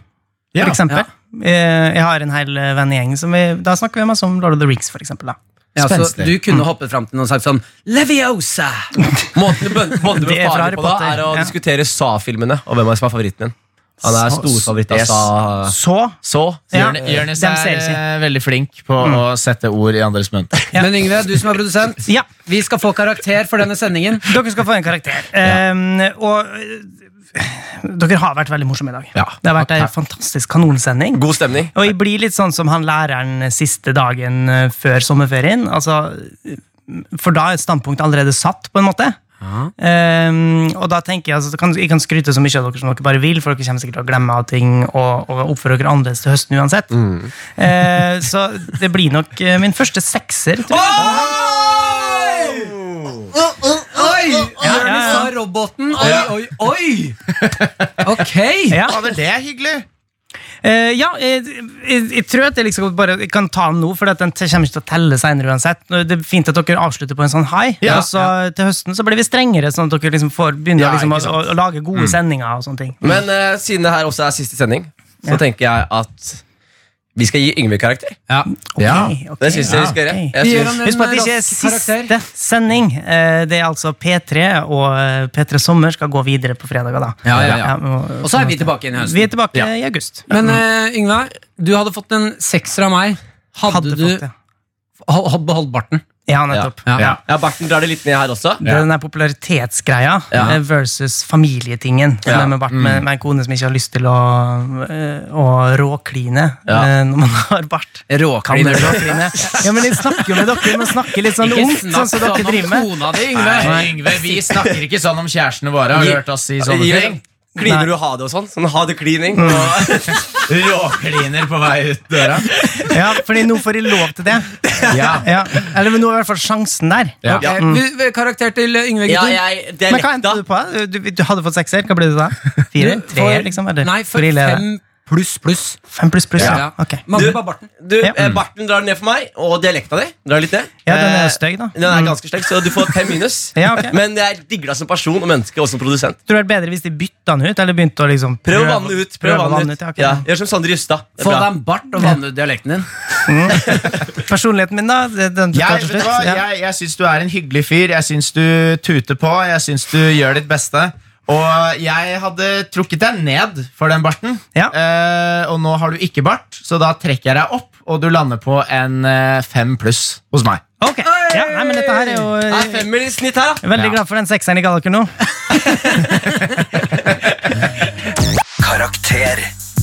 S4: Ja.
S10: for eksempel. Eh, Jeg har en hel eh, vennegjeng som vi, Da snakker vi masse om Lord of the Rings, for eksempel. Da.
S2: Ja, så
S4: Spenstig.
S2: du kunne hoppet fram til noen og sagt sånn Leviosa!
S3: Måten du bønner på
S10: (laughs) Det er fra Harry
S3: på da,
S10: Potter,
S3: er å
S10: ja.
S3: diskutere Sa-filmene og hvem er som er favoritten din. Han er storfavoritt av
S4: Yes.
S3: Sa.
S10: Så
S3: Så
S10: Ja.
S4: Jørn- Jørnis
S10: Dem
S4: er
S10: ser ikke.
S4: eh, veldig flink på å sette ord i andres munn.
S2: Men Yngve, du som er produsent,
S10: Ja,
S2: vi skal få karakter for denne sendingen.
S10: dere skal få en karakter. Ehm, og eh, dere har vært veldig morsomme i dag.
S3: Ja.
S10: Det har vært ei fantastisk kanonsending.
S3: God stemning.
S10: Og jeg blir litt sånn som han læreren siste dagen eh, før sommerferien. Altså, for da er et standpunkt allerede satt, på en måte. Ehm, og da tenker Jeg altså, kan, jeg kan skryte så mye av dere som dere bare vil, for dere kommer sikkert til å glemme av ting og, og oppføre dere annerledes til høsten uansett. Eh, så det blir nok eh, min første sekser. Tror jeg.
S2: Oi! Jonis sa roboten. Oi, oi, oi! Ok.
S10: Ja.
S4: Fader, det er hyggelig!
S10: Eh, ja, jeg, jeg, jeg tror at jeg liksom bare jeg kan ta den nå, for at den t- kommer ikke til å telle senere uansett. Det er fint at dere avslutter på en sånn high,
S4: Ja.
S10: og så til høsten så blir vi strengere, sånn at dere liksom får begynner
S3: Ja,
S10: liksom å,
S3: ikke sant.
S10: å, å lage gode sendinger og sånne ting.
S3: Men eh, siden det her også er siste sending, så
S10: Ja.
S3: tenker jeg at vi skal gi Yngve karakter.
S10: Ok, ok.
S3: Det syns jeg vi skal gjøre.
S10: ok.
S3: Jeg
S2: Vi gjør
S3: synes-
S2: han det.
S10: Husk på at det ikke er
S2: Rask karakter.
S10: siste sending. Eh, Det er altså P3, og eh, P3 Sommer skal gå videre på fredager, da.
S2: Ja, ja, ja.
S10: men-
S2: Og så er vi tilbake igjen i høst.
S10: Vi er tilbake i august.
S2: Men eh, Yngve, du hadde fått en sekser av meg. Hadde,
S10: Hadde
S2: du
S10: fått det.
S2: hol- hol- beholdt barten?
S10: Ja, nettopp.
S2: Ja.
S10: Ja.
S3: Ja, Barten drar det litt ned her også.
S10: Den der popularitetsgreia
S3: Ja.
S10: eh, versus familietingen. Så
S3: Ja. Mm.
S10: Det med, Bart, med, med en kone som ikke har lyst til å, eh, å råkline
S3: Ja.
S10: eh, når man har bart. Kan
S2: Råkalmer.
S10: dere råkline? Ja, men jeg snakker jo med dere, men snakker litt sånn
S2: sånn. Ikke
S10: ungt, sånn
S2: snakk
S10: som dere driver
S2: sånn om
S10: med.
S2: kona di, Yngve.
S4: Nei, Yngve, vi snakker ikke sånn om kjærestene våre. Har du hørt oss si sånne
S3: Gjør-
S4: ting?
S3: Kliner
S10: Nei.
S3: du ha det og sånn? Sånn ha det klining.
S4: Råkliner på vei ut døra.
S10: Ja, fordi nå får de lov til det.
S4: Ja.
S10: Ja. Eller men nå er i hvert fall sjansen der.
S4: Ja.
S2: Eh, vi- vi- Karakter til Yngve,
S3: Ja,
S2: gutter?
S3: jeg, det er
S10: Men hva
S3: lett, da.
S10: endte du på? Du, du hadde fått sekser. Hva ble du da? Fire?
S2: Du,
S10: Tre,
S2: for-
S10: liksom? Eller?
S2: Nei, for
S10: Hvor ille er det?
S2: fem pluss pluss.
S10: Fem pluss pluss?
S2: Ja.
S10: Ja. Ok.
S2: Mangler bare barten.
S3: Du,
S10: Ja.
S3: eh, Barten drar ned for meg, og dialekta di drar litt ned.
S10: ja, den
S3: Eh,
S10: er stygg, da.
S3: Den er ganske slekk, så du får fem minus.
S10: Ja, ok.
S3: Men jeg digger deg som person og menneske og som produsent.
S10: Tror du det er bedre hvis de bytta den ut? Eller begynte å liksom
S3: Prøv å vanne ut. prøv å vanne ut.
S10: ja, ok.
S3: Ja, Gjør som Sander Justad. Det er
S2: Få deg
S3: bra.
S2: en bart og vann ut dialekten din.
S10: Personligheten min, da? det- Den tar
S4: Jeg,
S10: til
S4: vet du
S10: slutt.
S4: hva?
S10: Ja.
S4: jeg, jeg syns du er en hyggelig fyr. Jeg syns du tuter på. Jeg syns du gjør ditt beste. Og jeg hadde trukket deg ned for den barten.
S10: Ja.
S4: Eh, og nå har du ikke bart, så da trekker jeg deg opp, og du lander på en eh, fem pluss hos meg.
S10: Ok. ja, nei, men dette her er jo
S3: Det
S10: eh,
S3: er femmer i snitt her, da.
S10: jeg er Veldig glad for den sekseren jeg ga dere nå.
S1: Karakter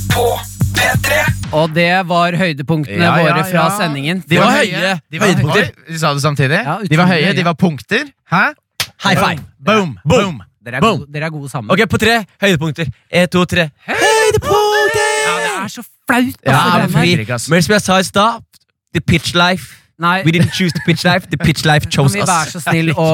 S1: på P3.
S2: Og det var høydepunktene
S4: Ja, ja,
S2: våre fra
S4: ja.
S2: sendingen.
S4: De var høye.
S2: høye.
S4: De var høydepunkter. De sa det samtidig.
S2: Ja, utrolig
S4: de var høye,
S2: høye.
S4: de var punkter. Hæ?
S2: High five.
S4: Boom! Boom!
S2: Dere er gode, dere er gode sammen.
S3: Ok, på tre. Høydepunkter. En, to, tre. Høydepunkter!
S2: Ja, det er så flaut. Altså,
S4: Ja, det
S2: det er meg.
S4: funker ikke, ass.
S3: Men som jeg sa i stad, the pitch life.
S2: Nei,
S3: We didn't choose the pitch life, the pitch life
S2: kan
S3: chose
S2: vi være
S3: us.
S2: så snill å,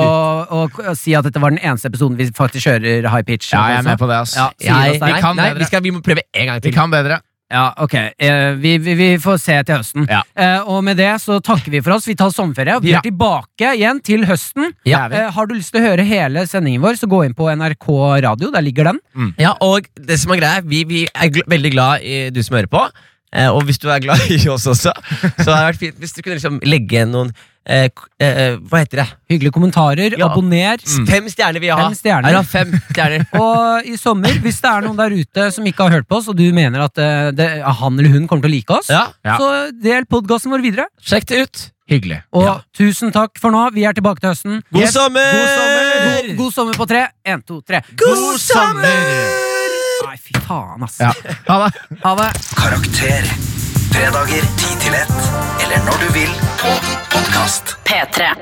S2: å, å si at dette var den eneste episoden vi faktisk kjører high pitch?
S4: Ja, jeg er med på det, ass.
S2: Ja, sier
S3: Nei,
S2: oss der.
S3: nei,
S4: kan
S3: nei
S4: bedre.
S3: vi, skal, vi må prøve en gang
S4: Vi
S3: til.
S4: kan bedre.
S2: Ja, ok. Eh, vi, vi, vi får se til høsten.
S4: Ja.
S2: Eh, og med det så takker vi for oss. Vi tar sommerferie. og Vi
S4: Ja.
S2: er tilbake igjen til høsten.
S3: Ja.
S2: Eh, har du lyst til å høre hele sendingen vår, så gå inn på NRK Radio. Der ligger den.
S3: Ja, og det som er greia, er, vi, vi er gl veldig glad i du som hører på. Eh, og hvis du er glad i oss også, så hadde det vært fint hvis du kunne liksom legge igjen noen eh, k- eh, Hva heter det?
S2: Hyggelige kommentarer.
S3: Ja.
S2: Abonner.
S3: Mm. Fem stjerner vil jeg ha.
S2: Fem stjerner.
S3: Jeg vil ha fem stjerner.
S2: Og i sommer, hvis det er noen der ute som ikke har hørt på oss, og du mener at eh, det, han eller hun kommer til å like oss,
S3: Ja,
S2: så del podkasten vår videre.
S3: (laughs) Sjekk det ut.
S4: Hyggelig.
S2: Og tusen takk for nå. Vi er tilbake til høsten.
S3: God
S2: Yes.
S3: sommer!
S2: God sommer! God, god sommer på tre. Én, to, tre.
S3: God sommer!
S2: Nei, fy faen, ass.
S4: Ja. (laughs) Ha det.
S2: Ha det.
S1: Karakter. Fredager 10 til 1, eller når du vil på podkast.
S11: P3.